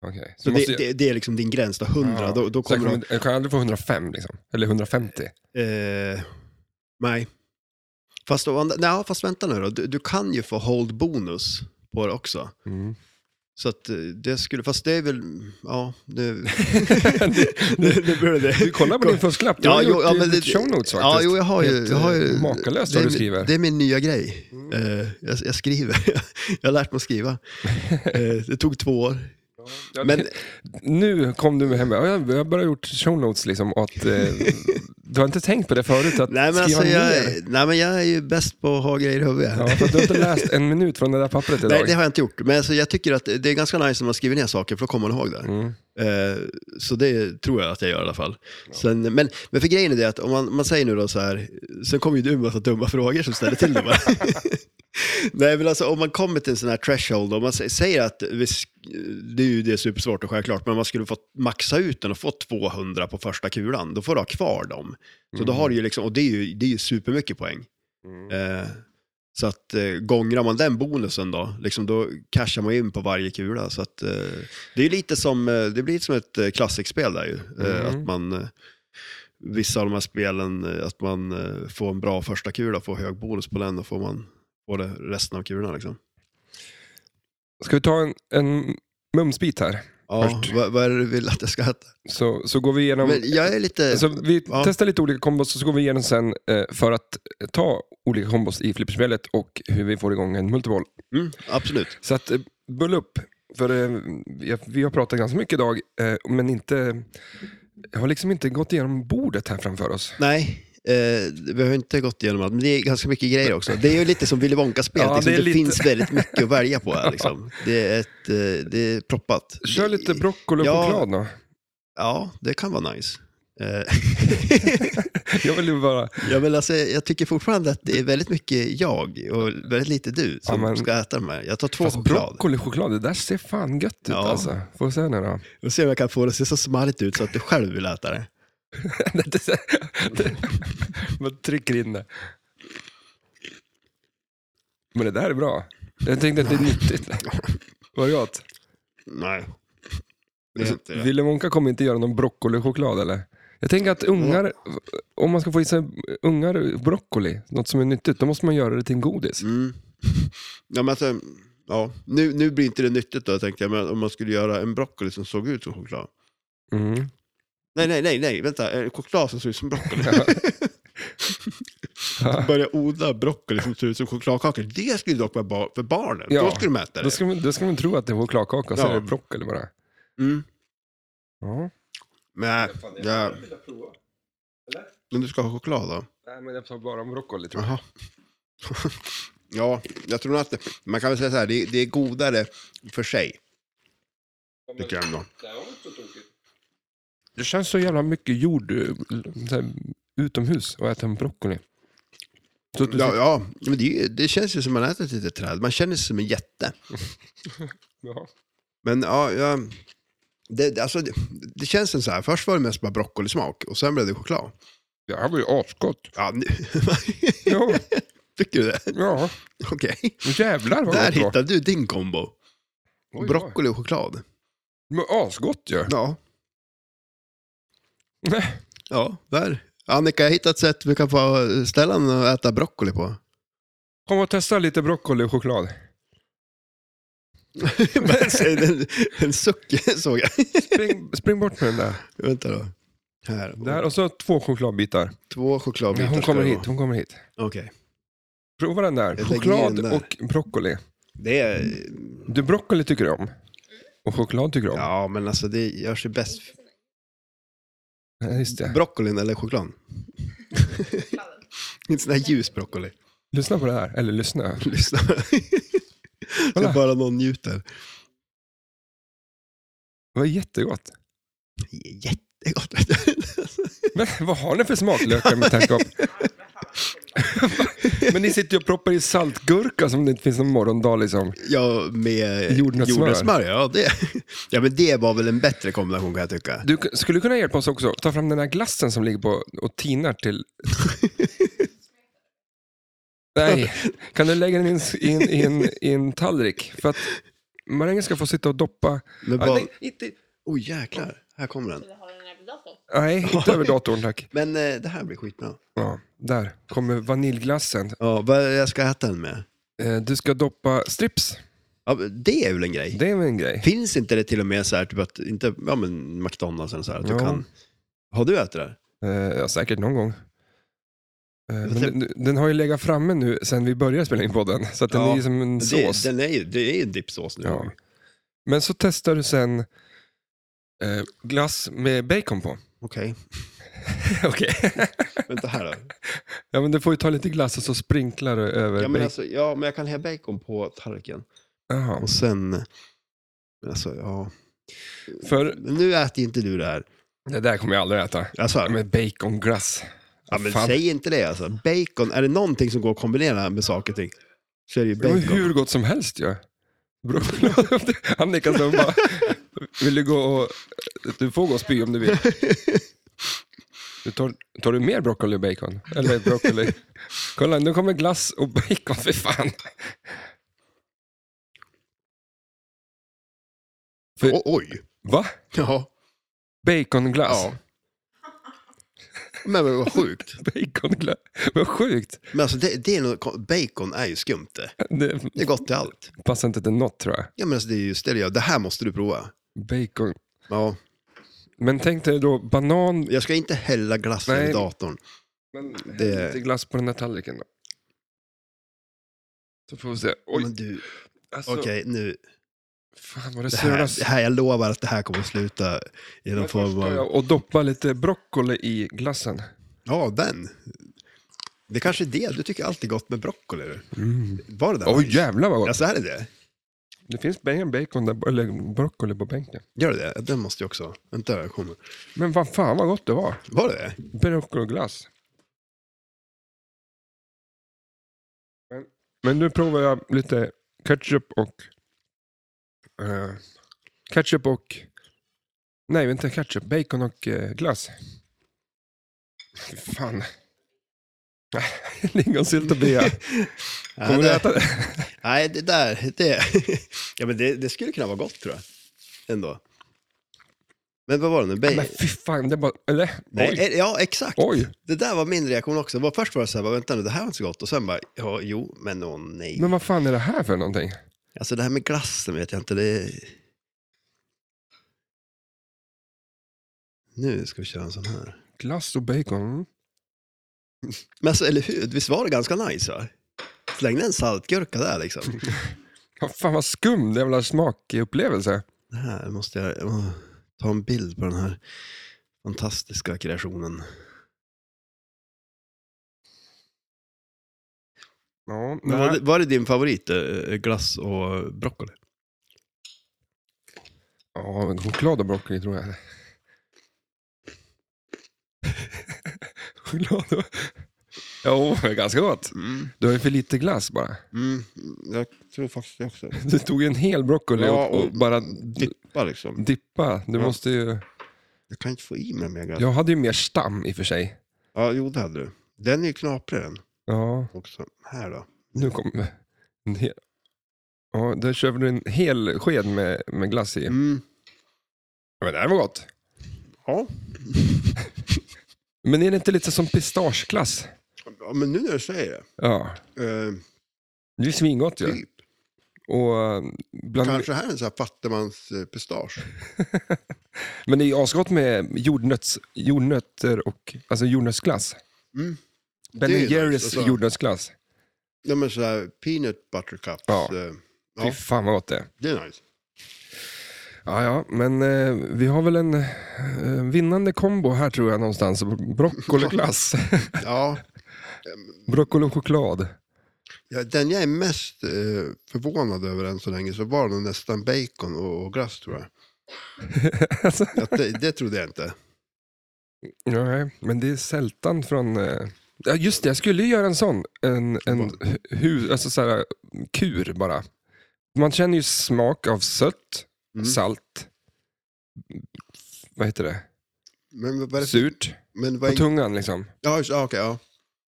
Okej. Så
Så
måste
det,
jag-
det, det är liksom din gräns då, 100,
Ja.
då, då
Så jag
kommer du...
jag kan aldrig få 105 liksom? Eller 150?
Eh, nej. Fast, då, nej, fast vänta nu då, du, du kan ju få hold bonus på det också.
Mm.
Så att eh, det skulle, fast det är väl, ja, det,
Du-
det, det började det.
Du kollar på din fusklapp, du har gjort ja, men det, show notes faktiskt.
Ja, jo, jag har ju...
Helt,
Jag har
eh,
ju
Makalöst
det,
vad
är
du
min-
skriver. Mm.
Det är min nya grej. Eh, jag, jag skriver. jag har lärt mig att skriva. Eh, det tog två år.
Ja,
Men
det- nu kom du hem, Ja, jag, jag bara gjort show notes liksom, och att, eh, du har inte tänkt på det förut, att
nej, men,
skriva
alltså, jag,
ner.
nej, men jag är ju bäst på att ha grejer i huvudet.
Ja, för att du har inte läst en minut från det där pappret idag.
Nej, det har jag inte gjort. Men alltså, jag tycker att det är ganska nice när man skriver ner saker, för då kommer man ihåg det.
Mm.
Eh, så det tror jag att jag gör i alla fall. Sen, men, men för grejen är det att om man, man säger nu då så här, sen kommer ju du med massa dumma frågor som ställer till det bara. Nej, men alltså om man kommer till en sån här threshold, om man sä- säger att, vi sk- det är ju det är supersvårt och självklart, men om man skulle få maxa ut den och få 200 på första kulan, då får du ha kvar dem. Så
Mm.
då har du ju liksom, och det är ju, det är ju supermycket poäng. Eh, så att eh, gångrar man den bonusen då, liksom då cashar man in på varje kula. Så att, eh, det är ju lite som, eh, det blir som ett eh, klassikspel där ju. Eh,
Mm.
Att man eh, vissa av de här spelen, eh, att man eh, får en bra första kula, får hög bonus på den, då får man får det resten av kulorna. Liksom.
Ska vi ta en, en mumsbit här?
Ja,
Vart?
vad, vad är det du vill att jag ska äta?
Så, så går vi igenom...
Men jag är lite...
Alltså, vi
ja.
testar lite olika kombos och så går vi igenom sen eh, för att ta olika kombos i flipperspelet och hur vi får igång en multiboll.
mm, absolut.
Så att, eh, bull upp. För eh, jag- vi har pratat ganska mycket idag, eh, men inte... Jag har liksom inte gått igenom bordet här framför oss.
Nej, eh, vi har ju inte gått igenom allt, men det är ganska mycket grejer också. Det är ju lite som Willy Wonka-spelet,
Ja,
liksom.
det är
det,
lite-
finns väldigt mycket att välja på här. Liksom. Det, är ett, eh, det är proppat.
Kör lite broccoli och
Ja.
choklad då.
Ja, det kan vara nice. Eh,
Jag vill ju bara...
Ja, men alltså, jag tycker fortfarande att det är väldigt mycket jag och väldigt lite du som
Ja, men-
ska äta de här. Jag tar två
Fast
choklad.
broccoli och choklad, det där ser fan gött ut
Ja.
alltså. Får vi se nu då.
Och se om jag kan få det att se så smarrigt ut så att du själv vill äta det.
Det- det- det- Man trycker in det. Men det där är bra. Jag tänkte att det är nyttigt. Vad gott.
Nej. Det är inte det.
alltså, Willy Wonka kommer inte göra någon broccolichoklad eller? Jag tänker att ungar, om man ska få i sig ungar broccoli, något som är nyttigt, då måste man göra det till en godis.
Mm. Ja, men alltså, ja. Nu, nu blir inte det nyttigt då, tänkte jag, men om man skulle göra en broccoli som såg ut som choklad.
Mm.
Nej, nej, nej, nej, vänta. Eh, Choklad som ser ut som broccoli.
Ja.
Börja odla broccoli som ser ut som chokladkakor. Det skulle dock vara ba- för barnen.
Ja.
Då skulle de äta
Då
det.
ska, man, då ska man tro att det är chokladkaka och så
Ja.
är det broccoli bara.
Mm.
Ja.
Men, ja. men du ska ha choklad då?
Nej, men jag tar bara broccoli tror jag.
Jaha. ja, jag tror nog att det, man kan väl säga så här, det, det är godare för sig. Tycker jag ändå.
Det känns så jävla mycket jord eh, så här, utomhus och äta en broccoli. Så att du
Ja, ja men det, är ju- det känns ju som man äter ett litet träd. Man känner sig som en jätte.
Jaha.
Men ja, ja det, det- alltså, det, det känns som så här, först var det mest bara broccolismak och sen blev det choklad.
Det här var ju asgott.
Ja, nu,
Ja,
tycker du det?
ja.
Okej.
jävlar vad
Där
gott det var.
hittade du din kombo.
Oj, oj.
Broccoli och choklad.
Men asgott ju.
Ja.
Nej.
Ja, där. Annika, jag har hittat ett sätt vi kan få ställan att äta broccoli på.
Kom och testa lite broccoli och choklad.
Bara säger en, en suck såg jag.
Spring, spring bort med den där.
Vänta då. Här.
där. Och så två chokladbitar.
Två chokladbitar
Hon
ska
kommer
det
hit,
vara.
hon kommer hit.
Okej.
Prova den där.
lägger
Choklad
den där.
och broccoli.
Det är...
Du, broccoli tycker du om. Och choklad tycker du om.
Ja, men alltså det gör sig bäst.
Ja. Just det.
Broccolin eller chokladen? Inte sån här ljus broccoli.
Lyssna på det här. Eller lyssna.
Lyssna.
Kolla.
Så bara någon njuter.
Det var jättegott.
Jättegott.
Men vad har ni för smaklökar med tärnkopp? Men ni sitter ju och proppar i saltgurka som det inte finns någon morgondag liksom.
ja, med
Jordnötssmör.
Ja, det. ja, men det var väl en bättre kombination kan jag tycka.
Du k- skulle kunna hjälpa oss också, ta fram den här glassen som ligger på och tinar till... Nej, kan du lägga den i en, s- i en, i en, i en tallrik? För att marängen ska få sitta och doppa...
Men
Ah,
bara...
nej, inte,
Oj, jäklar. Här kommer den.
Vill du ha den här vid datorn?
nej, inte över datorn tack.
Men eh, det här blir skitbra.
Ja, där kommer vaniljglassen.
Ja, vad är det jag ska äta den med?
Eh, Du ska doppa strips,
Ja, det är väl en grej.
det är väl en grej?
Finns inte det till och med så här, typ att, inte, ja men McDonalds eller så här, att
Ja.
du kan... Har du ätit det här?
Eh, ja, säkert någon gång. Eh, men
tror-
den, den har ju legat framme nu sen vi började spela in podden, så att den
Ja,
är ju som en sås.
Det, den är ju, det är ju en dippsås nu.
Ja. Mm. Men så testar du sen eh, glass med bacon på.
Okej,
Okej.
vänta här då.
ja, men du får ju ta lite glass och så sprinklar du över
Ja men,
bacon.
alltså, ja, men jag kan ha bacon på tallriken.
Jaha.
Och sen... men Alltså, ja.
För
Men nu äter ju inte du det här.
det där kommer jag aldrig äta.
Alltså,
Ja, Med baconglass.
ja, men
Fan.
säg inte det alltså. Bacon, är det någonting som går att kombinera med saker och ting så är det ju
Det var
bacon.
ju hur gott som helst ju. Bro- Annika som bara, vill du gå och, du får gå och spy om du vill. Du tar, tar du mer broccoli och bacon? Eller broccoli? Kolla, nu kommer glass och bacon, för fan.
O- oj!
Va?
Ja.
Baconglass?
Ja. Men, men vad sjukt.
Baconglögg. Vad sjukt.
Men alltså det, det är något, bacon är ju skumt det.
Det
Det är gott till allt.
passar inte till något tror jag.
Ja men alltså det är just det, det gör. det här måste du prova.
Bacon.
Ja,
Men tänk dig då banan
jag ska inte hälla glassen
Nej.
i datorn.
Men häll
Det-
lite glass på den här tallriken då. Så får vi se. Oj,
Men du,
alltså,
okej nu.
fan vad det
Det här,
söras.
det här, jag lovar att det här kommer att sluta i någon
Men först
form
ska
av...
jag Och doppa lite broccoli i glassen.
Ja, den. Det kanske är det, du tycker alltid gott med broccoli. du. Var det där?
Oj jävlar vad gott.
Alltså är det det?
Det finns bängen bacon där, eller broccoli på bänken.
Gör det det? Den måste jag också. Vänta, jag kommer.
Men vad fan vad gott det var.
Var det det?
Broccoli och glass. Men, men nu provar jag lite ketchup och... eh, ketchup och... Nej, vänta. Ketchup, bacon och eh, glass. Fy Fan. Lingonsylt och bea.
Nej,
Kommer du
det-
äta det?
Nej, det där, det... ja, men det, det skulle kunna vara gott tror jag. Ändå. Men vad var det nu? Bej...
Men fy fan, det bara... Eller?
Nej,
Oj.
eh, Ja, exakt.
Oj.
Det där var min reaktion också. Det var Först var jag så här, bara, vänta nu, det här var inte så gott. Och sen bara, ja, jo, men åh nej.
Men vad fan är det här för någonting?
Alltså det här med glassen vet jag inte, det är... Nu ska vi köra en sån här.
Glass och bacon. mm.
Men alltså, eller hur? Visst var det ganska nice va? Slängde en saltgurka där liksom.
Vad fan vad skum det jävla smakupplevelse.
Det här måste jag... jag måste ta en bild på den här fantastiska kreationen.
Ja,
Men var, det, var det din favorit, eh, glass och broccoli?
Ja, men choklad och broccoli tror jag. choklad och... Jo, oh, det är ganska gott.
Mm.
Du har ju för lite glass bara.
Mm. Jag tror faktiskt också
Du tog ju en hel broccoli
Ja,
och, och
och
bara
Dippa liksom.
dippa. Du
Ja.
måste ju...
Jag kan inte få i mig mer glass. Ja.
Jag hade ju mer stam i och för sig.
jo det hade du. Den är ju knaprig den
Ja,
också. Här då.
nu kommer en hel... Ja, där kör du en hel sked med, med glass i.
Mm.
Ja, Men det här var gott.
Ja.
Men är det inte lite som pistageglass?
ja, men nu när du säger det.
Ja,
Eh,
det är svingott ju.
typ.
Och eh, bland...
Kanske här är en sån här fattigmans-pistage.
Men det är ju asgott med jordnöts, jordnötter och alltså jordnötsglass.
Mm.
Ben
Det är ju
Jerrys
nice, alltså.
jordnötsglass.
Ja men sådär peanut butter cups.
Ja.
eh,
Fy
ja
fan vad gott det är.
det är nice.
Ja, ja, men eh, vi har väl en eh, vinnande kombo här tror jag någonstans. Broccoliglass,
Ja,
broccoli och choklad.
ja, den jag är mest eh, förvånad över än så länge så var nog nästan bacon och, och glass tror jag.
alltså,
Att det, det trodde jag inte.
nej, men det är sältan från... Eh, ja, just det, jag skulle ju göra en sån. En, en hu, alltså så här, kur bara. Man känner ju smak av sött,
Mm.
salt, vad heter det?
Men vad är det? för-
Surt.
Men vad
På
är,
tungan liksom.
ja, just- ja, okej, ja.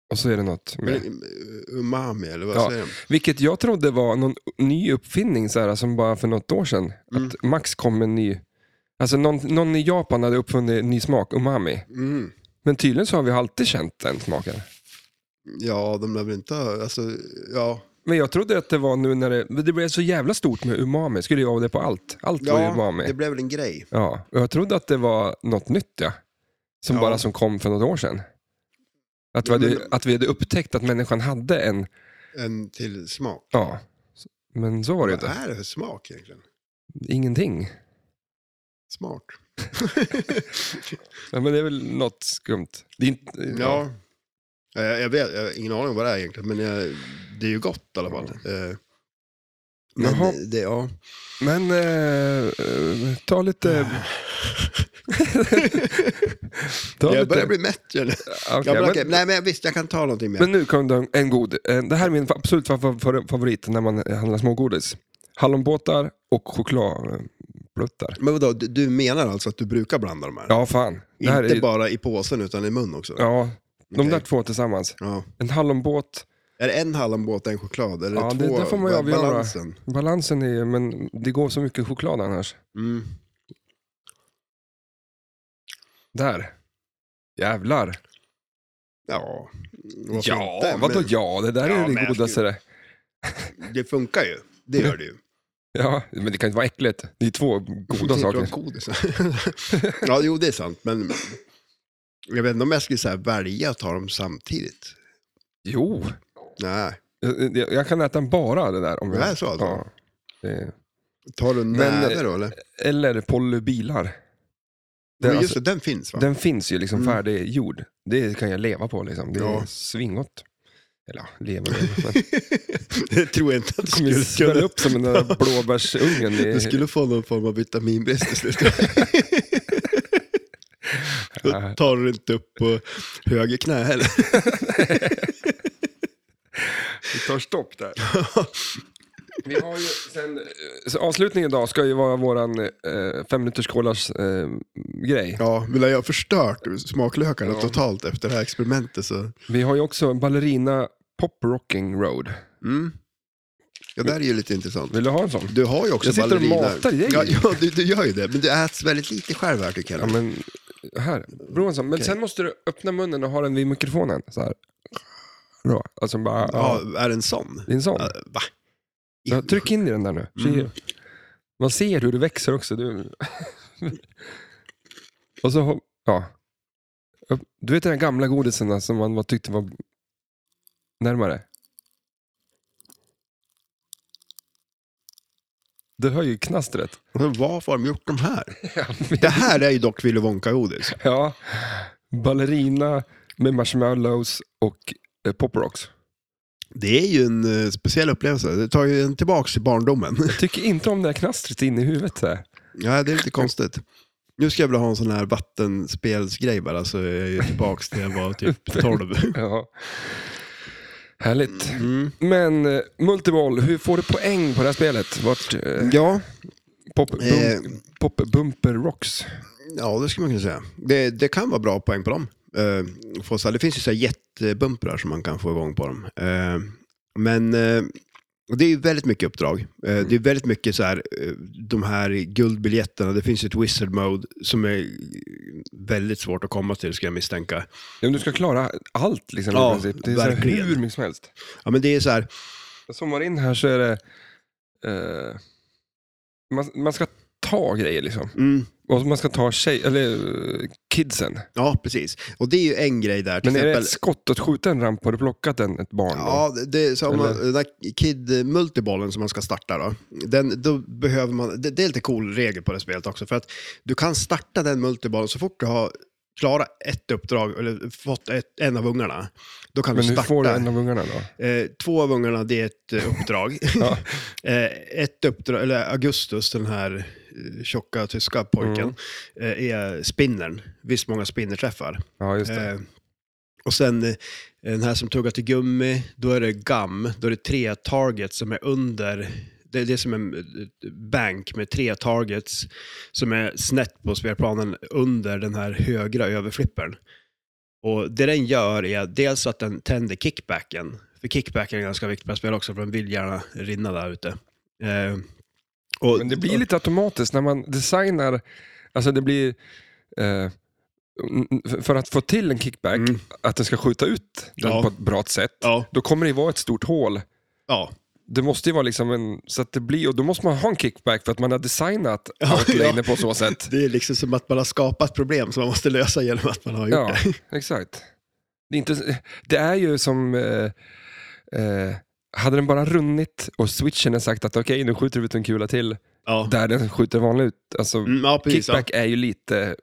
Och så är det något
Men,
mer.
eh, umami eller vad
Ja.
säger de?
Vilket jag trodde var någon ny uppfinning så här, som bara för något år sedan.
Mm.
Att Max kom en ny... Alltså någon, någon i Japan hade uppfunnit en ny smak, umami.
Mm.
Men tydligen så har vi alltid känt den smaken.
Ja, de lär väl inte ha, alltså, ja.
Men jag trodde att det var nu när det... men Det blev så jävla stort med umami. Skulle jag ha det på allt? Allt var ju
ja
umami.
det blev väl en grej.
Ja, och jag trodde att det var något nytt ja. Som
Ja.
bara som kom för något år sedan. Att vi,
Ja,
hade,
men-
att vi hade upptäckt att människan hade en...
En till smak.
Ja, men så var det ju
Vad
inte.
är det för smak egentligen?
Ingenting.
Smart.
Ja, men det är väl något skumt. Det är inte,
Ja. Eh, Jag vet, jag har ingen aning om vad det är egentligen, men jag, det är ju gott i alla fall. Eh, Men
Mm. Jaha.
det, ja.
Men eh, eh, ta lite... ta
Jag
lite...
börjar bli mätt. Jag,
Ja, okej,
jag börjar,
men,
Nej, men jag- visst, jag kan ta någonting mer.
men nu kom det en god. eh, Det här är min absolut fa- fa- favorit när man handlar smågodis. Hallonbåtar och chokladpluttar.
men vadå, du, du menar alltså att du brukar blanda de här?
Ja, fan. Det här
Inte
är,
bara i påsen utan i mun också?
ja, de där
Okej.
två tillsammans.
Ja.
En hallonbåt.
Är det en hallonbåt och en choklad? Eller
Ja,
två?
det, där får man ju
Ba-
avgöra.
Balansen.
Balansen är ju, men det går så mycket choklad annars.
Mm.
Där. Jävlar.
Ja, varför
Ja,
inte?
vadå
Men
ja? Det där
Ja,
är ju
men
det
jag
godaste.
skulle-
det.
Det funkar ju. Det gör det ju.
Ja, men det kan inte vara äckligt. Det är två goda
Sitter och
saker.
Godis. ja, jo, det är sant. Men jag vet inte om jag skulle så här välja att ta dem samtidigt.
Jo,
Nej,
jag, jag- jag kan äta bara det där. Om jag,
Det är så alltså?
Ja. Det-
tar du näve
eh,
då eller?
Eller polybilar. Det,
Men just
alltså,
det, den finns va?
den finns ju liksom
Mm.
färdiggjord. Det kan jag leva på liksom. Det är
Ja.
svingott. Eller ja, leva och leva. Men
det tror jag inte att
det kommer ju
du skulle
svälla
kunna.
upp som den där blåbärsungen. i-
Du skulle få någon form av vitaminbrist till slut. Då tar du inte upp på höger knä heller.
Vi tar stopp där. Vi har ju sen, eh, så avslutningen idag ska ju vara våran eh, femminuterskålars eh, grej.
Ja, men när jag har förstört smaklökarna
Ja.
totalt efter det här experimentet så...
Vi har ju också ballerina pop rocking road.
Mm. Ja, där är ju lite intressant.
Vill du ha en sån?
Du har ju också
Jag sitter och
ballerina.
matar dig.
Ja, ja du, du gör ju det. Men du äts väldigt lite själv här
Ja
tycker jag.
men, här. Prova en sån. Men
Okej.
sen måste du öppna munnen och ha den vid mikrofonen. Så här. Bra. Alltså bara, ja.
Ja, är det en sån?
det är en sån.
Ja, Va?
Ja, tryck in i den där nu.
Mm.
Man ser hur du växer också. Du... och så, ho- ja. Upp- Du vet den där gamla godisen där som man var- tyckte var närmare? Du hör ju knastret.
Men varför har de gjort de här? Det här är ju dock Willy Wonka-godis.
ja. Ballerina med marshmallows och eh, pop rocks.
Det är ju en eh, speciell upplevelse. Det tar ju en tillbaks till barndomen.
Jag tycker inte om det här knastret inne i huvudet. Så här.
Ja, det är lite konstigt. Nu ska jag väl ha en sån här vattenspelsgrej bara, så är jag ju tillbaks till jag var typ 12.
Ja. Härligt.
Mm.
Men eh, multiboll, hur får du poäng på det här spelet? Vart, eh,
Ja,
pop, bum,
Eh.
pop Bumper Rocks.
ja, det skulle man kunna säga. Det, det kan vara bra poäng på dem. Eh, få så här, det finns ju så här jättebumprar som man kan få igång på dem. Eh, men eh, och det är ju väldigt mycket uppdrag. Eh,
Mm.
det är väldigt mycket så här, eh, de här guldbiljetterna. Det finns ju ett wizard mode som är väldigt svårt att komma till, ska jag misstänka.
Ja, men du ska klara allt liksom,
Ja,
i princip. Det är så här,
verkligen.
hur mycket som helst.
Ja, men det är så här,
Jag zoomar in här så är det... Eh, man, man ska ta grejer liksom.
mm,
Och man ska ta tjej, eller, eh, kidsen.
ja precis. Och det är ju en grej där. Till
Men är det
exempel,
ett skott att skjuta en ramp? Har du plockat en, ett barn? då?
Ja, det- det, är så om man, den där Kid-multibollen som man ska starta då. Den, då behöver man, det, det är lite cool regel på det spelet också. För att du kan starta den multibollen så fort du har klarat ett uppdrag eller fått ett, en av ungarna. Då kan
Men
du
hur
starta.
får du en av ungarna då?
Eh, två av ungarna, det är ett eh, uppdrag.
Ja.
eh, ett uppdrag, eller Augustus, den här eh, tjocka tyska pojken,
Mm.
eh, är spinnern. Visst många spinnerträffar.
Ja, just det.
Eh, och sen eh, den här som tuggar till gummi, då är det gum. Då är det tre targets som är under. Det, det är som en eh, bank med tre targets som är snett på spelplanen under den här högra överflippern. Och det den gör är dels att den tänder kickbacken. För kickbacken är ganska viktigt på spel också, för den vill gärna rinna där ute. Eh, och-
Men det blir lite automatiskt när man designar, alltså det blir, eh, n- för att få till en kickback,
Mm.
att den ska skjuta ut den
Ja.
på ett bra sätt,
Ja,
då kommer det ju vara ett stort hål.
ja.
Det måste ju vara liksom en, så att det blir, och då måste man ha en kickback för att man har designat
Ja,
outlinen
ja.
på så sätt.
Det är liksom som att man har skapat problem som man måste lösa genom att man har gjort
Ja, exakt. Det är, inte, det är ju som, eh, eh, hade den bara runnit och switchen är sagt att okej, nu skjuter du ut en kula till,
Ja.
där den skjuter vanligt ut, alltså
Mm, ja, precis. Ja.
kickback är ju lite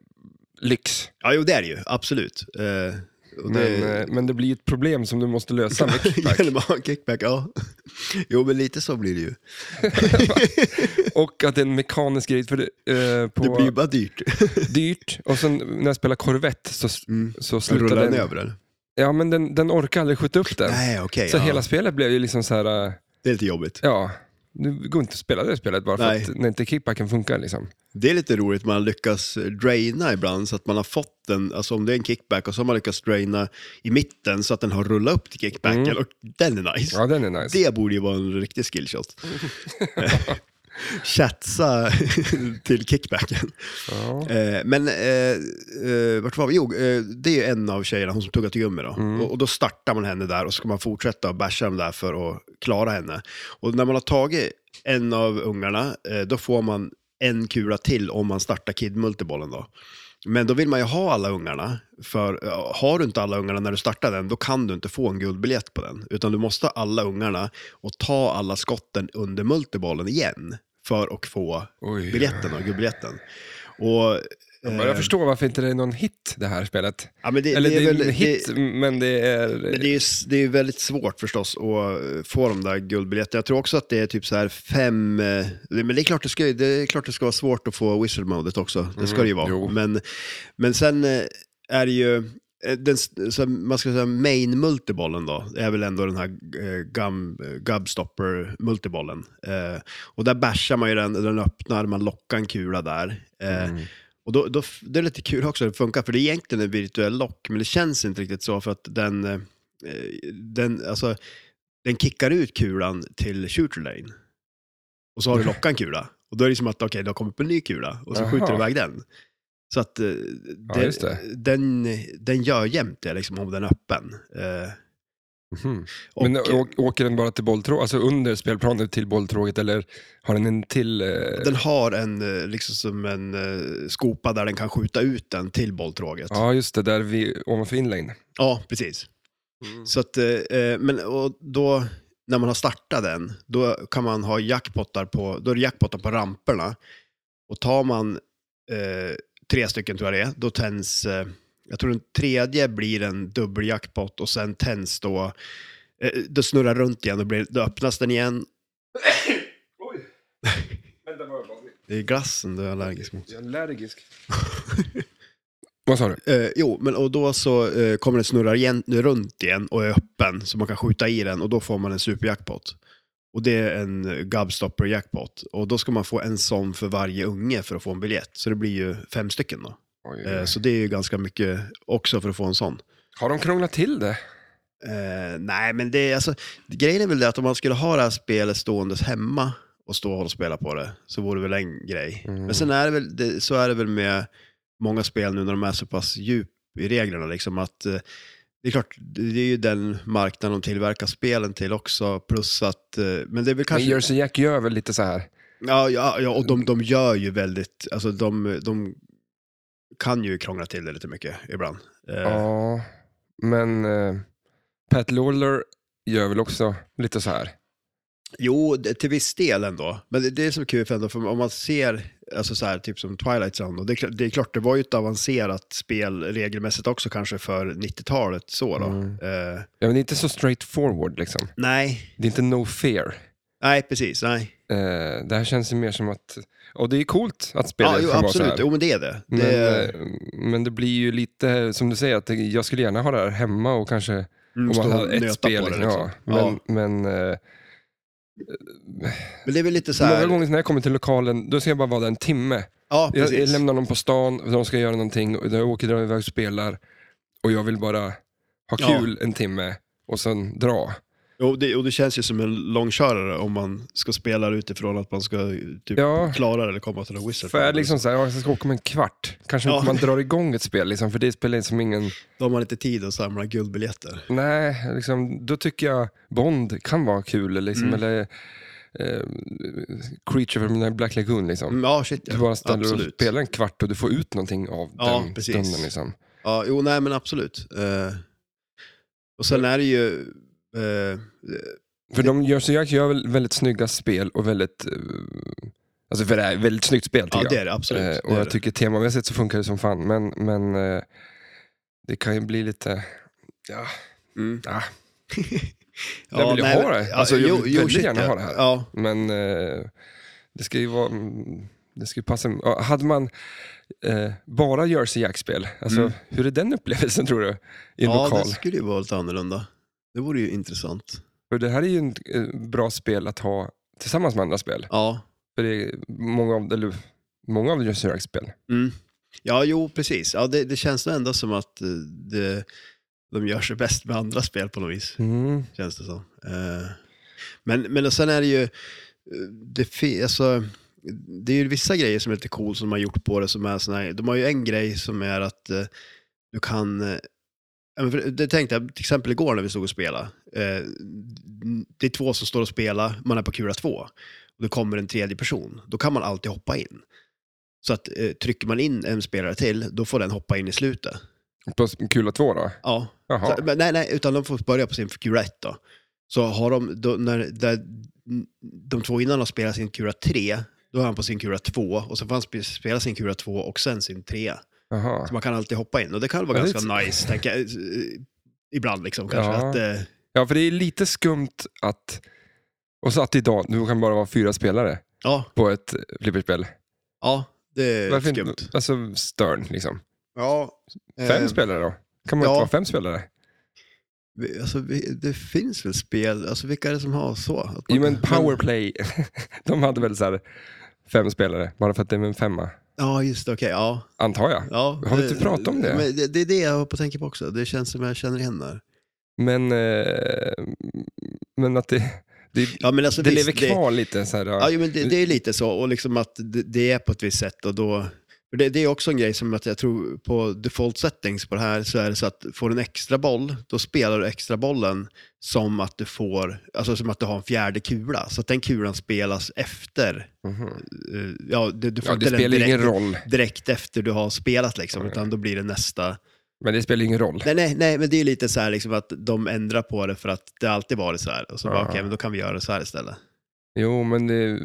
lyx.
ja, jo det är det ju. Absolut. Eh, och det,
Men, eh, men det blir ett problem som du måste lösa med kickback.
Genom att ha en kickback, ja. Jo, men lite så blir det ju.
och att det är en mekanisk grej, för det, eh, på
Det blir ju bara dyrt.
dyrt. Och sen när jag spelar Corvette så,
Mm.
så slutar
Rullar
den...
den över eller?
Ja, men den, den orkar aldrig skjuta upp den.
Nej, okej.
så
ja.
hela spelet blev ju liksom så här, eh,
Det är lite jobbigt.
ja, nu går inte att spela det spelet bara för
Nej.
att när inte kickbacken funkar liksom.
Det är lite roligt, man lyckas draina ibland så att man har fått den, alltså om det är en kickback och så har man lyckats draina i mitten så att den har rullat upp till kickbacken
Mm.
och den är nice.
Ja, den är nice.
Det borde ju vara en riktig skillshot. chatsa till kickbacken.
Ja.
Eh, men eh, eh, vart var vi? Jo, eh, det är ju en av tjejerna, hon som tuggat gummi då. Och, och då startar man henne där och så ska man fortsätta att basha dem där för att klara henne. Och när man har tagit en av ungarna, eh, då får man en kula till om man startar kid-multibollen då. Men då vill man ju ha alla ungarna, för eh, har du inte alla ungarna när du startar den, då kan du inte få en guldbiljett på den. Utan du måste ha alla ungarna och ta alla skotten under multibollen igen för att få
Oj.
biljetten och guldbiljetten. Och,
Jag börjar förstå varför inte det är någon hit det här spelet.
ja, men det,
Eller
det är väl,
en hit,
Det,
men det är...
men det är ju s- det är ju väldigt svårt förstås att eh, få de där guldbiljetterna. Jag tror också att det är typ så här fem... eh, Men det är klart det ska, ju- det är klart det ska vara svårt att få whistle-modet också. Det ska det ju
Mm, jo.
vara. Men, men sen eh, är det ju... eh, Den, s- så här, man ska säga main-multibollen då, är väl ändå den här eh, gum, eh, gubstopper-multibollen. Eh, och där bashar man ju den, den öppnar, man lockar en kula där. Eh,
Mm.
och då, då, f- det är lite kul också hur det funkar, för det är egentligen en virtuell lock, men det känns inte riktigt så för att den, eh, den, alltså, den kickar ut kulan till shooter lane. Och så har du lockat en kula. Och då är det som att, okej, det har kommit upp en ny kula och så
Jaha.
skjuter du iväg den. Så att eh,
Ja,
den-
just det.
Den, den gör jämt det, liksom, om den är öppen. Eh,
Mhm.
och,
men å- åker den bara till bolltråget, alltså under spelplanen till bolltråget eller har den en till? Eh...
den har en, eh, liksom som en eh, skopa där den kan skjuta ut den till bolltråget.
Ja, just det, där vi, ovanför inlane.
ja precis.
Mm.
Så att, eh, eh, men och då, när man har startat den, då kan man ha jackpottar på, då är det jackpottar på ramperna. Och tar man eh, tre stycken tror jag det är, då tänds, eh, jag tror den tredje blir en dubbeljackpot och sen tänds då, eh, då snurrar runt igen, då, blir, då öppnas den igen.
Oj! Vänta bara,
Det är glassen du är allergisk mot.
jag är allergisk. Vad sa du?
Eh, jo, men och då så eh, kommer den snurra igen, runt igen och är öppen så man kan skjuta i den och då får man en superjackpot. Och det är en eh, gubstopper jackpot. Och då ska man få en sån för varje unge för att få en biljett. Så det blir ju fem stycken då.
Oj,
Eh, så det är ju ganska mycket också för att få en sån.
Har de krånglat till det?
Eh, nej, men det är alltså, grejen är väl det att om man skulle ha det här spelet ståendes hemma och stå och spela på det, så vore det väl en grej.
Mm.
Men sen är det väl, det, så är det väl med många spel nu när de är så pass djup i reglerna, liksom att eh, det är klart, det är ju den marknaden de tillverkar spelen till också, plus att, eh, men det är väl kanske...
Men Jersey Jack gör väl lite så här?
Ja, ja, ja och de, de gör ju väldigt, alltså de, de kan ju krångla till det lite mycket ibland. Eh,
Ja, men eh, Pat Lawler gör väl också lite så här?
Jo, det, till viss del ändå. Men det, det är så kul för, ändå, för om man ser, alltså så här, typ som Twilight Zone, och det, är klart- det är klart, det var ju ett avancerat spel regelmässigt också kanske för 90-talet så då.
Mm.
Eh,
Ja, men det är inte så straight forward liksom.
nej,
Det är inte no fear.
nej precis, nej.
Eh, det här känns ju mer som att... Och det är coolt att spelet
Ja, jo,
kan
absolut,
vara så här.
jo men det är det.
Men,
det
eh, men det blir ju lite, som du säger, att det- jag skulle gärna ha det här hemma och kanske...
mm,
Om
stå
man
och
hade ett
nöta
spel.
på det,
ja.
liksom.
Men, men eh,
Men det är väl lite så
många
här,
gånger när jag kommer till lokalen, då ska jag bara vara där en timme.
ja
Jag, jag
precis.
lämnar dem på stan, och de ska göra någonting, och jag åker iväg och spelar. Och jag vill bara ha
Ja.
kul en timme och sen dra.
Jo, det, och det känns ju som en långkörare om man ska spela utifrån att man ska typ
Ja.
klara det eller komma till en whistle.
För jag är liksom så här, ja, jag ska åka om en kvart. Kanske
Ja.
inte man drar igång ett spel, liksom, för det spelar som ingen...
Då har man inte tid att samla guldbiljetter.
Nej, liksom, då tycker jag Bond kan vara kul. Liksom,
Mm.
Eller eh, Creature from Black Lagoon. Liksom.
Mm, Ja, shit ja.
Du bara ställer och
Absolut.
spelar en kvart och du får ut någonting av
Ja,
den
precis.
stunden. Liksom.
Ja, jo, nej men absolut. Eh, och sen
Mm.
är det ju... eh,
För de gör, så jag gör väl väldigt snygga spel och väldigt... eh, Alltså för det är ett väldigt snyggt spel
ja,
tycker
det
jag.
är det absolut.
Eh,
det
och
är
jag
det.
tycker temamässigt så funkar det som fan, men, men eh, det kan ju bli lite... Ja,
Mm.
ah,
Ja,
jag vill ju
nej,
ha
men-
det. Alltså, jag
jo,
vill
jo,
väldigt
shit,
gärna
ja.
ha det här.
Ja,
men eh, det ska ju vara... mm, Det ska ju passa. ja, Hade man eh, bara Jersey Jack-spel, alltså,
Mm.
hur är den upplevelsen tror du? I en
ja
lokal?
det skulle ju vara lite annorlunda. Det vore ju intressant.
För det här är ju ett eh, bra spel att ha tillsammans med andra spel.
Ja,
För det är många av, eller, många av Jersey Jack-spel.
mm. ja jo precis. Ja, det, det känns nog ändå som att eh, det, de gör sig bäst med andra spel på något vis.
Mm.
känns det som. Eh, Men, men och sen är det ju, det, fi- alltså, det är ju vissa grejer som är lite cool som de har gjort på det som är såna här, de har ju en grej som är att eh, du kan, eh, ja, men för det tänkte jag till exempel igår när vi stod och spelade, eh, det är två som står och spelar, man är på kula två, och då kommer en tredje person, då kan man alltid hoppa in. Så att eh, trycker man in en spelare till, då får den hoppa in i slutet.
På kula två då?
Ja,
Jaha.
så, men nej, nej, utan de får börja på sin kura 1 då. Så har de, då, när där, de två innan har spelat sin kura 3, då är han på sin kura 2 och så får han spe- spela sin kura 2 och sen sin 3.
Jaha.
Så man kan alltid hoppa in och det kan vara
Ja, det är
ganska nice, tänker jag. eh, Ibland liksom kanske.
Ja.
Att, eh,
Ja, för det är lite skumt att... Och så att idag, nu kan det bara vara fyra spelare
ja,
på ett eh, flipperspel.
ja, det är
Varför
skumt.
inte? Alltså Stern liksom.
Ja,
Fem
eh,
spelare då? Kan man
ja.
inte vara fem spelare?
vi- alltså, vi, det finns väl spel, alltså vilka är det som har så? Att man-
Jo men powerplay, de hade väl så här fem spelare, bara för att det är en femma.
Ja, just det, okej. ja.
Antar jag.
Ja,
Har vi
det-
inte pratat om det?
Men det? Det är det jag har på tänker på också. Det känns som jag känner igen där.
Men, eh, men att det, det,
Ja, men alltså,
det
visst,
lever kvar lite. Så här,
ja, jo, men det, det är lite så, och liksom att det, det är på ett visst sätt. Och då, för det, det är också en grej som att jag tror på default settings på det här, så är det så att får du en extra boll, då spelar du extra bollen som att du får, alltså som att du har en fjärde kula. Så att den kulan spelas efter,
Mhm.
eh, ja, du, du får
ja,
inte
det
den
spelar
direkt,
ingen roll.
direkt efter du har spelat liksom, utan då blir det nästa.
Men det spelar ingen roll.
Nej, nej, nej, men det är lite så här liksom att de ändrar på det för att det alltid varit så här. Och så bara,
Ja.
okej, men då kan vi göra det så här istället.
Jo, men det,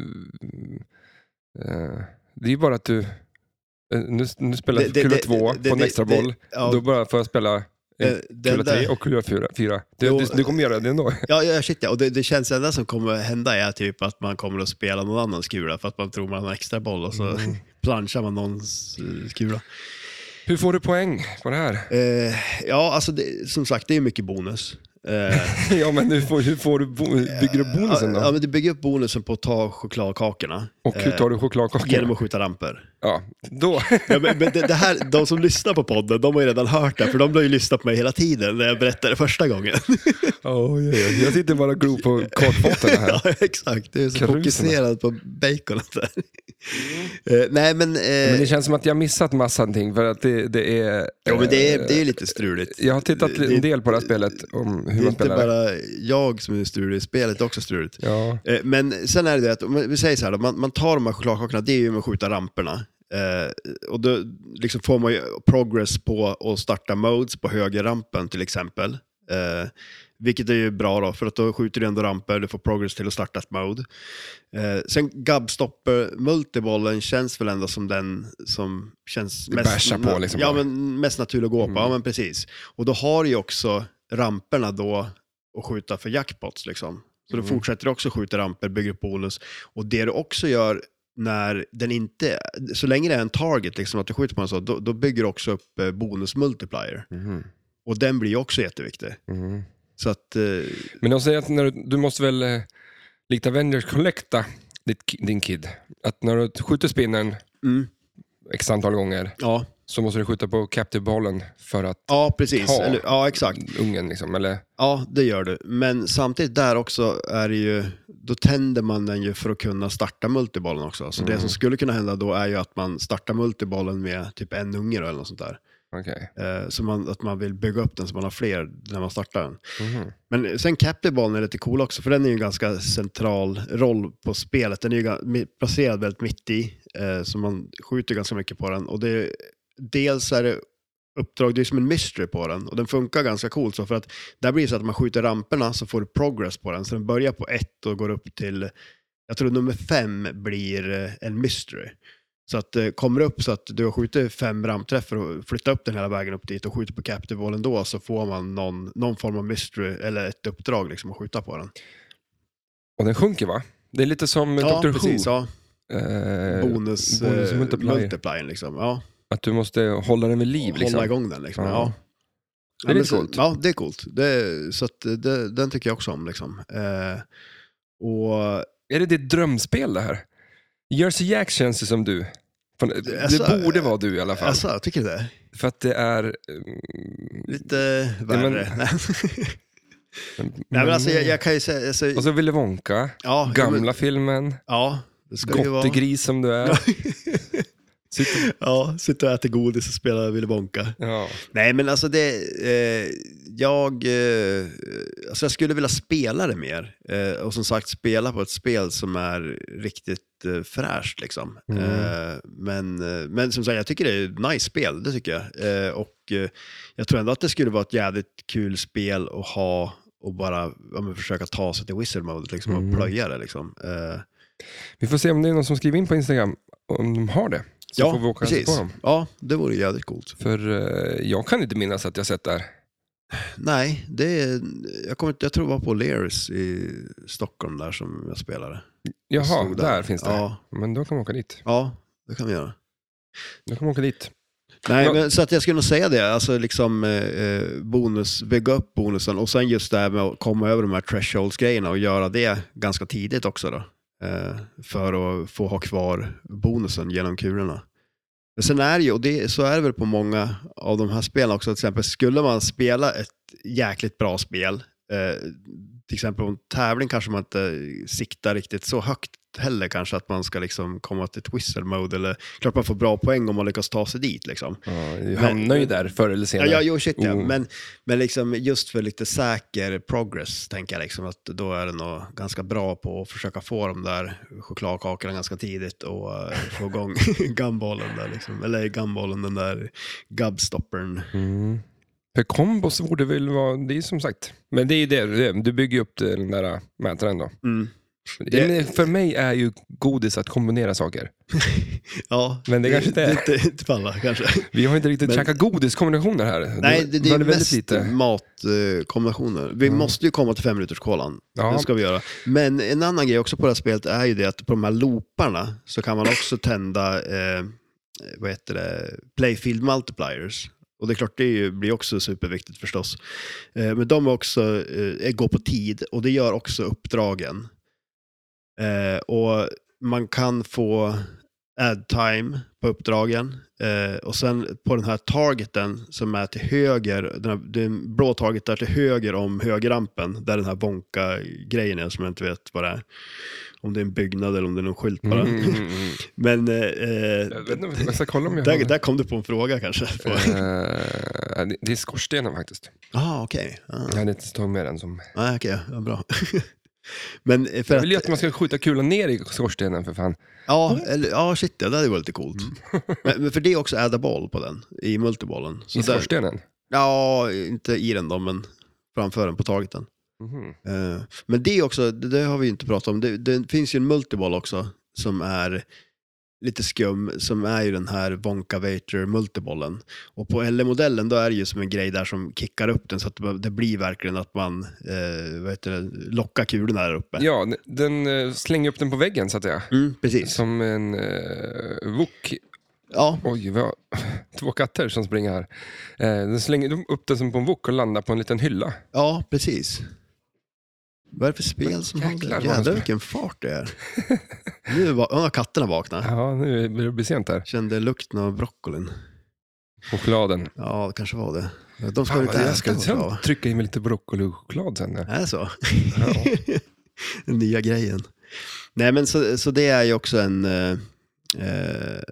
eh, det är ju bara att du... eh, Nu, nu spelar
Det- det-
jag kula
det-
två
det-
på en
det-
extra
det-
boll.
Ja,
Då bara får jag spela eh,
det- den
kula
där-
tre och kula fyra. fyra. Du,
Jo.
du, du kommer göra det ändå.
Ja, ja shit ja. Och det, det känns det enda som kommer hända är typ att man kommer att spela någon annans kula för att man tror man har en extra boll och så
Mm.
planchar man någons eh, kula.
Hur får du poäng på det här?
Eh, ja, alltså det, som sagt, det är mycket bonus. Eh,
ja, men hur, får, hur får du bo, bygger du bonusen
Ja,
då?
men du bygger upp bonusen på att ta chokladkakorna eh,
Och hur tar du chokladkakan?
genom att skjuta ramper.
Ja, då.
Ja, men, men det, det här, de som lyssnar på podden, de har ju redan hört det, för de har ju lyssnat på mig hela tiden när jag berättade första gången.
Oj, oj, oj. Jag sitter bara och glor på kartfotona här.
Ja, exakt. Du är så
Karuserna.
fokuserad på baconet där. Eh, nej, men... eh,
Men det känns som att jag missat massa ting för att det, det är...
Jo, men det är, det är lite struligt.
Jag har tittat
det-
en del på det här spelet om
Det
hur
är
man
inte
spelar. det.
bara jag som är strulig, spelet är också struligt.
Ja.
Eh, Men sen är det det att, om vi säger så här, då, man, man tar de här chokladkakorna, det är ju med att skjuta ramperna. Eh, och då liksom får man ju progress på att starta modes på högerrampen till exempel. Eh, vilket är ju bra då, för att då skjuter du ändå ramper, du får progress till att starta ett mode. Eh, sen gubstopper multibollen känns väl ändå som den som känns
Det
mest,
bärsar på liksom
ja,
bara. Mm.
men mest naturlig att gå på. Ja, men precis. Och då har du ju också ramperna då att skjuta för jackpots. Liksom. Så
Mm.
du fortsätter också skjuta ramper, bygger upp bonus. Och det du också gör när den inte, så länge det är en target, liksom, att du skjuter på en så, då, då bygger du också upp eh, bonus multiplier.
Mhm.
Och den blir ju också jätteviktig.
Mhm.
Så att, eh,
Men de säger att när du, du måste väl, eh, likt Avengers, collecta ditt, ki- din kid. Att när du skjuter spinnen
mm,
x antal gånger
ja.
så måste du skjuta på captive-bollen för att
ja, precis.
Ta.
Eller, ja, exakt.
ungen liksom, eller?
Ja, det gör du. Men samtidigt där också är det ju, då tänder man den ju för att kunna starta multibollen också. Så det
Mm.
som skulle kunna hända då är ju att man startar multibollen med typ en unge då eller något sånt där.
Okej.
Eh, så man, att man vill bygga upp den så man har fler när man startar den.
Mhm.
Men sen Captive Ball är lite cool också, för den är ju en ganska central roll på spelet. Den är ju ga- mi- placerad väldigt mitt i, eh, så man skjuter ganska mycket på den. Och det är, dels är det uppdrag, det är som en mystery på den och den funkar ganska coolt. Så för att där blir det så att man skjuter ramperna så får du progress på den. Så den börjar på ett och går upp till, jag tror nummer fem blir eh, en mystery. Så att eh, kommer det upp så att du har skjutit fem ramträffar och flyttar upp den hela vägen upp dit och skjuter på captive wallen då så får man någon, någon form av mystery eller ett uppdrag liksom att skjuta på den.
Och den sjunker va? Det är lite som
ja,
Dr.
precis.
Who.
Ja,
Eh,
bonus,
bonus
eh,
multiplier.
multipliern liksom. Ja,
Att du måste hålla den vid liv.
hålla
Liksom.
igång den liksom.
Ja. Det är
Ja. Ja, men
lite
så-
coolt.
Ja, det är coolt. Det, så att eh, det, den tycker jag också om liksom. Eh, och
Är det ditt drömspel det här? Jersey Jack känns det som du. Fan, eh, Det
Alltså,
borde vara du i alla fall.
alltså, jag tycker det.
eh, För att det är... mm,
Lite
men-
värre. Nej. Nej, men alltså, jag, jag kan ju säga... Alltså,
mm. Och så Willy Wonka,
ja,
gamla filmen,
Ja, det ska ju vara...
gottegris som du är. Sitter...
Ja, sitta och äta godis och spela Willy Wonka.
Ja.
Nej, men alltså det... Eh, jag... Eh, alltså jag skulle vilja spela det mer. Eh, och som sagt, spela på ett spel som är riktigt eh, fräscht liksom.
Mm.
Eh, men, eh, men som sagt, jag tycker det är ett nice spel, det tycker jag. Eh, och eh, jag tror ändå att det skulle vara ett jävligt kul spel att ha och bara ja, men, försöka ta sig till wizard mode liksom, och
Mm.
plöja det. Liksom. Eh,
Vi får se om det är någon som skriver in på Instagram, om de har det. Så får vi åka och hälsa på dem.
Ja, det vore jävligt coolt.
För eh, jag kan inte minnas att jag sett det här.
Nej, det är, jag, kommer, inte- jag tror det var på Lears i Stockholm där som jag spelade. Jag
Jaha,
såg
där. finns det.
Ja,
Men då kan man åka dit.
ja, det kan vi göra.
Då kan man åka dit.
Nej,
Ja.
men, så att jag skulle nog säga det, alltså liksom eh, eh, bonus, bygga upp bonusen och sen just det här med att komma över de här thresholds-grejerna och göra det ganska tidigt också då. Eh, för att få ha kvar bonusen genom kulorna. Men sen är det ju, och det, så är det väl på många av de här spelen också, till exempel skulle man spela ett jäkligt bra spel, eh, till exempel på en tävling kanske man inte siktar riktigt så högt heller kanske att man ska liksom komma till twister mode eller klart man får bra poäng om man lyckas ta sig dit liksom.
Ja, jag hamnar ju där förr eller
Ja,
senare.
ja, jo, shit ja.
Oh.
Men, men liksom just för lite säker progress, tänker jag liksom, att då är det nog ganska bra på att försöka få de där chokladkakorna ganska tidigt och eh, få igång gumballen där liksom. Eller gumballen, den där gubstoppern.
Mm. För kombos borde väl vara, det är som sagt, men det är ju det, det- du bygger ju upp den där äh, mätaren då.
Mm.
Det... men För mig är ju godis att kombinera saker.
Ja,
Men det kanske inte är.
inte är. Inte för alla kanske.
Vi har inte riktigt
Men-
käkat godiskombinationer här.
Nej, det, det är
var väldigt
mest matkombinationer. Vi måste ju komma till femminuterskolan.
Ja.
Det ska vi göra. Men en annan grej också på det här spelet är ju det att på de här looparna så kan man också tända, eh, vad heter det, playfield multipliers. Och det är klart, det är ju, blir också superviktigt förstås. Eh, men de är också, eh, går på tid och det gör också uppdragen. Eh, och man kan få add time på uppdragen. Eh, och sen på den här targeten som är till höger, den, här, den blå target där till höger om högerrampen, där den här Wonka-grejen är som jag inte vet vad det är. Om det är en byggnad eller om det är någon skylt bara.
Mm, mm, mm.
Men eh,
Jag
eh,
vet inte, jag ska kolla om jag
där, där kom du på en fråga kanske. Ja,
Eh, det- Det är skorstenen faktiskt.
ah, okej. Ah,
Jag hade inte tagit med den som...
ah, okej, ja, bra. Men eh, för
Jag
att,
vill ju att man ska skjuta kulan ner i skorstenen för fan.
ja, eller, ja, shit, ja, det hade varit lite coolt. men, men för det är också adda boll på den, i multibollen. Så
Mm. I
där-
skorstenen.
Ja, inte i den då, men framför den på targeten.
Mhm.
Eh, Men det är också, det det har vi ju inte pratat om, det, det finns ju en multiball också som är lite skum, som är ju den här Wonka Vater multibollen. Och på LE-modellen då är det ju som en grej där som kickar upp den så att det- det blir verkligen att man eh, vad heter det, lockar kulorna där uppe.
Ja, den eh, slänger upp den på väggen så att säga.
Mm, precis.
Som en uh, wok.
Ja,
Oj, vi har två katter som springer här. Eh, den slänger de upp den som på en wok och landar på en liten hylla.
ja, precis. Vad är det för spel som har
Jäklar,
det?
vad-
Jävlar vilken fart det är. Nu var ja, katterna vakna.
Ja, nu börjar det bli sent här.
Kände lukten av broccolin.
Chokladen.
Ja, det kanske var det. De ska
Fan,
väl inte
jag ska
äta choklad? va?
sen trycka i mig lite broccoli och choklad sen. eh. ja.
Är det så?
Ja.
Den nya grejen. Nej, men så, så det är ju också en... Eh, eh,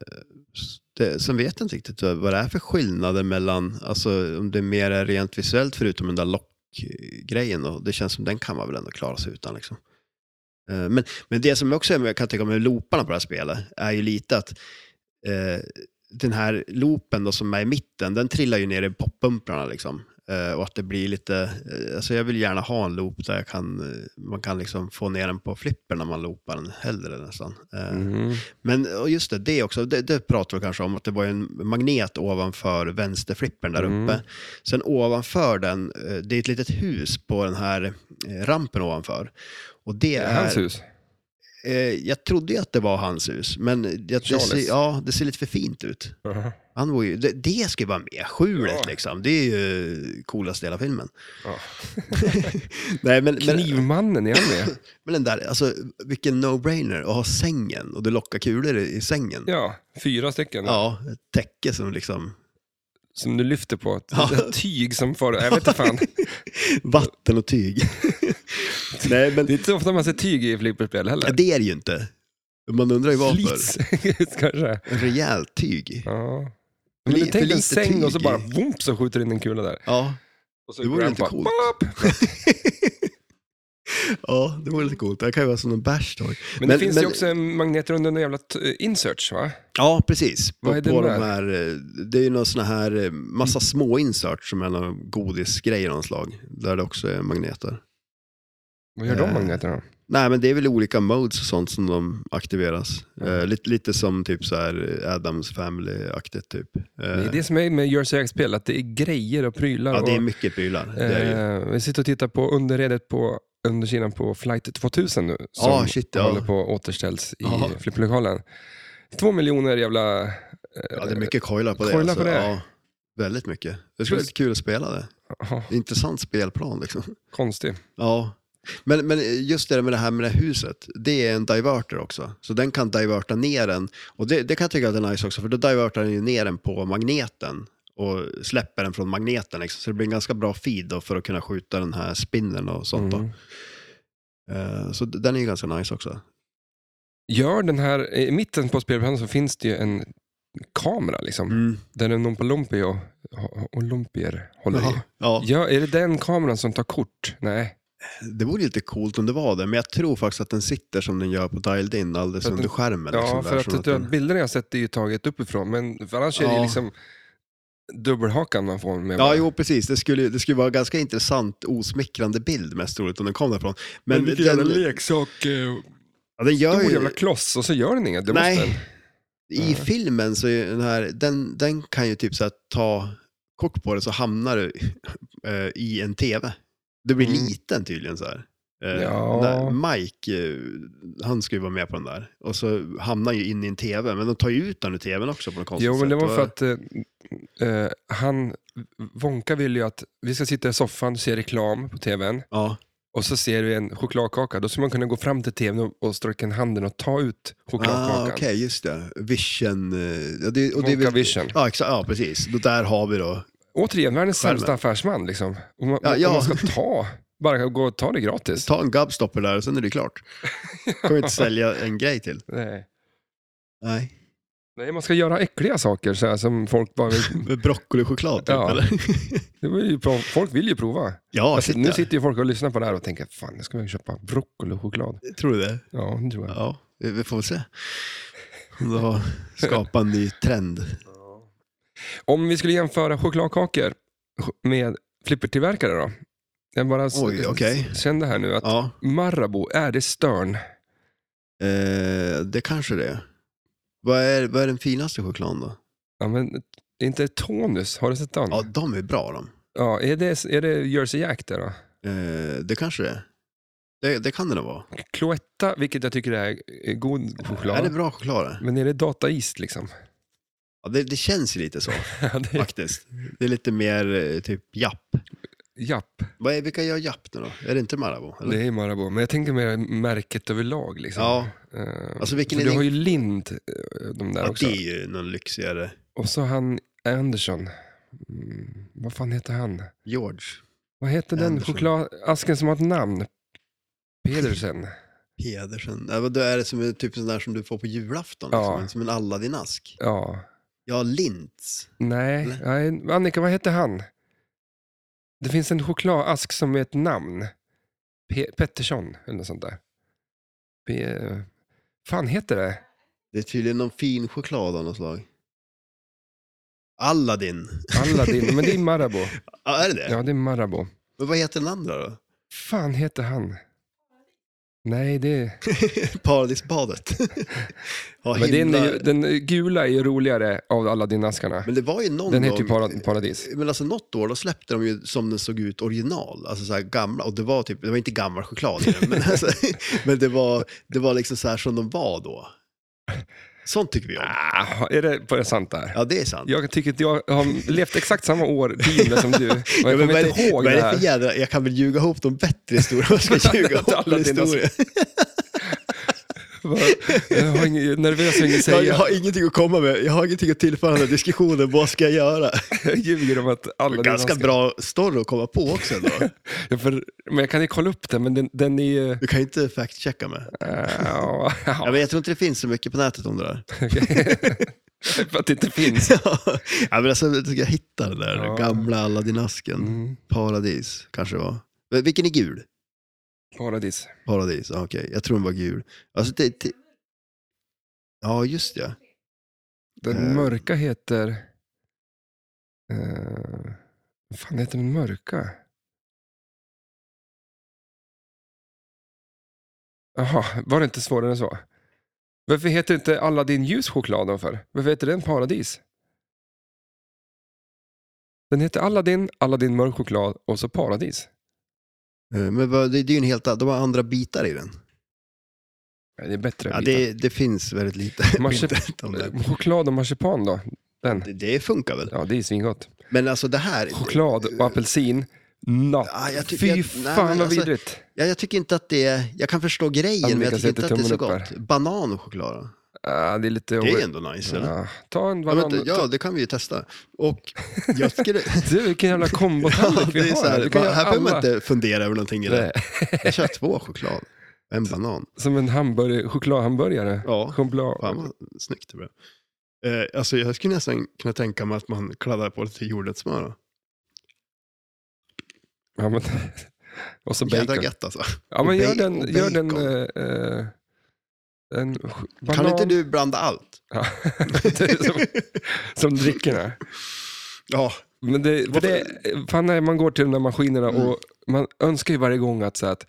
s- det, sen vet jag inte riktigt vad vad det är för skillnader mellan, alltså om det är mer är rent visuellt förutom den där lockgrejen. då. Det känns som den kan man väl ändå klara sig utan. Liksom. Eh, men, men det som också är- jag kan tänka mig med looparna på det här spelet är ju lite att eh, den här loopen då som är i mitten, den trillar ju ner i poppumprarna liksom. Eh, och att det blir lite, eh, alltså jag vill gärna ha en loop där jag kan, eh, man kan liksom få ner den på flipper när man loopar den hellre nästan. Eh,
Mm.
Men och just det, det också, det, det pratar vi kanske om, att det var ju en magnet ovanför vänsterflippern där
Mm.
uppe. Sen ovanför den, eh, det är ett litet hus på den här eh, rampen ovanför. Och det
Det
är...
är hans hus.
Eh, jag trodde ju att det var hans hus, men jag, det,
Charles.
ser, ja, det ser lite för fint ut.
Jaha.
Han var ju, det, det ska ju vara med, skjulet
Ja.
liksom. Det är ju coolast i hela filmen.
Ja.
Nej, men, men,
Knivmannen, är han med?
men den där, alltså vilken no-brainer att ha sängen och du lockar kulor i, i sängen. Ja,
Ja, fyra stycken.
ett täcke som liksom
som du lyfter på. Ett
Ja.
ett tyg som far... Jag vet inte fan.
Vatten och tyg. Nej, men
Det är inte så ofta man ser tyg i flygplansspel heller.
ja, det är det ju inte. Man undrar ju varför.
Slits, kanske.
En rejält tyg.
Ja. Men
li-
du
för
tänker en
lite
säng och så
tyg i.
bara vomp så skjuter in en kula där.
Ja,
Och så
Det vore
går den
lite
bara,
coolt.
pop!
ja det vore lite coolt. Det här kan ju vara som en bärs då.
Men det
Men-
finns ju
men-
också en magnet runt den jävla t- insearch va?
Ja, precis. På,
Vad är
på
den
de
där?
här, eh, det är ju någon sån här eh, massa
Mm.
små inserts som är någon godisgrej av något slag. Där det också är magneter.
Vad gör de
Eh.
magneterna? då?
Nej, men det är väl olika modes och sånt som de aktiveras. Eh, lite, lite som typ så här eh, Adams Family-aktigt typ. Eh,
Det är det som är med Jersey Jack-spel, att det är grejer och prylar.
ja, det är
och,
mycket prylar. Det är det ju.
eh, vi sitter och tittar på underredet på undersidan på Flight 2000 nu. Som
Ja, Ah, shit, ja.
håller på att återställs i
Ja.
flipplokalen. Två miljoner jävla... eh,
ja, det är mycket coilar på det. alltså.
coilar på det.
Ja, väldigt mycket. Det skulle vara lite kul att spela det.
aha,
Intressant spelplan liksom.
ah, konstig.
Ja. Men, men just det där med det här med det här huset, det är en diverter också. Så den kan diverta ner den. Och det, det kan jag tycka att det är nice också, för då divertar den ju ner den på magneten och släpper den från magneten. Liksom. Så det blir en ganska bra feed då för att kunna skjuta den här spinnen och sånt.
Mm.
Då. Eh, Så d- den är ju ganska nice också.
Gör den här, i mitten på spelplanen så finns det ju en kamera liksom.
Mm.
Där en Ompalompi och Olympier håller i.
Jaha. Mm. Ja,
Ja, är det den kameran som tar kort? Nej.
det vore ju lite coolt om det var det, men jag tror faktiskt att den sitter som den gör på dialed in alldeles
För att
under
den-
skärmen. liksom,
Ja,
där,
för
så
att,
den-
att bilderna jag sett är ju taget uppifrån, men för annars är det
Ja.
liksom dubbelhakan man får med.
Ja,
bara.
jo precis. Det skulle, det skulle vara en ganska intressant, osmickrande bild mest troligt om den kom därifrån. Men,
vilken
den,
jävla leksak, eh,
ja, den gör
stor
ju,
jävla kloss och så gör den inget. Det
Nej.
måste den.
i filmen så är ju den här, den, den kan ju typ så här ta kock på det så hamnar du eh, i en tv. Du blir
Mm.
liten tydligen så här. Eh,
Ja.
när Mike, eh, han ska ju vara med på den där. Och så hamnar han ju in i en tv, men de tar ju ut den ur tvn också på något konstigt
Jo, men det
sätt.
var
Och-
för att eh, eh, han, Wonka ville ju att vi ska sitta i soffan och se reklam på tvn
Ja,
och så ser vi en chokladkaka. Då skulle man kunna gå fram till tvn och- och sträcka in handen och ta ut
ah,
chokladkakan.
okej, just det. Vision. eh, Ja, det, och det
Wonka
är väl,
Vision.
Ja, exakt, ja, precis. Då där har vi då
Återigen, världens
Skärmen.
sämsta affärsman. Liksom. Om, man,
Ja, ja.
om man ska ta, bara gå och ta det gratis.
Ta en gubstopper där och sen är det klart. Kommer inte sälja en grej till.
Nej.
Nej.
Nej, man ska göra äckliga saker så här, som folk bara vill...
Med broccolichoklad typ,
Ja.
eller?
Det vill ju prov... Folk vill ju prova.
Ja,
alltså,
shit,
nu
ja.
sitter ju folk och lyssnar på det här och tänker, fan, jag ska väl köpa broccoli och choklad.
Tror du det?
Ja, det tror jag.
Ja, vi vi får väl se. Då skapa en ny trend.
Om vi skulle jämföra chokladkakor med flippertillverkare då? Jag bara s-
Oj, okej.
s- kände här nu att
Ja,
Marabou, är det Störn?
eh, det kanske det är. Vad är, vad är den finaste chokladen
Mm.
då?
Ja, men det är inte Tonus, har du sett den?
Ja,
Ja.
de är bra de.
är, det, är det Jersey Jack det då?
Eh, det kanske det är. Det, det kan det nog vara.
Cloetta, vilket jag tycker är är god choklad.
Är det bra choklad? det?
Men är det Data East liksom?
Ja, det, det känns ju lite så
Ja, det är,
faktiskt. Det är lite mer eh, typ japp.
japp,
Vad är, vilka gör japp nu då? Är det inte Marabou? eller?
det är Marabou. Men jag tänker mer märket överlag. Liksom.
Ja,
Eh,
alltså vilken
för
är
du
din-
har ju Lind, eh, de där
Ja,
också.
det är ju någon lyxigare.
Och så han Andersson. Mm, vad fan heter han?
George
Vad heter den
Andersson.
chokladasken som har ett namn? Pedersen.
Pedersen. Ja, vad- Då är det som en typ sån där som du får på julafton,
Ja.
liksom. som en Aladdin-ask.
Ja.
Ja, Lintz.
Nej. Nej, Annika, vad heter han? Det finns en chokladask som är ett namn. Pe- Pettersson eller något sånt där. Pe- fan heter det?
Det är tydligen någon fin choklad av något slag. Aladdin.
Aladdin, men det är Marabou.
Ja, är det det?
Ja, det är Marabou.
Men vad heter den andra då?
fan heter han? Nej, det är...
Paradisbadet. ja,
Men den, är
himla...
ju, den gula är ju roligare av alla dina askarna.
Men det var ju någon
Den
gång...
heter ju Para- Paradis.
Men alltså något år, då släppte de ju som den såg ut original, alltså så här gamla, och det var typ, det var inte gammal choklad i den, men, alltså, men det, var, det var liksom så här som de var då. Sånt tycker vi om.
Ah, är det på det sant där?
Ja, det är sant.
Jag tycker att jag har levt exakt samma årtionde som du. Och jag
Ja, men
kommer
vad är
inte
det-
ihåg det
vad är det
här.
för jädra, jag kan väl ljuga ihop de bättre historierna, jag ska ljuga ihop
Alla
en
dina-
historia.
Bara, Jag har inget, nervös och inget
Jag, jag
säga.
har ingenting att komma med, jag har ingenting att tillföra den här diskussionen, vad ska jag göra?
Jag ljuger om att alla dina
Ganska
ska-
bra story att komma på också ändå.
Ja, för, men jag kan ju kolla upp den, men den, den är ju...
Du kan ju inte fact-checka med.
Äh, ja,
Ja, men jag tror inte det finns så mycket på nätet om det där.
för att det inte finns.
ja, men alltså, jag ska hitta den där
Ja.
gamla Aladdin-asken.
Mm,
Paradis kanske det var. Men Vilken är gul?
paradis.
Paradis, ah, okej. Jag tror den var gul. Alltså, det, det... Ja, just ja.
Den
Eh.
mörka heter... eh, Vad fan heter den mörka? Jaha, var det inte svårare än så? Varför heter inte alla din ljus choklad då för? Varför heter den paradis? Den heter Aladdin, Aladdin mörk choklad och så paradis.
Eh, Men vad, det, det är ju en helt annan, de har andra bitar i den.
Nej, Det är bättre.
Ja,
bitar.
det, det finns väldigt lite på
Marsi-
internet om det.
Eh, Choklad och marsipan då? Den.
Det- Det funkar väl?
Ja, det är svingott.
Men alltså det här...
Choklad och apelsin. Natt.
Ja, jag
Fy
tycker- jag- nej, men
fan vad
alltså-
vidrigt.
Ja, jag tycker inte att det är... Jag kan förstå grejen, men
Annika
jag tycker inte
sätter
att det är så
tummen upp
gott. Banan och choklad då?
Ah, det är lite...
Det är ändå nice, eller?
ja, ta en
Ja,
banan.
men, ja, det kan vi ju testa. Och jag skulle...
Du, vilken jävla kombo
Ja, det
vi
är
har.
så här,
du kan
man,
göra
här behöver man
alla.
inte fundera över någonting. i det.
Nej,
Jag kör två choklad, en banan.
som en hamburgare, chokladhamburgare.
Ja,
Choklad.
fan vad snyggt det blev. Eh, alltså jag skulle nästan kunna tänka mig att man kladdar på lite jordnötssmör. då.
Ja, men... Och så
Jädra
bacon.
gött alltså.
Ja, men gör
Och ba-
den...
och
Gör den
bacon.
eh, eh, en ch- banan.
Kan inte du blanda allt?
Ja, du som, som dricker det.
ja,
Men det, för det, fan när man går till de där maskinerna
Mm.
och man önskar ju varje gång att, så att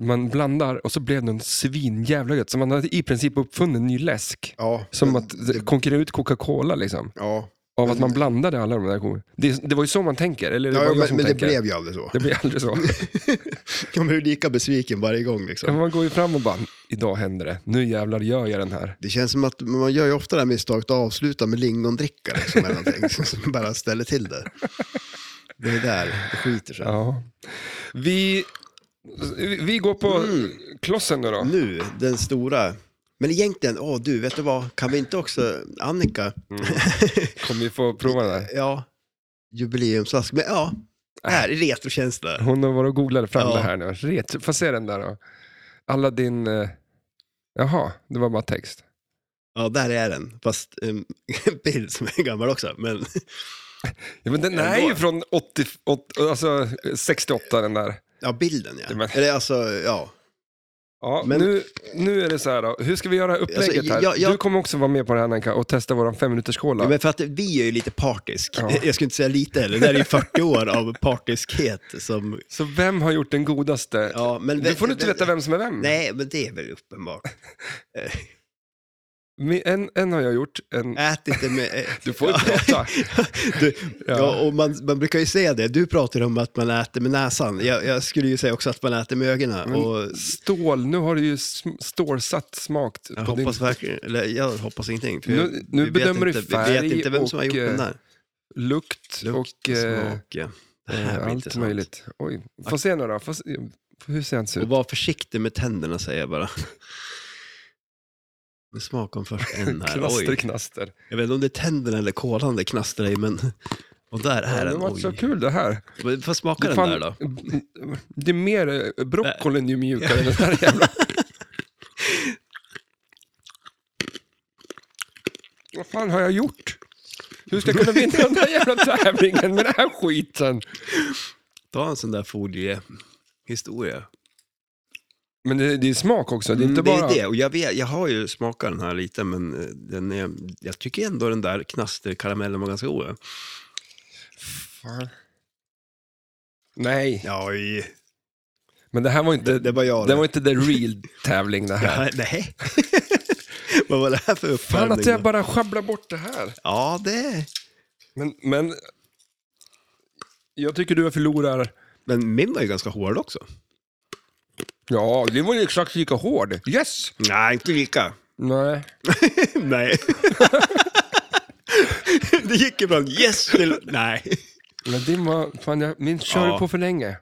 man blandar och så blev den svinjävla gött. Så man hade i princip uppfunnit en ny läsk.
ja.
Som
men
att
det-
konkurrera ut Coca-Cola liksom.
Ja,
Av att man blandade alla de där go- det, det var ju så man tänker, eller är det
ja
bara jag
men,
som
men det
tänker?
blev ju aldrig så.
Det blir aldrig så.
Man blir lika besviken varje gång. Liksom.
Man går ju fram och bara, idag händer det. Nu jävlar gör jag den här.
Det känns som att man gör ju ofta det här misstaget att avsluta med lingondricka liksom, eller någonting som bara ställer till det. Det är där det skiter sig.
Ja. Vi, vi går på
Mm.
klossen nu då.
Nu, den stora. Men egentligen, åh du, vet du vad, kan vi inte också, Annika,
Mm. Kommer vi få prova den här?
ja, jubileumsask, men ja, här, i retrokänsla.
Hon har varit och googlat fram
Ja.
det här nu. Ret- Får se den där då. Alla din... Eh... Jaha, det var bara text.
Ja, där är den, fast em, en bild som är gammal också, men
Ja, men den är
Ändå.
ju från 80, åt- alltså 68 den där.
ja, bilden ja.
Men-
Eller alltså, ja.
Ja,
Men-
nu, nu är det så här då. Hur ska vi göra upplägget
Alltså,
här?
jag- jag-
Du kommer också vara med på det här Annika och testa våran femminuterskola.
Ja, Men för att vi är ju lite partisk.
Ja.
Jag skulle inte säga lite heller, det här är ju 40 år av partiskhet som...
Så vem har gjort den godaste?
Ja, men,
du får inte veta vem som är vem.
Nej, men det är väl uppenbart.
Men En, en har jag gjort. En...
Ät inte med...
Du får inte prata.
Du,
Ja.
ja. och man, man brukar ju säga det, du pratar om att man äter med näsan. Jag, jag skulle ju säga också att man äter med ögonen. och
Stål, nu har du ju sm- stålsatt smak
jag,
på din
hoppas verkligen, eller jag hoppas ingenting. För
Nu-
jag,
nu
vi
bedömer du
vet inte, Vi
färg
vet inte vem som har
och,
gjort den där.
lukt,
Lukt,
och eh,
smak, ja. Det här
eh,
blir
allt
intressant.
möjligt. Oj, få se nu då. Få se... Hur ser han
Och
ut?
var försiktig med tänderna säger jag bara. Nu smakar först en här. Oj.
Knasterknaster.
Jag vet inte om det är tänderna eller kolan det knastrar i, men... Och där
Ja,
är
det
den.
var så
Oj.
kul det här.
Men Får smaka
Det,
den där då.
det är mer, eh, broccolin är ju mjukare än den här jävla. Vad fan har jag gjort? Hur ska jag kunna vinna den här jävla tävlingen med den här skiten?
Ta en sån där foliehistoria.
Men det, det är smak också, det är
Mm,
inte bara...
det är det. Och jag, vet, jag har ju smakat den här lite, men eh, den är, jag tycker ändå den där knasterkaramellen var ganska god.
Fan. Nej,
Ja, oj.
men det här var
Det,
inte,
det var jag.
det var
det.
inte the real tävling det här.
Ja, nej. Vad var det här för
Fan
uppvärmning?
att jag bara sjabblar bort det här.
Ja, det...
Men, men jag tycker du förlorar
Men min var ju ganska hård också.
Ja, det var ju exakt lika hård. Yes!
Nej, inte lika.
Nej.
nej. det gick ju från yes till nej.
Men din var... Fan, jag, min körde
Ja.
på för länge.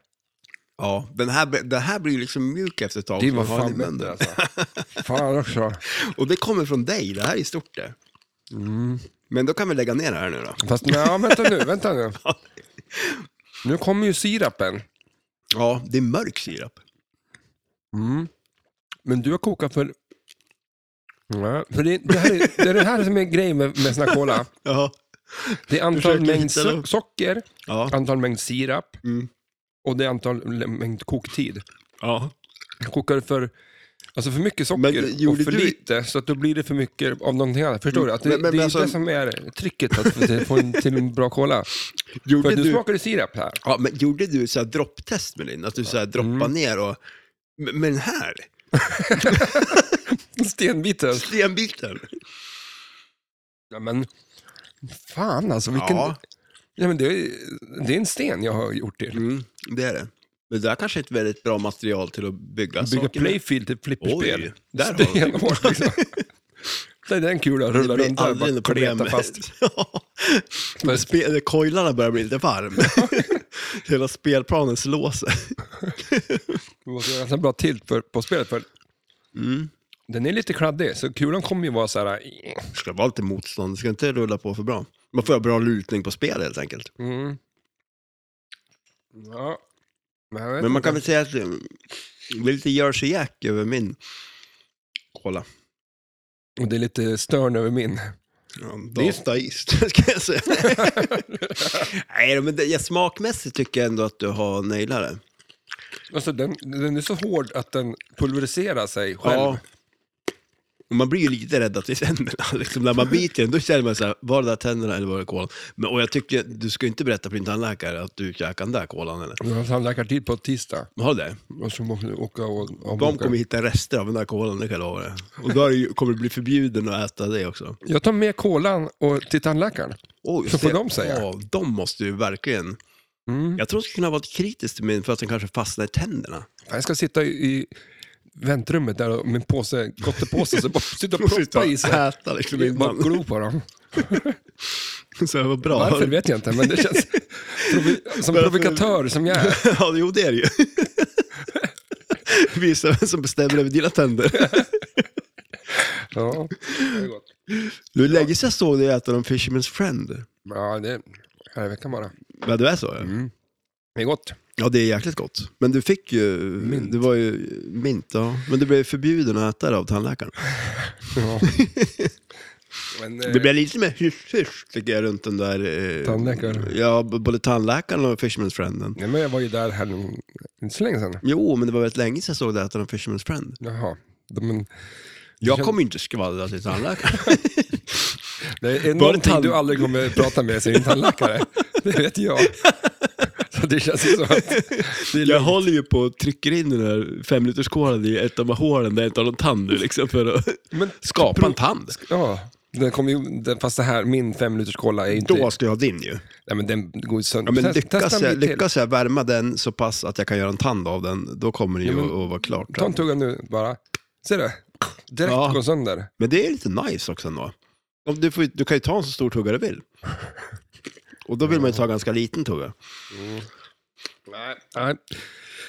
Ja, den här, den här blir ju liksom mjuk efter ett tag.
Det
så
var
har den i
fan
munnen.
bättre alltså. Fan också.
Och det kommer från dig, det här är stort det. Mm. Men då kan vi lägga ner det här nu då.
Fast nej, vänta nu, vänta nu. Nu kommer ju sirapen.
Ja, det är mörk sirap.
Mm. Men du har kokat för... Ja, för det, det, här är, det är det här som är grejen med, med såna här cola.
Ja.
Det är antal
Försöker
mängd
hitta
so-
dem.
socker,
Ja.
antal mängd sirap
Mm.
och det är antal mängd koktid.
ja.
Jag kokar för, alltså för mycket
Men eh,
socker och
gjorde
för
du-
lite, så att då blir det för mycket av någonting annat. Förstår
Mm,
du? Att det
men- men
det är
alltså-
det som är tricket att få till- få en, till en bra cola. För
Gjorde
att nu
du,
smakar det sirap här.
ja, men gjorde du så här dropptest med din? Att du så här droppar ner och... Men men här,
Stenbiten.
stenbiten.
Ja, men fan alltså, vilken...
Ja.
Ja. men det, är, det är en sten jag har gjort till.
Mm, det är det. Men det där kanske är ett väldigt bra material till att bygga
Bygga
saker med.
playfield till flipperspel.
Oj, där har vi det.
Stenhårt liksom. Det är den kulan rullar
blir
runt här och
aldrig
bara
något problem.
kletar fast.
Ja. Men spe- Coilarna börjar bli lite varm. Hela spelplanen slås.
Vi måste göra en sån bra tilt för, på spelet för
Mm.
den är lite kladdig, så kulan kommer ju vara så här... eh,
Det ska vara lite motstånd, det ska inte rulla på för bra. Man får ha bra lutning på spel helt enkelt.
Mm. Ja. Men, jag vet
Men man
inte.
kan väl säga att eh, det är lite Jersey Jack över min kolla.
Och det är lite störn över min.
Ja,
är-
Dataist, ska jag säga. Nej, men det, ja, smakmässigt tycker jag ändå att du har nailat det.
Alltså den, den är så hård att den pulveriserar sig själv.
Ja. Och man blir ju lite rädd att det är tänderna. Liksom när man biter den, då känner man så här, var det där tänderna eller var det kolan? Men, och jag tycker, du ska ju inte berätta för din tandläkare att du käkade den där kolan eller?
Jag har tandläkartid på tisdag.
Men Har du det?
Och så måste jag åka och
De
avboka.
kommer hitta rester av den där kolan, det kan jag lova dig. Och då är det ju- kommer du bli förbjuden att äta det också.
Jag tar med kolan och, till tandläkaren.
Oj,
Så får
se-
de säga.
Ja, de måste ju verkligen...
Mm.
Jag tror det skulle kunna vara ett kritiskt till min för att den kanske fastnar i tänderna.
Fan, Jag ska sitta i, i väntrummet där och- med en påse, gottepåse, så bara sitta och
Måste ju
proppa
ta-
i sig.
Äta liksom
Bara
innan.
glo på dem.
Så här, vad bra.
Varför vet jag inte, men det känns provi- som provokatör som jag är.
Ja, jo det är det ju. Visa vem som bestämmer över dina tänder.
Ja, det är gott.
Du lägger sig så när jag äter en Fisherman's Friend.
Ja, det är här i veckan bara.
Ja, du är så? Ja.
Det är gott.
ja, det är jäkligt gott. Men du fick ju...
Mint.
Det var ju mint, ja. Men du blev förbjuden att äta det av tandläkaren.
Ja. Men, eh,
Det blev lite mer hysch-hysch, tycker jag, runt den där... Eh,
Tandläkaren.
Ja, b- både tandläkaren och Fisherman's Frienden.
nej, men jag var ju där här nu- inte så länge sedan.
Jo, men det var väldigt länge sedan jag såg dig äta en Fisherman's Friend.
Jaha. De- Men,
Jag
känns-
kommer ju inte skvallra till tandläkaren.
det är
Var det
någonting
tand-
du aldrig kommer prata med sin tandläkare. det vet jag. Så det känns ju som att... Det är
Jag
lugnt.
håller ju på och trycker in den där femliterskålen i ett av hålen där jag inte har någon tand nu, liksom, för att
Men,
skapa en tand.
ja, den kommer ju, den, fast det här, min femminuterskolla är ju inte...
Då ska jag ha din ju.
Nej, men den går ju sönder.
Ja, men
Test-
lyckas,
testa en bit
jag,
till.
lyckas jag värma den så pass att jag kan göra en tand av den, då kommer det ju
Ja, men-
att- att vara klart.
Ta en tugga nu bara. Ser du? Direkt
Ja.
går sönder.
Men det är lite nice också ändå. Om Du, får, ju- du kan ju ta en så stor tugga du vill. Och då vill man ju ta en ganska liten tugga.
Nej. Nej.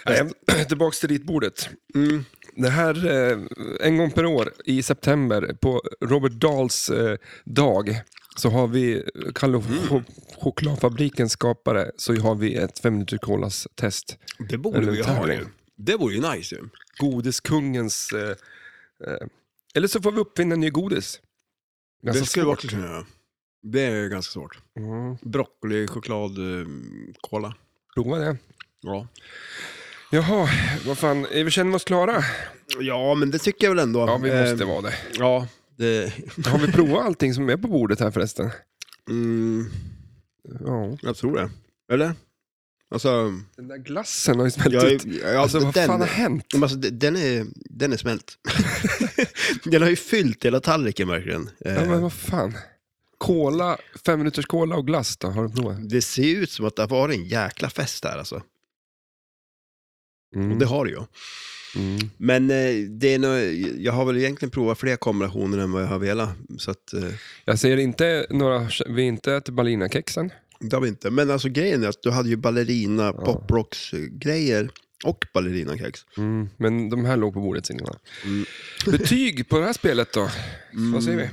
Nej. Tillbaka till ritbordet.
Mm.
Det här, eh, en gång per år i september på Robert Dahls eh, dag så har vi, eh, Kalle och ch- chokladfabrikens skapare, så har vi ett fem minuter kolas test.
Det borde
Eller
vi
en
ha
tävling.
ju. Det vore ju nice ju.
Godiskungens... Eh, eh, eller så får vi uppfinna en ny godis. Ganska
det skulle
svårt.
vara kunna göra. Det är ganska svårt.
Mm,
Broccoli, choklad, eh, cola.
prova det.
Ja.
Jaha, vad fan, eh, vi känner oss klara?
ja, men det tycker jag väl ändå.
Ja, vi måste
Eh,
vara det.
Ja, det...
Har vi provat allting som är på bordet här förresten?
Mm,
Ja.
jag tror det. Eller? Alltså...
Den där glassen har ju smält
Jag,
ut.
är- ja,
Alltså vad
den,
fan har hänt?
Men Alltså, de- den, är, den är smält. den har ju fyllt hela tallriken verkligen. Eh,
Ja, men vad fan. Cola, fem minuters cola och glass då, har du provat?
Det ser ju ut som att det har varit en jäkla fest här alltså. Och det har det ju.
Mm.
Men eh, det är nog, jag har väl egentligen provat fler kombinationer än vad jag har velat. Så att, eh,
Jag säger inte några, vi inte äter Ballinakexen.
det har vi inte. Men alltså grejen är att du hade ju ballerina,
Ja.
poprocks-grejer Och ballerinakex.
Mm, men de här låg på bordet innan.
Mm.
Betyg på det här spelet då? Vad säger vi?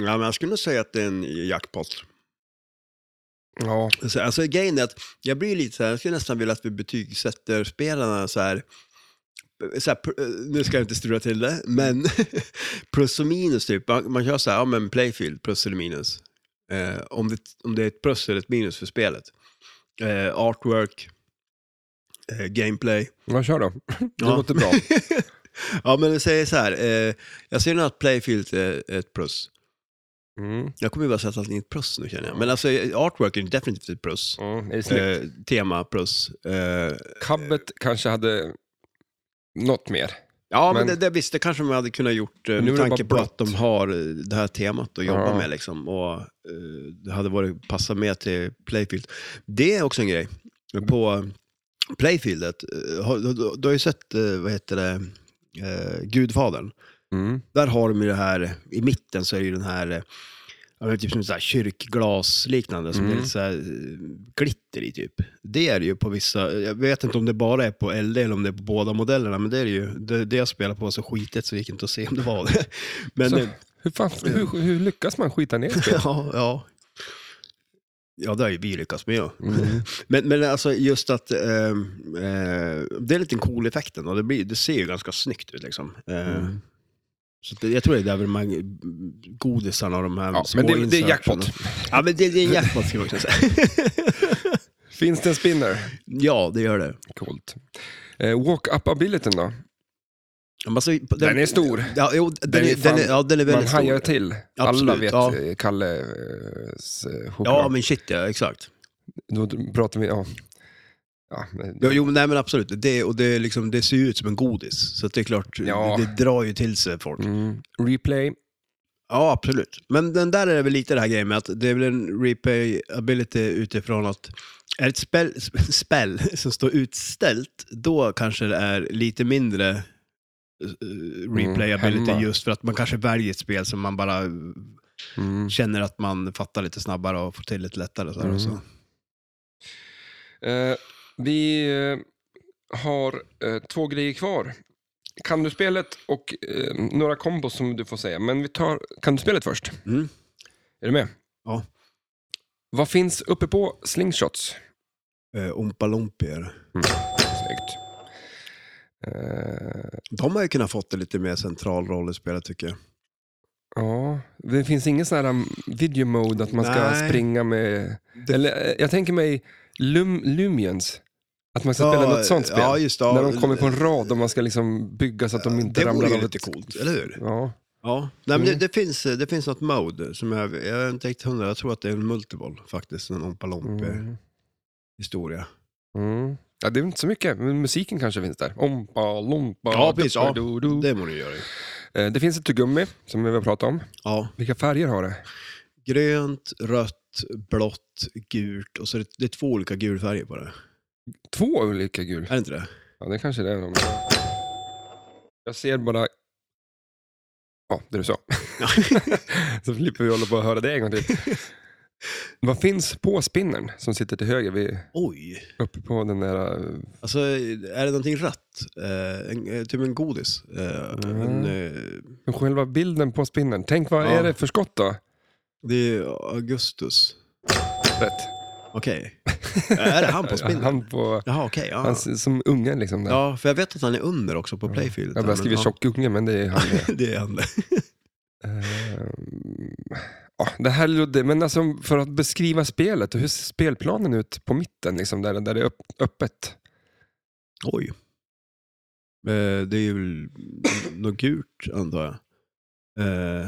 Ja, men jag skulle nog säga att det är en jackpot.
Ja,
Alltså, alltså grejen är att jag blir lite så här, jag skulle nästan vilja att vi betygsätter spelarna så här, så här pr- eh, nu ska jag inte strula till det, men plus och minus typ. Man, man kör så här, ja men playfield, plus eller minus. Eh, om, det, om det är ett plus eller ett minus för spelet. Eh, artwork, eh, gameplay.
jag kör då. Det
Ja.
låter bra.
Ja men vi säger så här, eh, jag ser nog att playfield är ett plus.
Mm.
Jag kommer ju bara sätta allting i ett plus nu känner jag. Men alltså artwork är definitivt ett plus.
Ja, är det snyggt?
Eh, tema plus. Eh,
Cabbet kanske hade något mer.
Ja,
Men-
men, det, det visst, det kanske man hade kunnat gjort eh,
Men nu
med
är det
tanke på
bara
att de har eh, det här temat att jobba
Ja.
med liksom. Och eh, det hade varit passat med till Playfield. Det är också en grej. På eh, Playfieldet, eh, har- du, du, du har ju sett, eh, vad heter det, eh, Gudfadern.
Mm.
Där har de ju det här, i mitten så är det ju den här, eh, ja, men typ som så här kyrkglasliknande, som
Mm.
det är lite så här eh, glitter i typ. Det är det ju på vissa, jag vet inte om det bara är på LD eller om det är på båda modellerna, men det är det ju. Det, det jag spelade på var så skitigt så det gick inte att se om det var det. Men
Så,
eh,
hur, fan, hur, hur lyckas man skita ner spel?
ja, ja. Ja, det har ju vi lyckats med. Ja.
Mm.
Men, men alltså just att ehm, eh, det är lite en cool effekt ändå. Det, blir, det ser ju ganska snyggt ut liksom. Eh,
Mm.
Så det, jag tror det är där man, godisarna och de här
Ja,
små
men det, det är
inserterna.
jackpot.
Ja, men det, det är en jackpot skulle man kunna säga.
Finns det en spinner?
ja, det gör det.
Coolt. Eh, Walk-up-abilityn då?
Men Alltså, den,
Den är stor.
Ja, jo, den,
Den är
är, den, är,
fan-
ja, den är
Man
väldigt
hajar
stor.
till. Alla
Absolut,
vet
ja.
ja. Kalles eh, choklad.
Ja, men shit ja, exakt.
Då pratar vi, ja. ja men-
Jo, jo men nej men absolut. Det, och det, är liksom, det ser ju ut som en godis, så att det är klart,
Ja.
det, det drar ju till sig folk.
Mm. Replay.
Ja, absolut. Men den där är det väl lite det här grejen med att det är väl en replayability utifrån att är det ett spel, sp- spel som står utställt, då kanske det är lite mindre eh, replayability
Mm, hemma.
just för att man kanske väljer ett spel som man bara eh,
Mm.
känner att man fattar lite snabbare och får till lite lättare. Så här och så.
Mm. Eh, vi eh, har eh, två grejer kvar. Kan du spelet och eh, några kombos som du får säga, men vi tar kan du spelet först.
Mm.
Är du med?
Ja.
Vad finns uppe på slingshots?
Eh, Ompa Lompier.
Snyggt. Eh,
De har ju kunnat fått en lite mer central roll i spelet tycker jag.
ja, det finns ingen sån här um, video mode att man ska
Nej.
springa med... Eller, eh, jag tänker mig Lum, Lumions. Att man ska
Ja,
spela Typ, något sånt spel.
Ja, just det. Ja,
När de kommer på en rad och man ska liksom bygga så att de inte
det
ramlar
vore
av
ju lite
ett-
coolt, eller hur?
Ja.
Ja, nej, men
Mm.
det, det, finns, det finns något mode som jag, jag är inte riktigt hundra, jag tror att det är en multiboll faktiskt, en Ompa Lompa
Mm.
historia.
Mm. ja. Det är inte så mycket, men musiken kanske finns där. Ompa, lompa,
Ja, precis, ja.
duppadudu.
Det må du göra ju.
Eh, Det finns ett tuggummi som vi har pratat om.
Ja,
Vilka färger har det?
grönt, rött, blått, gult och så är det, det är två olika gulfärger på det.
Två olika gul.
Är det inte det?
Ja, det kanske det är. Någon. Jag ser bara... Ja, det du sa.
Ja.
så slipper vi hålla på att höra det en gång till. Vad finns på spinnern som sitter till höger vid,
Oj!
uppe på den där... eh,
Alltså, är det någonting rött? Eh, en, eh, typ en godis? Eh,
Mm.
en, eh,
Men själva bilden på spinnern. Tänk, vad
Ja.
är det för skott då?
det är Augustus.
Rätt.
Okej. är det han på spindeln?
Han på...
Jaha, okej. ja.
Han, s- som ungen liksom. Där.
Ja, för jag vet att han är under också på playfield.
jag bara skriver tjock unge, men det är han.
Det är han.
Ehm, ja, det här låter, men alltså för att beskriva spelet, hur ser spelplanen ut på mitten, liksom, där, där det är öpp, öppet?
Oj. Eh, det är väl något gult, antar jag. Eh,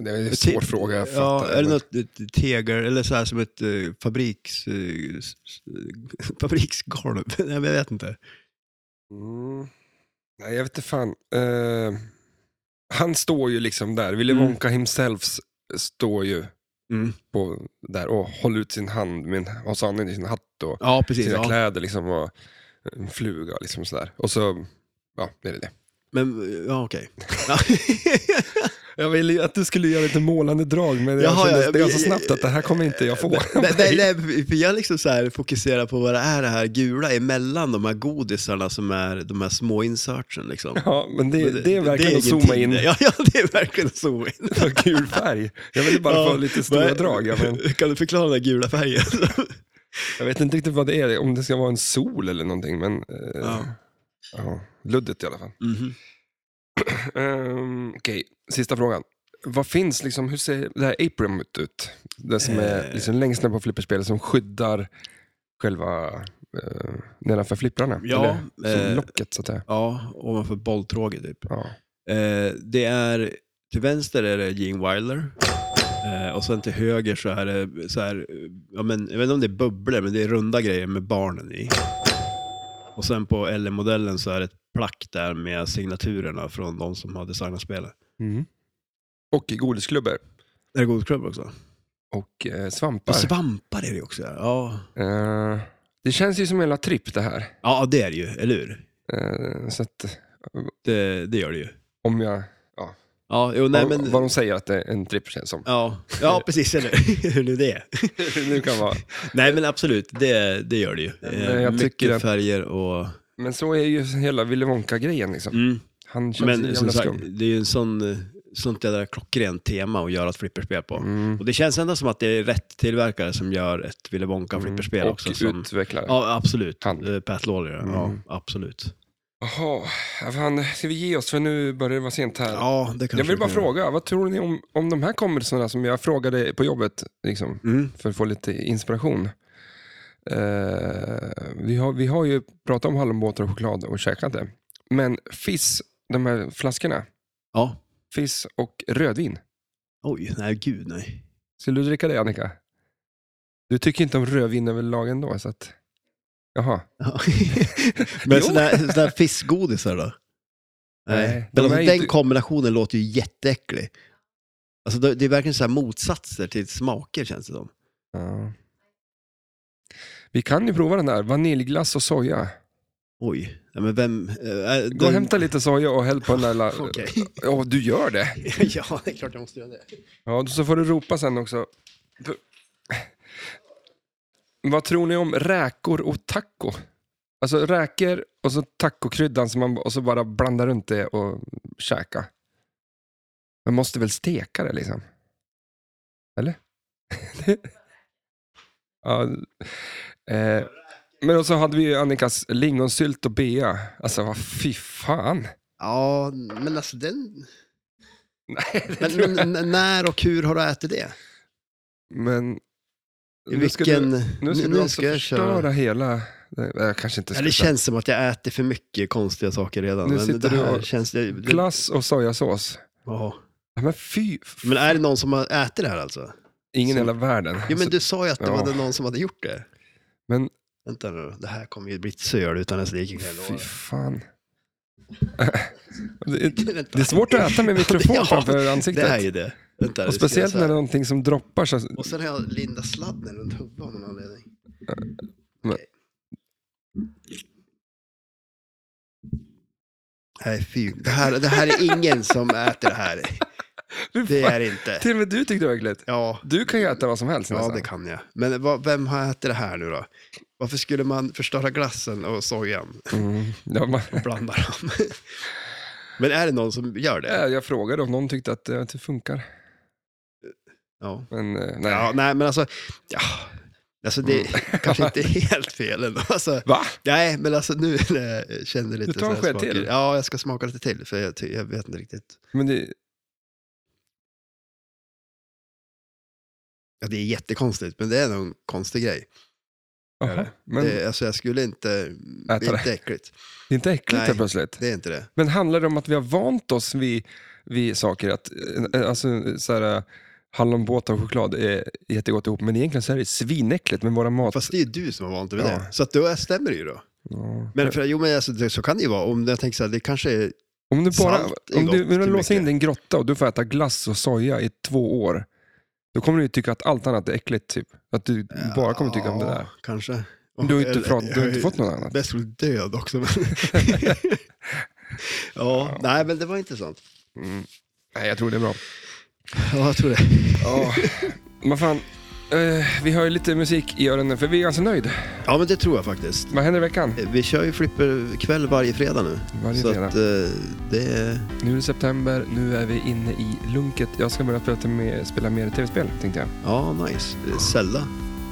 Det är en svår
te-
fråga, jag
Ja,
fattar.
är det
men-
något ett tegel, eller så här som ett eh, fabriks, eh, s- s- fabriksgolv? Nej, men jag vet inte.
Mm. Nej, jag vet inte fan. Ehm, han står ju liksom där, Willy
Mm.
Wonka himself s- står ju
Mm.
på, där och håller ut sin hand med en, och så har han i sin hatt och
Ja, precis.
sina
Ja.
kläder liksom och en fluga liksom sådär. Och så, ja, det är det.
Men, eh, ja okej.
Jag ville ju att du skulle göra lite målande drag, men jag
Jaha,
kände
ja,
det var så
men-
snabbt att det här kommer inte jag få.
Men, men, nej, för jag liksom så här fokuserar på vad det är det här gula emellan de här godisarna som är de här små insertsen. Liksom.
Ja, men det, det, är verkligen att
ingen
zooma
tid.
in
Ja, ja, det är verkligen att zooma in.
på gul färg. Jag ville bara
Ja,
få lite stora
vad-
drag. Ja, men
Kan du förklara den där gula färgen?
jag vet inte riktigt vad det är, om det ska vara en sol eller någonting, men eh, ja.
Ja.
luddigt i alla fall.
Mhm.
Ehm, Okej, sista frågan. Vad finns, liksom, hur ser det här aprimut ut? Det som är
Eh.
liksom längst ner på flipperspelet som skyddar själva eh, nedanför flipprarna.
Ja,
eller, som
eh.
locket så att säga.
Ja, ovanför bolltråget typ.
Ja.
Eh, det är, till vänster är det Gene Wilder. Eh, och sen till höger så är det så här, eh, ja, men, jag vet inte om det är bubblor, men det är runda grejer med barnen i. Och sen på LM-modellen så är det ett plack där med signaturerna från de som har designat spelet.
Mm. Och godisklubbor
Är det godklubb också?
och eh, svampar.
Och svampar är det också. Ja.
Eh, det känns ju som hela tripp det här.
ja, det är det ju, eller hur?
Eh, så att
eh, Det, det gör det ju.
om jag...
Ja, jo, nej,
vad,
men,
vad de säger att det är en tripp känns som.
ja, ja, precis. Eller hur nu det är.
nu kan vara.
Nej, men absolut, det, det gör det ju. Eh,
Men jag
Mycket
tycker att-
färger och...
Men så är ju hela Willy Wonka-grejen. Liksom.
Mm.
Han känns ju
Men
jävla
som sagt,
skum.
det är ju en sån, eh, sånt jävla klockrent tema att göra ett flipperspel på.
Mm.
Och det känns ändå som att det är rätt tillverkare som gör ett Willy Wonka-flipperspel
Mm.
också.
Och
Som,
utvecklare.
ja, absolut.
Han.
Eh, Pat Lawler, ja.
Mm.
Absolut.
Jaha, ja, fan, ska vi ge oss för nu börjar det vara sent här.
Ja, det kanske
jag vill
vi
bara
kan
fråga, vad tror ni om, om de här kompisarna som jag frågade på jobbet, liksom,
göra. Mm.
för att få lite inspiration? Eh, vi, har, vi har ju pratat om hallonbåtar och choklad och käkat det. Men Fizz, de här flaskorna,
Ja.
Fizz och rödvin.
Oj, nej gud nej.
Skulle du dricka det Annika? Du tycker inte om rödvin överlag ändå, så att... Jaha.
Ja.
Jo.
Men sådana sådana fiskgodisar då? Nej.
Nej, de
Men alltså,
är
den
inte-
kombinationen låter ju jätteäcklig. Alltså, det det är verkligen så här motsatser till smaker känns det som.
Ja. Vi kan ju prova den där, vaniljglass och soja.
Oj, ja, men vem... eh, eh,
Gå och
den-
hämta lite soja och häll på den där... la- Ja,
Okej.
du gör det.
ja, det är klart jag måste göra det.
Ja, så får du ropa sen också. Du- Vad tror ni om räkor och taco? Alltså räkor och så tacokryddan som man, och så bara blanda runt det och käka. Man måste väl steka det liksom? Eller? ja, eh, men och så hade vi ju Annikas lingonsylt och bea. Alltså vad fy fan.
Ja, men alltså den...
Nej, det tror jag.
Men, men n- när och hur har du ätit det?
men
I
nu ska du-
vilken...
Nu ska du alltså
jag köra.
förstöra hela... Nej, Jag kanske inte
Ja,
ska
det
säga.
känns som att jag äter för mycket konstiga saker redan.
Nu
men
sitter
det
du
här
och-
känns... Det, det,
Glass och sojasås.
ja.
Ja, Men fy... f-
Men är det någon som har ätit det här alltså?
Ingen i
så-
hela världen.
Jo, men
Alltså,
du sa ju att det
ja.
var någon som hade gjort det.
Men-
Vänta nu, det här kommer ju bli ett söl utan ens like. kan jag lova.
Fy fan. det,
Vänta.
det är svårt att äta med mikrofon
Ja,
framför
Det är
ansiktet.
ju det. Vänta, det
Och
ska jag
speciellt
så
när det
här-
är någonting som droppar. Så...
Och sen har jag Linda sladden runt huvudet av någon anledning.
men-
Okej. Nej, fy. Det här, det här är ingen som äter det här.
Du,
Det
fan,
är det inte.
Till och med du tyckte det var äckligt.
Ja,
Du kan ju äta vad som helst
ja
nästan.
det kan jag. Men vad, vem har ätit det här nu då? Varför skulle man förstöra glassen och sojan
Mm. Ja, man...
och blanda dem? Men är det någon som gör det?
Ja, Jag frågade om någon tyckte att eh, att det funkar.
Ja.
Men eh, nej.
Ja, nej, men alltså, ja, alltså det
Mm.
kanske inte är helt fel ändå. Alltså,
Va?
nej, men alltså nu eh, känner jag
Du
lite...
tar en
så här
sked
smaker.
till?
Ja, jag ska smaka lite till, för jag, ty- jag vet inte riktigt.
Men det...
Ja, det är jättekonstigt, men det är nog en konstig grej.
Jaha, men det
Det, alltså, jag skulle inte... Det
Äta
är
det.
inte äckligt.
är inte äckligt
Nej.
helt plötsligt.
Det är inte det.
Men handlar det om att vi har vant oss vid, vid saker? Att, eh, alltså, så här, eh, hallonbåtar och choklad är jättegott ihop, men egentligen så är det svinäckligt med våra mat...
Fast det är ju du som har vant dig vid
Ja.
det. Så att då stämmer det ju då.
Ja.
Men, för, jo, men alltså, det, så kan det ju vara. Om jag tänker så här, det kanske är...
om du bara
salt är
om du,
gott
om du
till
låser in
mycket.
din grotta och du får äta glass och soja i två år, då kommer du ju tycka att allt annat är äckligt. Typ. Att du bara kommer tycka om det där.
kanske.
Men du har ju inte,
Eller-
fått- du har inte fått något annat.
Det skulle död också. Men... ja, nej men det var intressant.
Mm. Nej, jag tror det är bra.
Ja, jag tror det.
Ja, men fan. eh, vi har ju lite musik i öronen, för vi är ganska nöjda.
Ja, men det tror jag faktiskt.
Vad händer i veckan?
Eh, Vi kör ju flipperkväll varje fredag nu.
Varje
så
fredag.
att eh, det är...
Nu är det september, nu är vi inne i lunket. Jag ska börja spela, med, spela mer tv-spel, tänkte jag.
Ja, nice. Eh, Zelda,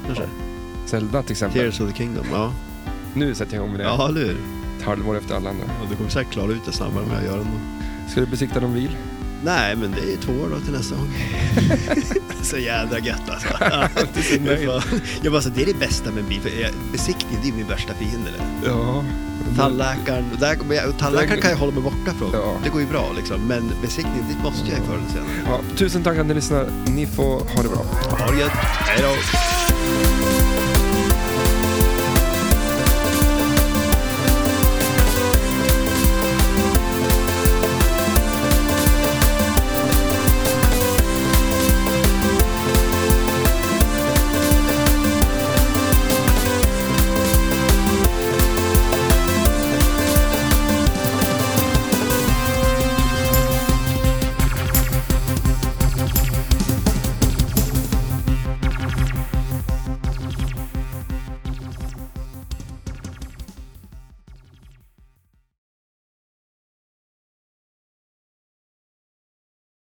kanske?
Zelda till exempel.
Tears of the Kingdom, ja.
Nu sätter jag igång med det.
Ja, eller hur?
Ett halvår efter alla andra.
Ja, du kommer säkert klara ut det snabbare än vad jag gör ändå.
Ska du besikta någon bil?
Nej, men det är ju två år då till nästa gång. så jädra gött alltså.
är så nöjd.
jag bara, så, det är det bästa med bil. för jag- Besiktning, det är ju min värsta fiende. eller?
Ja.
Tandläkaren, och där, kommer jag- och tandläkaren kan jag hålla mig borta från.
Ja.
Det går ju bra liksom. Men besiktning, det måste jag ju förr eller senare.
ja. Tusen tack att ni lyssnar. Ni får ha det bra.
Ha det gött. Hej då.